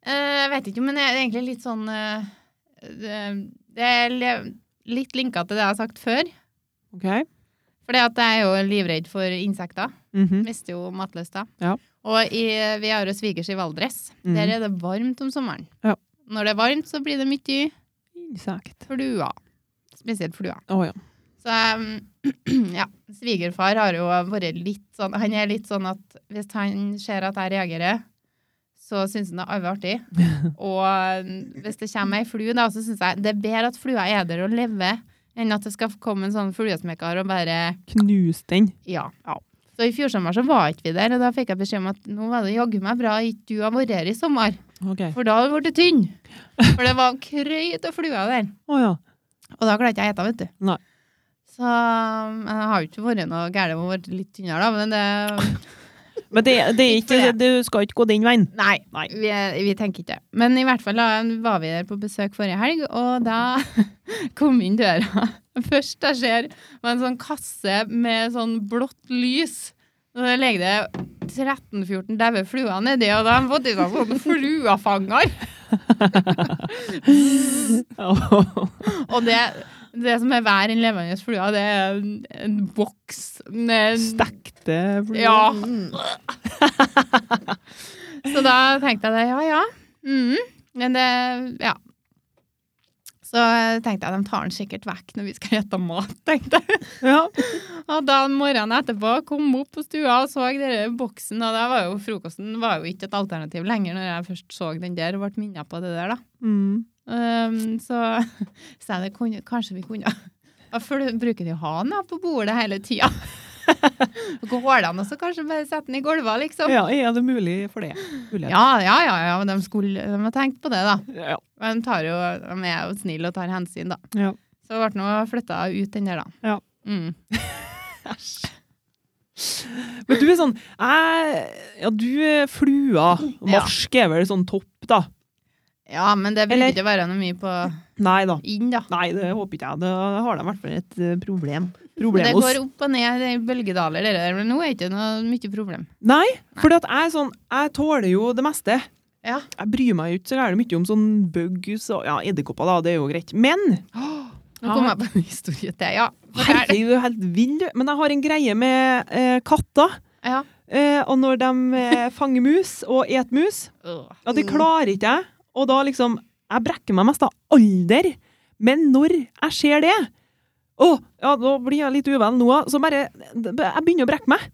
S1: jeg vet ikke, men jeg er egentlig litt sånn eh, det- Det er le- litt linka til det jeg har sagt før.
S2: Ok.
S1: For jeg er jo livredd for insekter.
S2: Mhm.
S1: Mister jo matlyst da.
S2: Ja.
S1: Og i, vi har jo svigers i Valdres.
S2: Mhm.
S1: Der er det varmt om sommeren.
S2: Ja.
S1: Når det er varmt, så blir det mye
S2: Insekt.
S1: fluer. Spesielt fluer.
S2: Å ja.
S1: Så um, ja, svigerfar har jo vært litt sånn Han er litt sånn at hvis han ser at jeg reagerer, så syns han det er arve artig. Og um, hvis det kommer ei flue, da, så syns jeg det er bedre at flua er der og lever, enn at det skal komme en sånn fluesmekker og bare
S2: Knus den.
S1: Ja.
S2: Ja.
S1: Så i fjor sommer så var ikke vi der, og da fikk jeg beskjed om at nå var det jaggu meg bra ikke du har vært her i sommer,
S2: Ok. Å
S1: for da har du blitt tynn. For det var krøyt av fluer der.
S2: ja.
S1: Og da klarte jeg å ete, vet du.
S2: Nei.
S1: Så um, jeg har jo ikke vært noe gærent med å være litt tynnere, da, men det
S2: Men det, det er
S1: Ikke for
S2: ikke, du skal ikke gå den veien.
S1: Nei,
S2: Nei.
S1: Vi, vi tenker ikke det. Men i hvert fall da var vi der på besøk forrige helg, og da kom vi inn døra. Først jeg ser var en sånn kasse med sånn blått lys. Og der ligger det 13-14 daue fluer nedi, og da har de fått i seg sånn fluefanger. Mm. Og det, det som er hver en levende flue, det er en, en boks med
S2: Stekte
S1: Ja.
S3: Mm.
S1: Så da tenkte jeg det, ja ja. Mhm. Men det Ja. Så tenkte jeg de tar den sikkert vekk når vi skal spise mat, tenkte jeg.
S2: ja.
S1: Og da morgenen etterpå kom jeg opp på stua og så den boksen, og da var jo frokosten var jo ikke et alternativ lenger når jeg først så den der og ble minnet på det der, da.
S2: Mm.
S1: Ehm, så sa jeg det kunne, kanskje vi kunne Ja, For du bruker de å ha den da på bordet hele tida. Går det an å så kanskje bare sette den i gulvet, liksom?
S2: ja, er det mulig for det? Mulighet.
S1: Ja, ja, ja, ja. men De, skulle, de har tenkt på det, da.
S2: Ja.
S1: Men de, tar jo, de er jo snille og tar hensyn, da.
S2: Ja.
S1: Så ble nå flytta ut den der, da.
S2: Ja.
S1: Mm.
S2: Men du er sånn jeg, Ja, du er flua. Marsk er vel sånn topp, da.
S1: ja men det
S2: Eller-
S1: bruker ikke å være noe mye på
S2: Nei da.
S1: inn, da.
S2: Nei, det håper ikke jeg. Da har de i hvert fall et eh, problem.
S1: Men Det
S2: Problem hos
S1: går opp og ned i bølgedaler, det der. Men nå er det ikke noe mye problem.
S2: Nei, for jeg er sånn Jeg tåler jo det meste.
S1: Ja.
S2: Jeg bryr meg jo ikke så gærent mye om sånn bugs og ja, edderkopper, da. Det er jo greit. Men
S1: Nå kom jeg på en historie til. Ja. fortell.
S2: Herregud, du er helt vill, du. Men jeg har en greie med eh, katter.
S1: ja.
S2: Eh, og når de eh, fanger mus og et mus,
S1: Åh.
S2: ja, det
S3: Mm.
S2: klarer ikke jeg. Og da liksom Jeg brekker meg mest av alder. Men når jeg ser det Å, ja, nå blir jeg litt uvel nå, så bare Jeg begynner å brekke meg.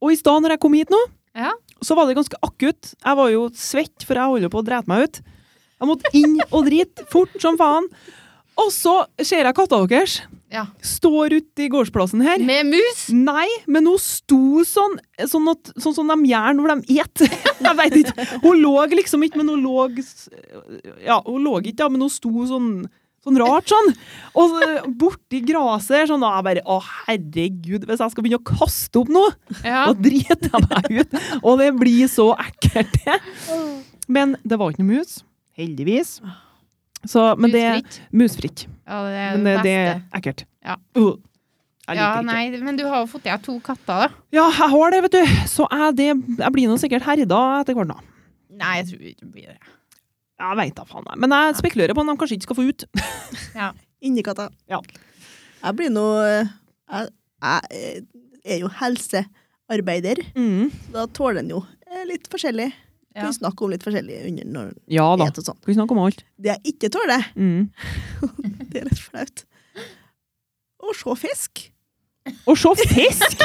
S2: Og i stad, når jeg kom hit nå,
S1: Ja.
S2: så var det ganske akutt. Jeg var jo svett, for jeg holder jo på å drete meg ut. Jeg måtte inn og drite fort som faen. Og så ser jeg katta deres
S1: ja.
S2: står ute i gårdsplassen her.
S1: Med mus!
S2: Nei, men hun sto sånn, sånn, at, sånn som de gjør når de et. Jeg vet ikke. Hun lå liksom ikke, men hun lå s- Ja, hun lå ikke, da, men hun sto sånn Sånn rart, sånn. Og så borti gresset her, sånn. Og jeg bare Å, herregud, hvis jeg skal begynne å kaste opp noe,
S1: Ja.
S2: da driter jeg meg ut. Og det blir så ekkelt, det. Men det var ikke noe mus. Heldigvis. Så, men det
S1: Husfritt.
S2: Musfritt.
S1: Ja, det er
S2: Men det,
S1: det
S2: det
S1: beste.
S2: er ekkelt.
S1: Ja.
S2: Uh, jeg liker
S1: Ja,
S2: ikke.
S1: nei, men du har jo fått deg to katter, da.
S2: Ja, jeg har det, vet du. Så jeg, det, jeg blir nå sikkert herda etter hvert. nå.
S1: Nei, jeg tror ikke det blir det.
S2: Jeg veit da faen. jeg. Men jeg spekulerer på om de kanskje ikke skal få ut.
S3: Inni katta.
S2: Ja.
S3: Jeg blir nå eh, jeg, jeg eh, er jo helsearbeider,
S2: Mm.
S3: så da tåler en jo eh, litt forskjellig.
S1: Ja.
S3: Kan snakke om litt forskjellig under når en
S2: Ja da.
S3: spiser og sånn.
S2: Skal vi snakke om alt?
S3: Det jeg ikke tåler,
S2: Mm.
S3: det er litt flaut. Å se fisk.
S2: Og se fisk!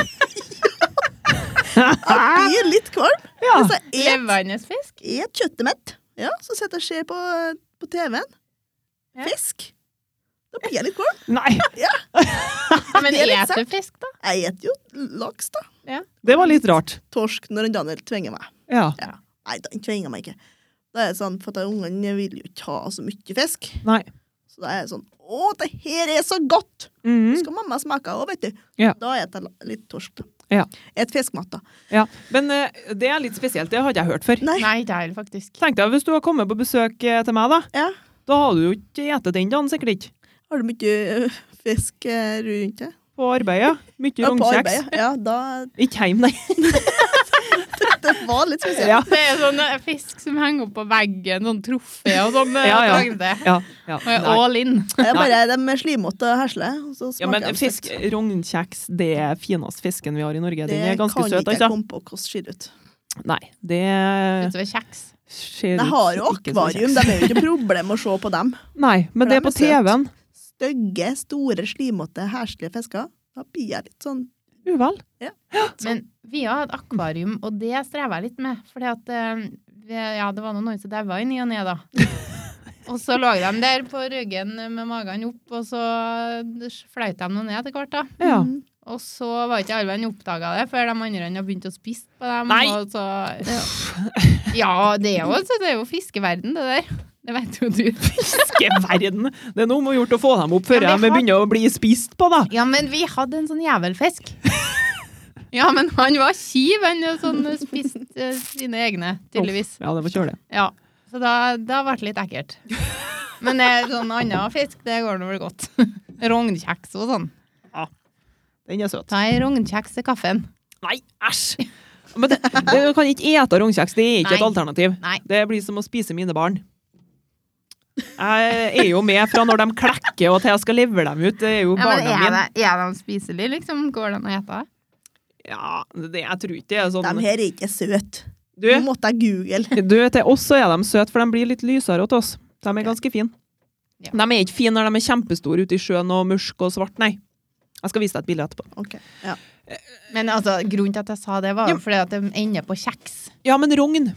S3: Jeg blir litt kvalm.
S2: ja.
S3: Altså, et,
S1: Levende fisk?
S3: et kjøttet mitt. Ja, så sitter jeg og ser på, på TV-en.
S1: Ja.
S3: Fisk. Da blir jeg litt kvalm.
S2: Nei,
S1: Men
S3: Det er litt
S1: eter du fisk, da?
S3: Jeg spiser jo laks, da.
S2: det var litt rart.
S3: Torsk når en Daniel tvinger meg.
S2: Ja.
S3: Nei, da tvinger meg ikke. Da er det sånn, for at Ungene vil jo ikke ha så mye fisk.
S2: Nei.
S3: Så da er det sånn Å, det her er så godt! Så
S2: Mm.
S3: skal mamma smake òg, vet du.
S2: Ja.
S3: Da spiser jeg litt torsk. da.
S2: Ja.
S3: Et fiskmat, da.
S2: ja. Men eh, det er litt spesielt. Det hadde jeg hørt før.
S3: Nei.
S1: Nei, det er det faktisk.
S2: Tenkte jeg, Hvis du har kommet på besøk eh, til meg, da
S3: Ja.
S2: Da har du jo ikke spist den dagen, sikkert ikke.
S3: Har du mye ø, fisk ø, rundt deg?
S2: På arbeidet. Mye
S3: Ja, på
S2: rognkjeks.
S3: arbeid, Ja, da
S2: Ikke hjemme, nei.
S3: Det var litt spesielt.
S2: Ja.
S1: Det er sånn eh, fisk som henger opp på veggen, sånn trofé og sånn. eh,
S2: Ja, ja.
S1: lagde.
S2: Ja. Ja.
S1: Og jeg er
S2: Nei.
S1: All in.
S3: Det er bare de er slimåtte og hesle. og Så
S2: Ja,
S3: smaker
S2: men
S3: de
S2: fisk,
S3: søtt.
S2: rognkjeks, det er finest fisken vi har i Norge. Den er ganske
S3: kan
S2: søt,
S3: ikke jeg
S2: altså.
S3: komme på hvordan ser ut.
S2: Nei, det
S1: Utover kjeks.
S2: ser
S3: Jeg har jo
S2: ikke som
S3: akvarium,
S2: kjeks.
S3: det er jo ikke problem å se på dem.
S2: Nei, men det er
S3: dem
S2: på
S3: er søt.
S2: TV-en.
S3: Stygge, store, slimåtte, heslige fisker. Da blir jeg litt sånn
S2: Uvel.
S1: Men vi har et akvarium, og det strever jeg litt med. Fordi at eh, vi- ja, det var noen noen som daua i ny og ne, da. Og så lå de der på ryggen med magen opp, og så fløyt de noe ned etter hvert, da.
S2: Ja.
S3: mm,
S1: Og så var ikke alle venn oppdaga det, før de andre hadde begynt å spise på dem.
S2: Nei!
S1: Og så, ja. ja, det er, jo, altså, det er jo fiskeverden, det der. Det vet jo du.
S2: Fiskeverden! Det er noe om å gjort å få dem opp før
S1: Ja, vi
S2: de
S1: har-
S2: begynner å bli spist på, da.
S1: Ja, men vi hadde en sånn jævelfisk. Ja, men han var kjiv, han eh, sånn, eh, spiste eh, sine egne, tydeligvis.
S2: Ja, det var kjølig.
S1: Ja, Så da, da ble det litt ekkelt. Men eh, sånn annen fisk, det går nå vel godt. Rognkjeks og sånn.
S2: Den er søt.
S1: Ta ei rognkjeks til kaffen.
S2: Nei, æsj! Men det, det, du kan ikke ete rognkjeks. Det er ikke et
S1: Nei.
S2: alternativ.
S1: Nei.
S2: Det blir som å spise mine barn. Jeg er jo med fra når de klekker og til jeg skal levere dem ut. Det er
S1: Ja,
S2: jo
S1: men
S2: barna
S1: er
S2: mine.
S1: de, er de spiselige, liksom? Går det an å spise det?
S2: Ja, det, jeg tror ikke det er
S3: De
S2: sånn
S3: her er ikke søte.
S2: Du,
S3: Nå måtte jeg google.
S2: du til oss så er de søte, for de blir litt lysere til oss. De er ganske fine.
S1: Ja.
S2: De er ikke fine når de er kjempestore ute i sjøen og mørke og svart, nei. Jeg skal vise deg et bilde etterpå.
S3: Ok, ja.
S1: Men altså, grunnen til at jeg sa det, var
S2: Ja.
S1: jo fordi at de ender på kjeks.
S2: Ja, men rogn.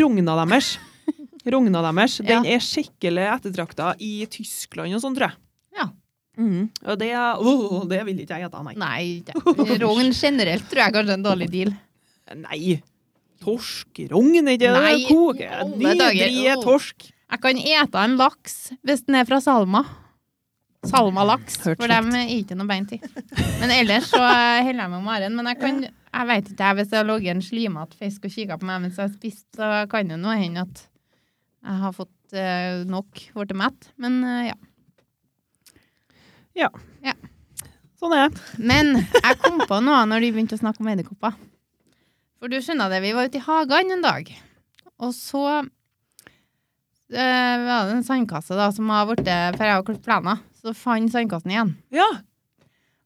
S2: Rogna deres. Rogna deres. Den
S1: Ja.
S2: er skikkelig ettertrakta i Tyskland og sånn, tror jeg.
S1: Ja.
S2: Mhm. Og det, åh, det vil ikke jeg gjette, nei.
S1: Nei, ikke. rogn generelt tror jeg kanskje er en dårlig deal.
S2: Nei. Torsk. Rogn, er ikke det?
S1: Nei, i
S2: Koke.
S1: alle
S2: Nydrige
S1: dager, åh.
S2: torsk.
S1: Jeg kan ete en laks hvis den er fra Salma. Salma-laks,
S2: Hørt
S1: for dem er ikke noe beint i. Men ellers så holder jeg meg om haren. Men jeg kan Jeg vet ikke, jeg, hvis det har ligget en slimete fisk og kikket på meg mens jeg har spist, så kan det nå hende at jeg har fått eh, nok, blitt mett. Men eh, ja.
S2: Sånn er det.
S1: Men jeg kom på noe når de begynte å snakke om edderkopper. For du skjønner det, vi var ute i hagen en dag. Og så eh, var det en sandkasse da, som har blitt For jeg har klippet plener. Så fant sandkassen igjen.
S2: Ja.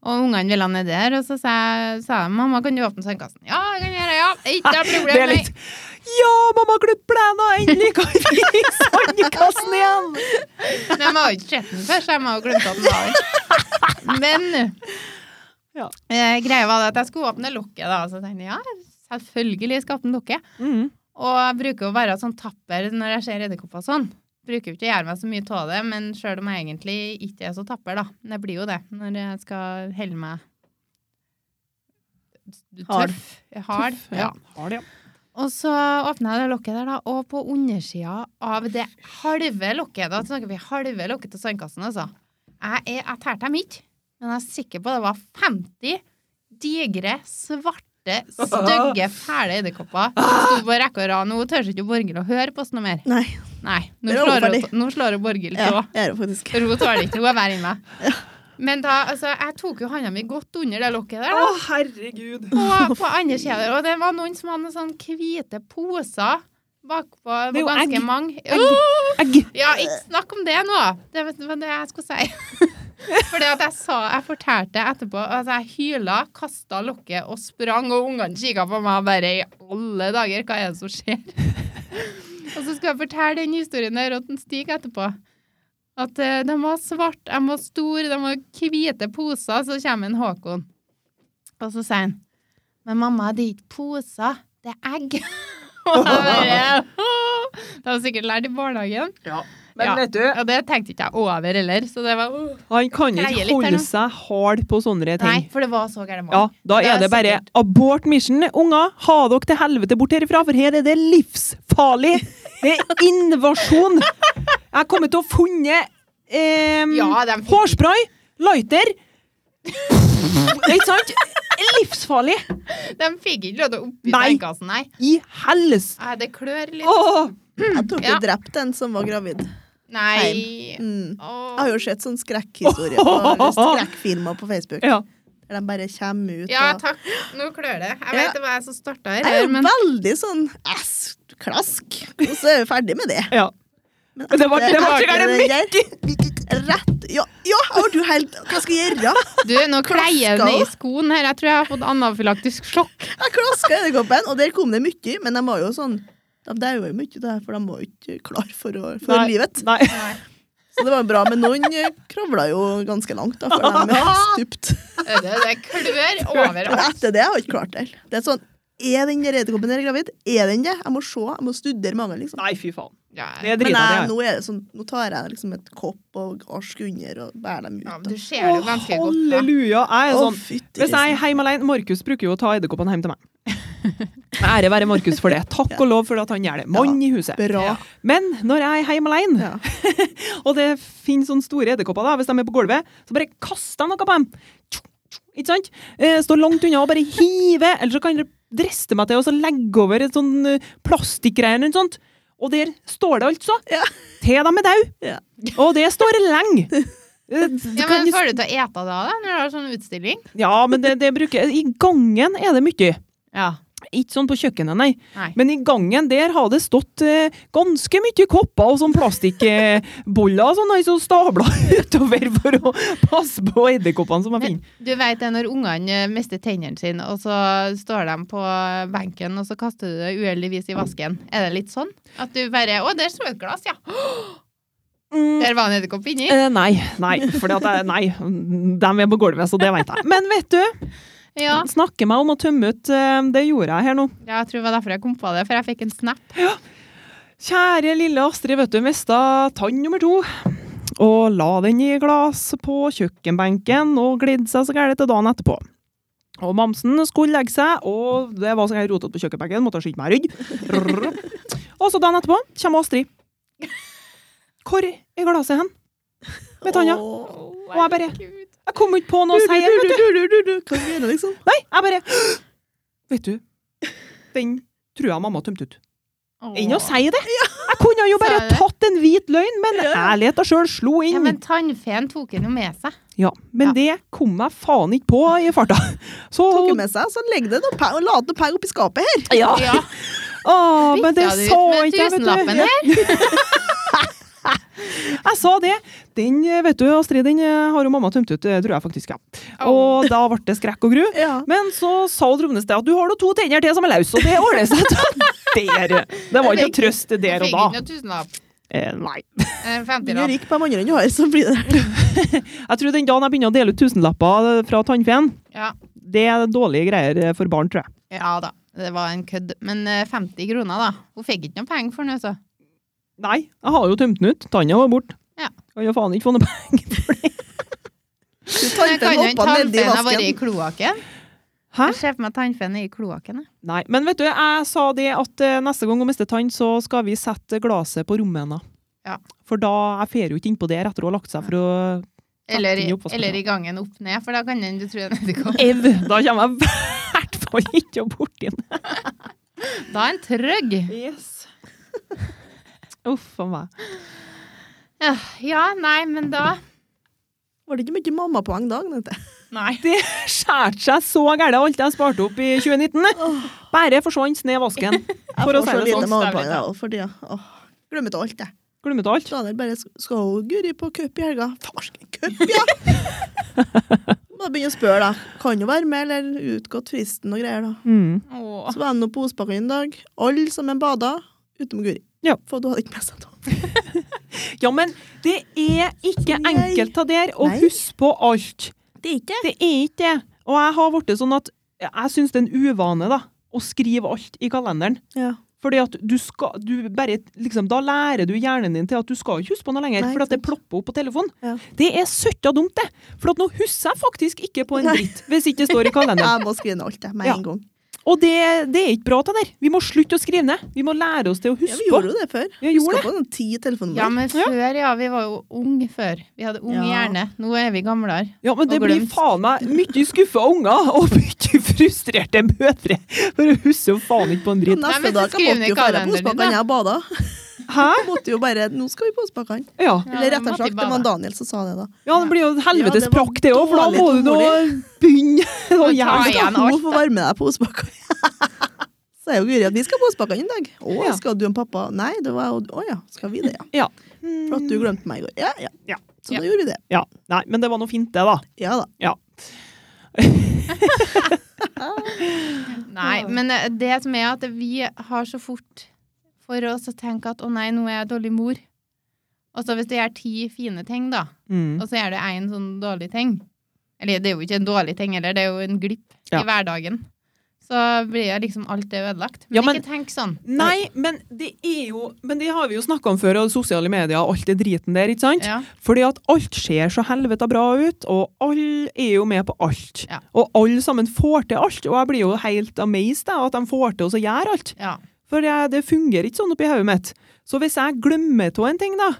S1: Og ungene ville ned der, og så sa jeg, sa jeg 'mamma, kan du åpne sandkassen?' 'Ja, jeg kan gjøre det, ja. Ikke noe problem,
S2: Det er litt Ja, mamma, klipp plena! Endelig kan vi i sandkassen igjen!
S1: nei.' Men jeg har jo ikke sett den før, så jeg må ha glemt at den var der. Men
S2: Ja.
S1: eh, greia var det at jeg skulle åpne lokket, da. Så tenkte jeg ja, selvfølgelig skal jeg åpne lokket.
S2: Mhm.
S1: Og jeg bruker å være sånn tapper når jeg ser edderkopper og sånn. Bruker jo ikke å gjøre meg så mye av det, men sjøl om jeg egentlig ikke er så tapper, da. Men jeg blir jo det når jeg skal holde meg
S3: Hard.
S1: tøff. Hard.
S2: Tøff,
S1: Ja.
S2: Har det, ja.
S1: Og så åpna jeg det lokket der, da, og på undersida av det halve lokket Da snakker vi halve lokket til sandkassen, altså. Jeg, er, jeg tærte dem ikke, men jeg er sikker på det var 50 digre, svarte, stygge, fæle edderkopper som sto på rekke og rad. Nå tør ikke Borghild å høre på oss noe mer.
S3: Nei,
S1: Nei, nå
S3: Det var
S1: slår,
S3: overferdig.
S1: hun- nå slår hun Borghild
S3: ja,
S1: tå.
S3: det er det faktisk.
S1: For hun tåler ikke, hun er verre enn meg. Men da, altså, jeg tok jo handa mi godt under det lokket der, da.
S2: Å, herregud.
S1: Og på andre sida der, og det var noen som hadde sånne hvite poser bakpå.
S2: Det
S1: Det
S2: er jo
S1: var ganske
S2: egg.
S1: mange.
S2: Egg.
S1: Ja, ikke snakk om det nå! Det var det var det jeg skulle si. For det at jeg sa Jeg fortalte etterpå at jeg hyla, kasta lokket og sprang, og ungene kikka på meg og bare I alle dager, hva er det som skjer? Og så skal jeg fortelle den historien der til Stig etterpå. At eh, de var svarte, de var store, de var hvite poser. Så kommer en Håkon, og så sier han Men mamma, det er ikke poser, det er egg. Og jeg bare «Åh!» Det har sikkert lært i barnehagen.
S2: Men
S1: Ja.
S2: vet du,
S1: Og det tenkte ikke jeg over heller, så det var uh.
S2: han kan
S1: Greie
S2: ikke
S1: litt her
S2: holde
S1: nå.
S2: seg hard på sånne
S1: Nei,
S2: ting.
S1: for det var så gærent.
S2: Ja, da
S1: Det
S2: er
S1: er
S2: det bare
S1: sikkert.
S2: abort mission. Unger, ha dere til helvete bort herifra, for her er det livsfarlig! Det er invasjon! Jeg kommer til å funne eh,
S1: Ja, de fikk-
S2: hårspray, lighter Ikke sant? Livsfarlig!
S1: De fikk ikke lov til å oppgi
S2: Nei.
S1: sandkassen, nei.
S2: I helse!
S1: Nei, Det klør litt.
S2: Åh!
S3: Jeg tror
S1: Ja.
S3: du drepte en som var gravid.
S1: Nei.
S3: Mm. Jeg
S1: Åh.
S3: har jo sett sånne skrekkhistorier på, eller skrekkfilmer på Facebook.
S2: Ja.
S3: Der de bare kommer ut
S1: Ja,
S3: og
S1: takk. Nå klør det. Jeg
S3: Ja.
S1: vet det var jeg som starta her,
S3: Jeg er jo
S1: men
S3: veldig sånn ass, klask, og så er vi ferdig med det.
S2: ja. Men det var, det var ikke det
S3: den der, Rett Ja, ja har du helt Hva skal jeg gjøre?
S1: du, nå kleier den i skoen her. Jeg tror jeg har fått anafylaktisk sjokk.
S3: Jeg klaska edderkoppen, og der kom det mye, men de var jo sånn De daua jo mye, der, for de var jo ikke klar for, å, for
S2: Nei.
S3: livet.
S2: Nei.
S3: Så det var bra. Men noen eh, kravla jo ganske langt, da, for de stupte.
S1: Det, det klør
S3: Men
S1: overalt.
S3: etter det har jeg ikke klart det. Det er sånn Er den der edderkoppen der gravid? Er den det? Jeg må se, jeg må studere magen, liksom.
S2: Nei, fy faen.
S1: Ja.
S2: Det er
S3: Men
S2: drita,
S1: eh,
S3: jeg,
S2: det.
S3: nå, er det sånn, nå tar jeg liksom et kopp og arsk under og bærer dem ut.
S1: Ja, men
S3: da.
S1: du ser det
S2: her.
S1: jo ganske
S2: Å,
S1: godt. da.
S2: Halleluja. Jeg er
S3: Å,
S2: sånn
S3: fytti
S2: Hvis jeg
S3: grisen.
S2: er hjemme alene Markus bruker jo å ta edderkoppene hjem til meg. Ære være Markus for det. Takk og lov for at han gjør det. Mann i huset.
S3: Bra.
S2: Men når jeg er hjemme alene,
S3: Ja.
S2: og det finnes sånne store edderkopper, da, hvis de er på gulvet, så bare kaster jeg noe på dem. Ikke sant? Eh, Står langt unna og bare hiver, eller så kan dere driste meg til å så legge over et sånn eh, plastikkgreier eller noe sånt. Og der står det altså
S3: Ja.
S2: til dem er dau.
S3: Ja.
S2: Og det står lenge. Eh, du
S1: Ja,
S2: kan
S1: men
S2: jo-
S1: Får du til å ete da, da, når du har sånn utstilling?
S2: ja, men det, det bruker I gangen er det mye.
S1: Ja.
S2: Ikke sånn på kjøkkenet, nei.
S1: Nei.
S2: Men i gangen der har det stått eh, ganske mye kopper og sånn plastikkboller eh, boller og sånn, altså stabla utover for å passe på edderkoppene som jeg
S1: Men
S2: finner.
S1: du vet det når ungene eh, mister tennene sine, og så står de på benken, og så kaster du det uheldigvis i vasken. Er det litt sånn? At du bare Å, der sto et glass, ja!
S2: Mm,
S1: Der var en edderkopp inni.
S2: eh, nei, nei, for nei, de er på gulvet, så det vet jeg. Men vet du,
S1: Ja.
S2: snakke meg om å tømme ut, eh, det gjorde jeg her nå.
S1: ja, jeg tror det var derfor jeg kom på det, for jeg fikk en snap.
S2: Kjære lille Astrid, vet du, mista tann nummer to. Og la den i glass på kjøkkenbenken og glidde seg så gærent til dagen etterpå. Og mamsen skulle legge seg, og det var så gærent rotete på kjøkkenbenken, måtte skynde meg å rydde. Rrrr. Og så dagen etterpå kommer Astrid. Hvor er glasset hen? Med tanna.
S3: Åh.
S2: Og jeg bare Jeg kom ikke på noe å si,
S3: Du,
S2: vet
S3: du,
S2: du.
S3: du, du, du, du. Hva er det, liksom?
S2: Nei, jeg bare Vet du, den tror jeg mamma tømte ut. Enn å si det! Jeg kunne jo bare
S1: Sa det.
S2: tatt en hvit løgn, men ærligheta sjøl slo inn.
S1: Ja,
S2: men
S1: men tannfeen tok den jo med seg. Ja.
S2: det kom jeg faen ikke på i farta. Så
S3: Tok hun med seg, så legg det noe per, og la det per oppi skapet her.
S2: ja.
S1: Ja,
S2: Å, men det
S1: bytta du ut
S2: sa
S1: med
S2: ikke jeg,
S1: tusenlappen
S2: vet du. Jeg sa det. Den, eh, vet du, Astrid, den eh, har jo mamma tømt ut, eh, tror jeg faktisk, ja. Og da ble det skrekk og gru.
S3: Ja.
S2: Men så sa Dromnes det at du har nå to tenner til som er løse, og det ordner seg. Der. Det var ikke å trøste
S1: jeg
S2: der
S1: fikk
S2: og da.
S1: ikke noe tusenlapp.
S2: Eh, nei.
S1: En
S3: Du er
S1: femtilapp.
S3: rik på de andre enn du har, så blir det der.
S2: Jeg tror den dagen jeg begynner å dele ut tusenlapper eh, fra tannfeen,
S1: Ja.
S2: det er dårlige greier eh, for barn, tror jeg.
S1: ja da, det var en kødd. Men eh, 50 kroner, da. Hun fikk ikke noe penger for den, altså.
S2: Nei, jeg har jo tømt den ut. Tanna var borte.
S1: Ja.
S2: Kan jo faen ikke få noe penger.
S1: Jeg kan
S3: Tanten
S1: jo ikke
S3: hoppa nedi
S1: tannfeen har vært i
S3: vasken.
S1: kloakken.
S2: Hæ?
S1: Jeg ser for meg tannfeen er i kloakken. jeg.
S2: Nei, men vet du, jeg sa det at eh, neste gang hun mister tann, så skal vi sette glaset på rommet hennes.
S1: Ja.
S2: For da jeg fer jo ikke innpå der etter hun har lagt seg for å
S1: Eller,
S2: den i oppvasken,
S1: eller
S2: ja.
S1: i gangen opp ned, for da kan den du tro en edderkopp.
S2: Ev! Da kommer jeg i hvert fall ikke borti den.
S1: Da er den trygg.
S2: Yes. Uff a meg.
S1: Ja, Ja, nei, men da
S3: Var det ikke mye mammapoeng da? Agnete?
S1: Nei.
S2: Det skjærte seg så gærent, alt jeg sparte opp i 2019. Bare forsvant ned i vasken.
S3: Jeg
S2: For å
S3: får
S2: si
S3: så
S2: det
S3: lite
S2: sånn.
S3: mammapoeng da, for tida. Åh, Glemmer til alt, jeg.
S2: Glemmer til alt.
S3: Da er det bare sk- skal hun Guri på cup i helga. Farsken, cup, ja! Må begynne å spørre, da. Kan hun være med, eller utgått fristen og greier, da.
S2: Mm.
S1: Åh.
S3: Så var jeg nå på Osbakken en dag. Alle som en bada, utenom Guri.
S2: Ja.
S3: For du hadde ikke med seg noe.
S2: Ja, men det er ikke
S3: Så nei.
S2: enkelt av der å
S3: Nei.
S2: huske på alt.
S3: Det er ikke
S2: Det er ikke det. Og jeg har blitt sånn at jeg syns det er en uvane da, å skrive alt i kalenderen.
S3: Ja.
S2: Fordi at du skal, du bare, liksom, Da lærer du hjernen din til at du skal ikke huske på noe lenger,
S3: Nei,
S2: for at det
S3: sant.
S2: plopper opp på telefonen.
S3: Ja.
S2: Det er søtta dumt, det! For at nå husker jeg faktisk ikke på en
S3: Nei.
S2: dritt hvis ikke det står i kalenderen.
S3: Jeg må skrive ned alt, jeg, med
S2: Ja.
S3: en gang.
S2: Og det, det er ikke bra, det der. Vi må slutte å skrive ned. Vi må lære oss til å
S3: Ja,
S2: huske
S3: vi
S2: på.
S3: gjorde jo det før.
S2: Ja, gjorde
S3: Husker på noen ti telefonnummer.
S1: Ja, men før, ja. Vi var jo unge før. Vi hadde ung
S3: Ja.
S1: hjerne. Nå er vi gamlere.
S2: Ja, men det
S1: Og
S2: blir
S1: glemt.
S2: faen meg mye skuffa unger og mye frustrerte mødre. For hun husker jo faen ikke på en dritt.
S1: Nei,
S3: Neste
S1: men så
S3: dag jeg
S1: skriv
S3: måtte
S1: ned i
S3: jo dra på
S1: kalenderen din, da.
S3: Osbakken, jeg bada.
S2: Hæ?
S3: Jeg måtte jo bare Nå skal vi på Osbakken.
S2: Ja.
S3: Eller rett
S1: måtte i
S3: og slett, det
S1: bada.
S3: var Daniel som sa det, da.
S2: ja, det blir jo
S3: Ja,
S2: helvetes
S3: det var
S2: prakk, det òg, for da
S3: dårlig
S2: må du nå begynne å
S1: Og ta
S2: gjøre sånn.
S1: igjen.
S3: Ja,
S1: Ja,
S3: nå
S1: alt,
S3: få varme deg på Osbakken. Så er jo Guri at vi skal på Osbakken en dag. Å,
S2: Ja.
S3: skal du og pappa? Nei, det var jo Å ja, skal vi det, ja.
S2: Ja.
S3: For at du glemte meg i går. Ja, ja.
S2: Ja.
S3: Så
S1: Ja.
S3: da gjorde vi det.
S2: ja. Nei, men det var nå fint, det, da.
S3: Ja da.
S2: Ja.
S1: Nei, men eh, det som er at vi har så fort for oss å tenke at å nei, nå er jeg dårlig mor. Og så hvis du gjør ti fine ting, da,
S2: Mm.
S1: og så gjør du én sånn dårlig ting Eller det er jo ikke en dårlig ting heller, det er jo en glipp
S2: Ja.
S1: i hverdagen. Så blir det liksom alt det ødelagt. Men,
S2: Ja, men-
S1: ikke tenk sånn.
S2: Nei, men det er jo Men det har vi jo snakka om før, og sosiale medier og alt det driten der, ikke sant?
S1: Ja.
S2: Fordi at alt ser så helvete bra ut, og alle er jo med på alt.
S1: Ja.
S2: Og alle sammen får til alt, og jeg blir jo helt amazed av at de får til å så gjøre alt.
S1: ja.
S2: For jeg, det fungerer ikke sånn oppi hodet mitt. Så hvis jeg glemmer til en ting, da,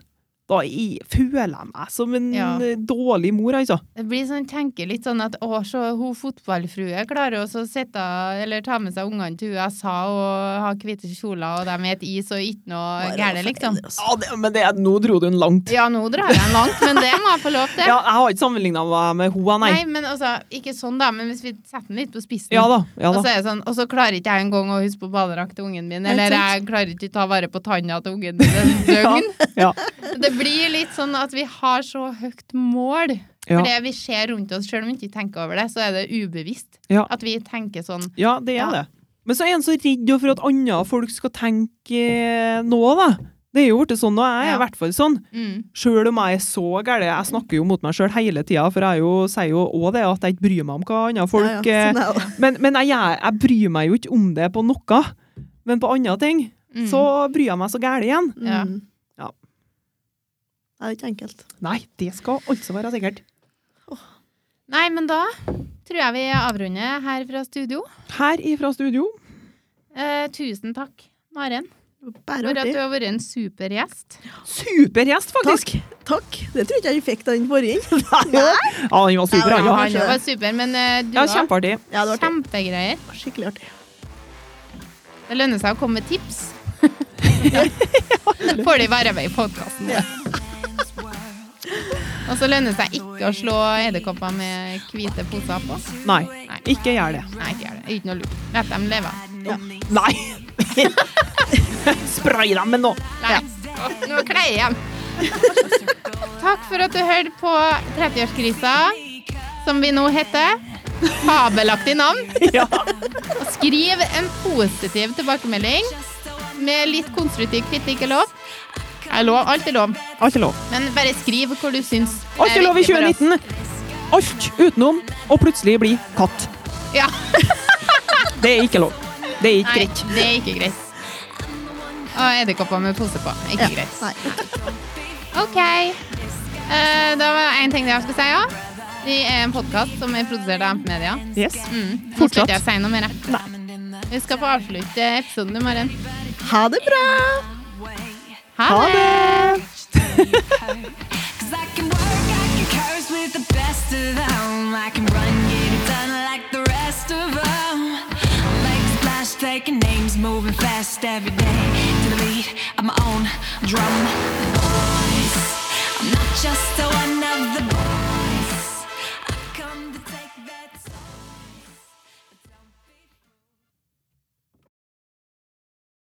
S2: Da jeg føler jeg meg som en
S1: Ja.
S2: eh, dårlig mor, altså.
S1: Det blir sånn, tenker litt sånn at å, så hun fotballfrue klarer også å sitte eller ta med seg ungene til USA og ha hvite kjoler, og de spiser is og ikke noe gærent, liksom.
S2: Ja, det, men det, nå dro du den langt.
S1: Ja, nå drar jeg den langt, men det må jeg få lov til.
S2: Ja, jeg har ikke sammenligna meg med henne, nei.
S1: Nei, men altså, ikke sånn, da, men hvis vi setter den litt på spissen.
S2: Ja da. ja
S1: Og
S2: da.
S1: så er det sånn, og så klarer ikke jeg engang å huske på badedrakt til ungen min,
S2: Nei,
S1: eller jeg
S2: sant.
S1: klarer ikke å ta vare på tanna til ungen min et døgn.
S2: Ja,
S1: Det blir litt sånn at vi har så høyt mål
S2: ja,
S1: for det vi ser rundt oss. Selv om vi ikke tenker over det, så er det ubevisst
S2: Ja.
S1: at vi tenker sånn.
S2: ja, det
S1: Ja.
S2: er det. Men så er en så redd for at andre folk skal tenke eh, noe, da. Det er jo blitt sånn, og jeg er i
S1: Ja.
S2: hvert fall sånn.
S1: Mm.
S2: Sjøl om jeg er så gæren, jeg snakker jo mot meg sjøl hele tida, for jeg er jo, sier jo òg det at jeg ikke bryr meg om hva andre folk
S3: ja,
S2: eh,
S3: ja, sånn er det.
S2: Men, men jeg, gjør- jeg bryr meg jo ikke om det på noe. Men på andre ting
S1: Mm.
S2: så bryr jeg meg så gæren igjen.
S1: Ja.
S3: Mm.
S2: Ja.
S3: Det er ikke enkelt.
S2: Nei, det skal altså være sikkert.
S1: Nei, men da tror jeg vi avrunder her fra studio.
S2: Her ifra studio.
S1: Eh, tusen takk, Maren, for
S3: Bare
S1: at du
S3: artig.
S1: har vært en super gjest.
S2: Super gjest, faktisk!
S3: Takk. Det tror ikke jeg vi fikk den forrige.
S2: Ja, den var super.
S3: Ja,
S1: Ja,
S2: han,
S1: han
S3: kanskje
S1: var
S3: det.
S1: super, men eh, du
S2: Ja,
S1: var
S2: kjempeartig.
S3: Ja, det var artig.
S1: kjempegreier.
S3: Skikkelig artig.
S1: Det lønner seg å komme med tips. Får de være med i podkasten. Og så lønner det seg ikke å slå edderkopper med hvite poser på.
S2: Nei, ikke gjør det.
S1: Nei, ikke gjør det. Ikke noe lurt. Let dem leve.
S2: Nei! Spray dem med noe!
S1: Nei. Å, Nå kleier jeg hjem. Takk for at du hørte på 30-årskrisa, som vi nå heter. Fabelaktig navn.
S2: Ja.
S1: Og skriv en positiv tilbakemelding med litt konstruktiv kritikk er lov. Er lov, alt er lov.
S2: Har ikke lov.
S1: Men bare skriv hvor du syns det
S2: Alt er lov i
S1: viktig for oss.
S2: 2019! Alt utenom å plutselig bli katt.
S1: Ja.
S2: Det er ikke lov. Det er ikke
S1: Nei,
S2: greit.
S1: det er ikke greit. Og edderkopper med pose på. Ikke greit.
S3: Nei.
S1: OK. Eh, da var det én ting jeg skulle si òg. Vi er en podkast som er produsert av Amp-media.
S2: Yes.
S1: Mm. Nå skal
S2: Fortsatt.
S1: ikke jeg si noe mer. Vi skal få avslutte episoden i morgen.
S3: Ha det bra!
S1: Ha
S2: Ha
S1: det!
S2: det!
S4: Cause I can work, I can curse with the best of them. I can run, get it done like the rest of them. Make a splash, taking names, moving fast every day. To the beat of my own drum. Voice. I'm not just a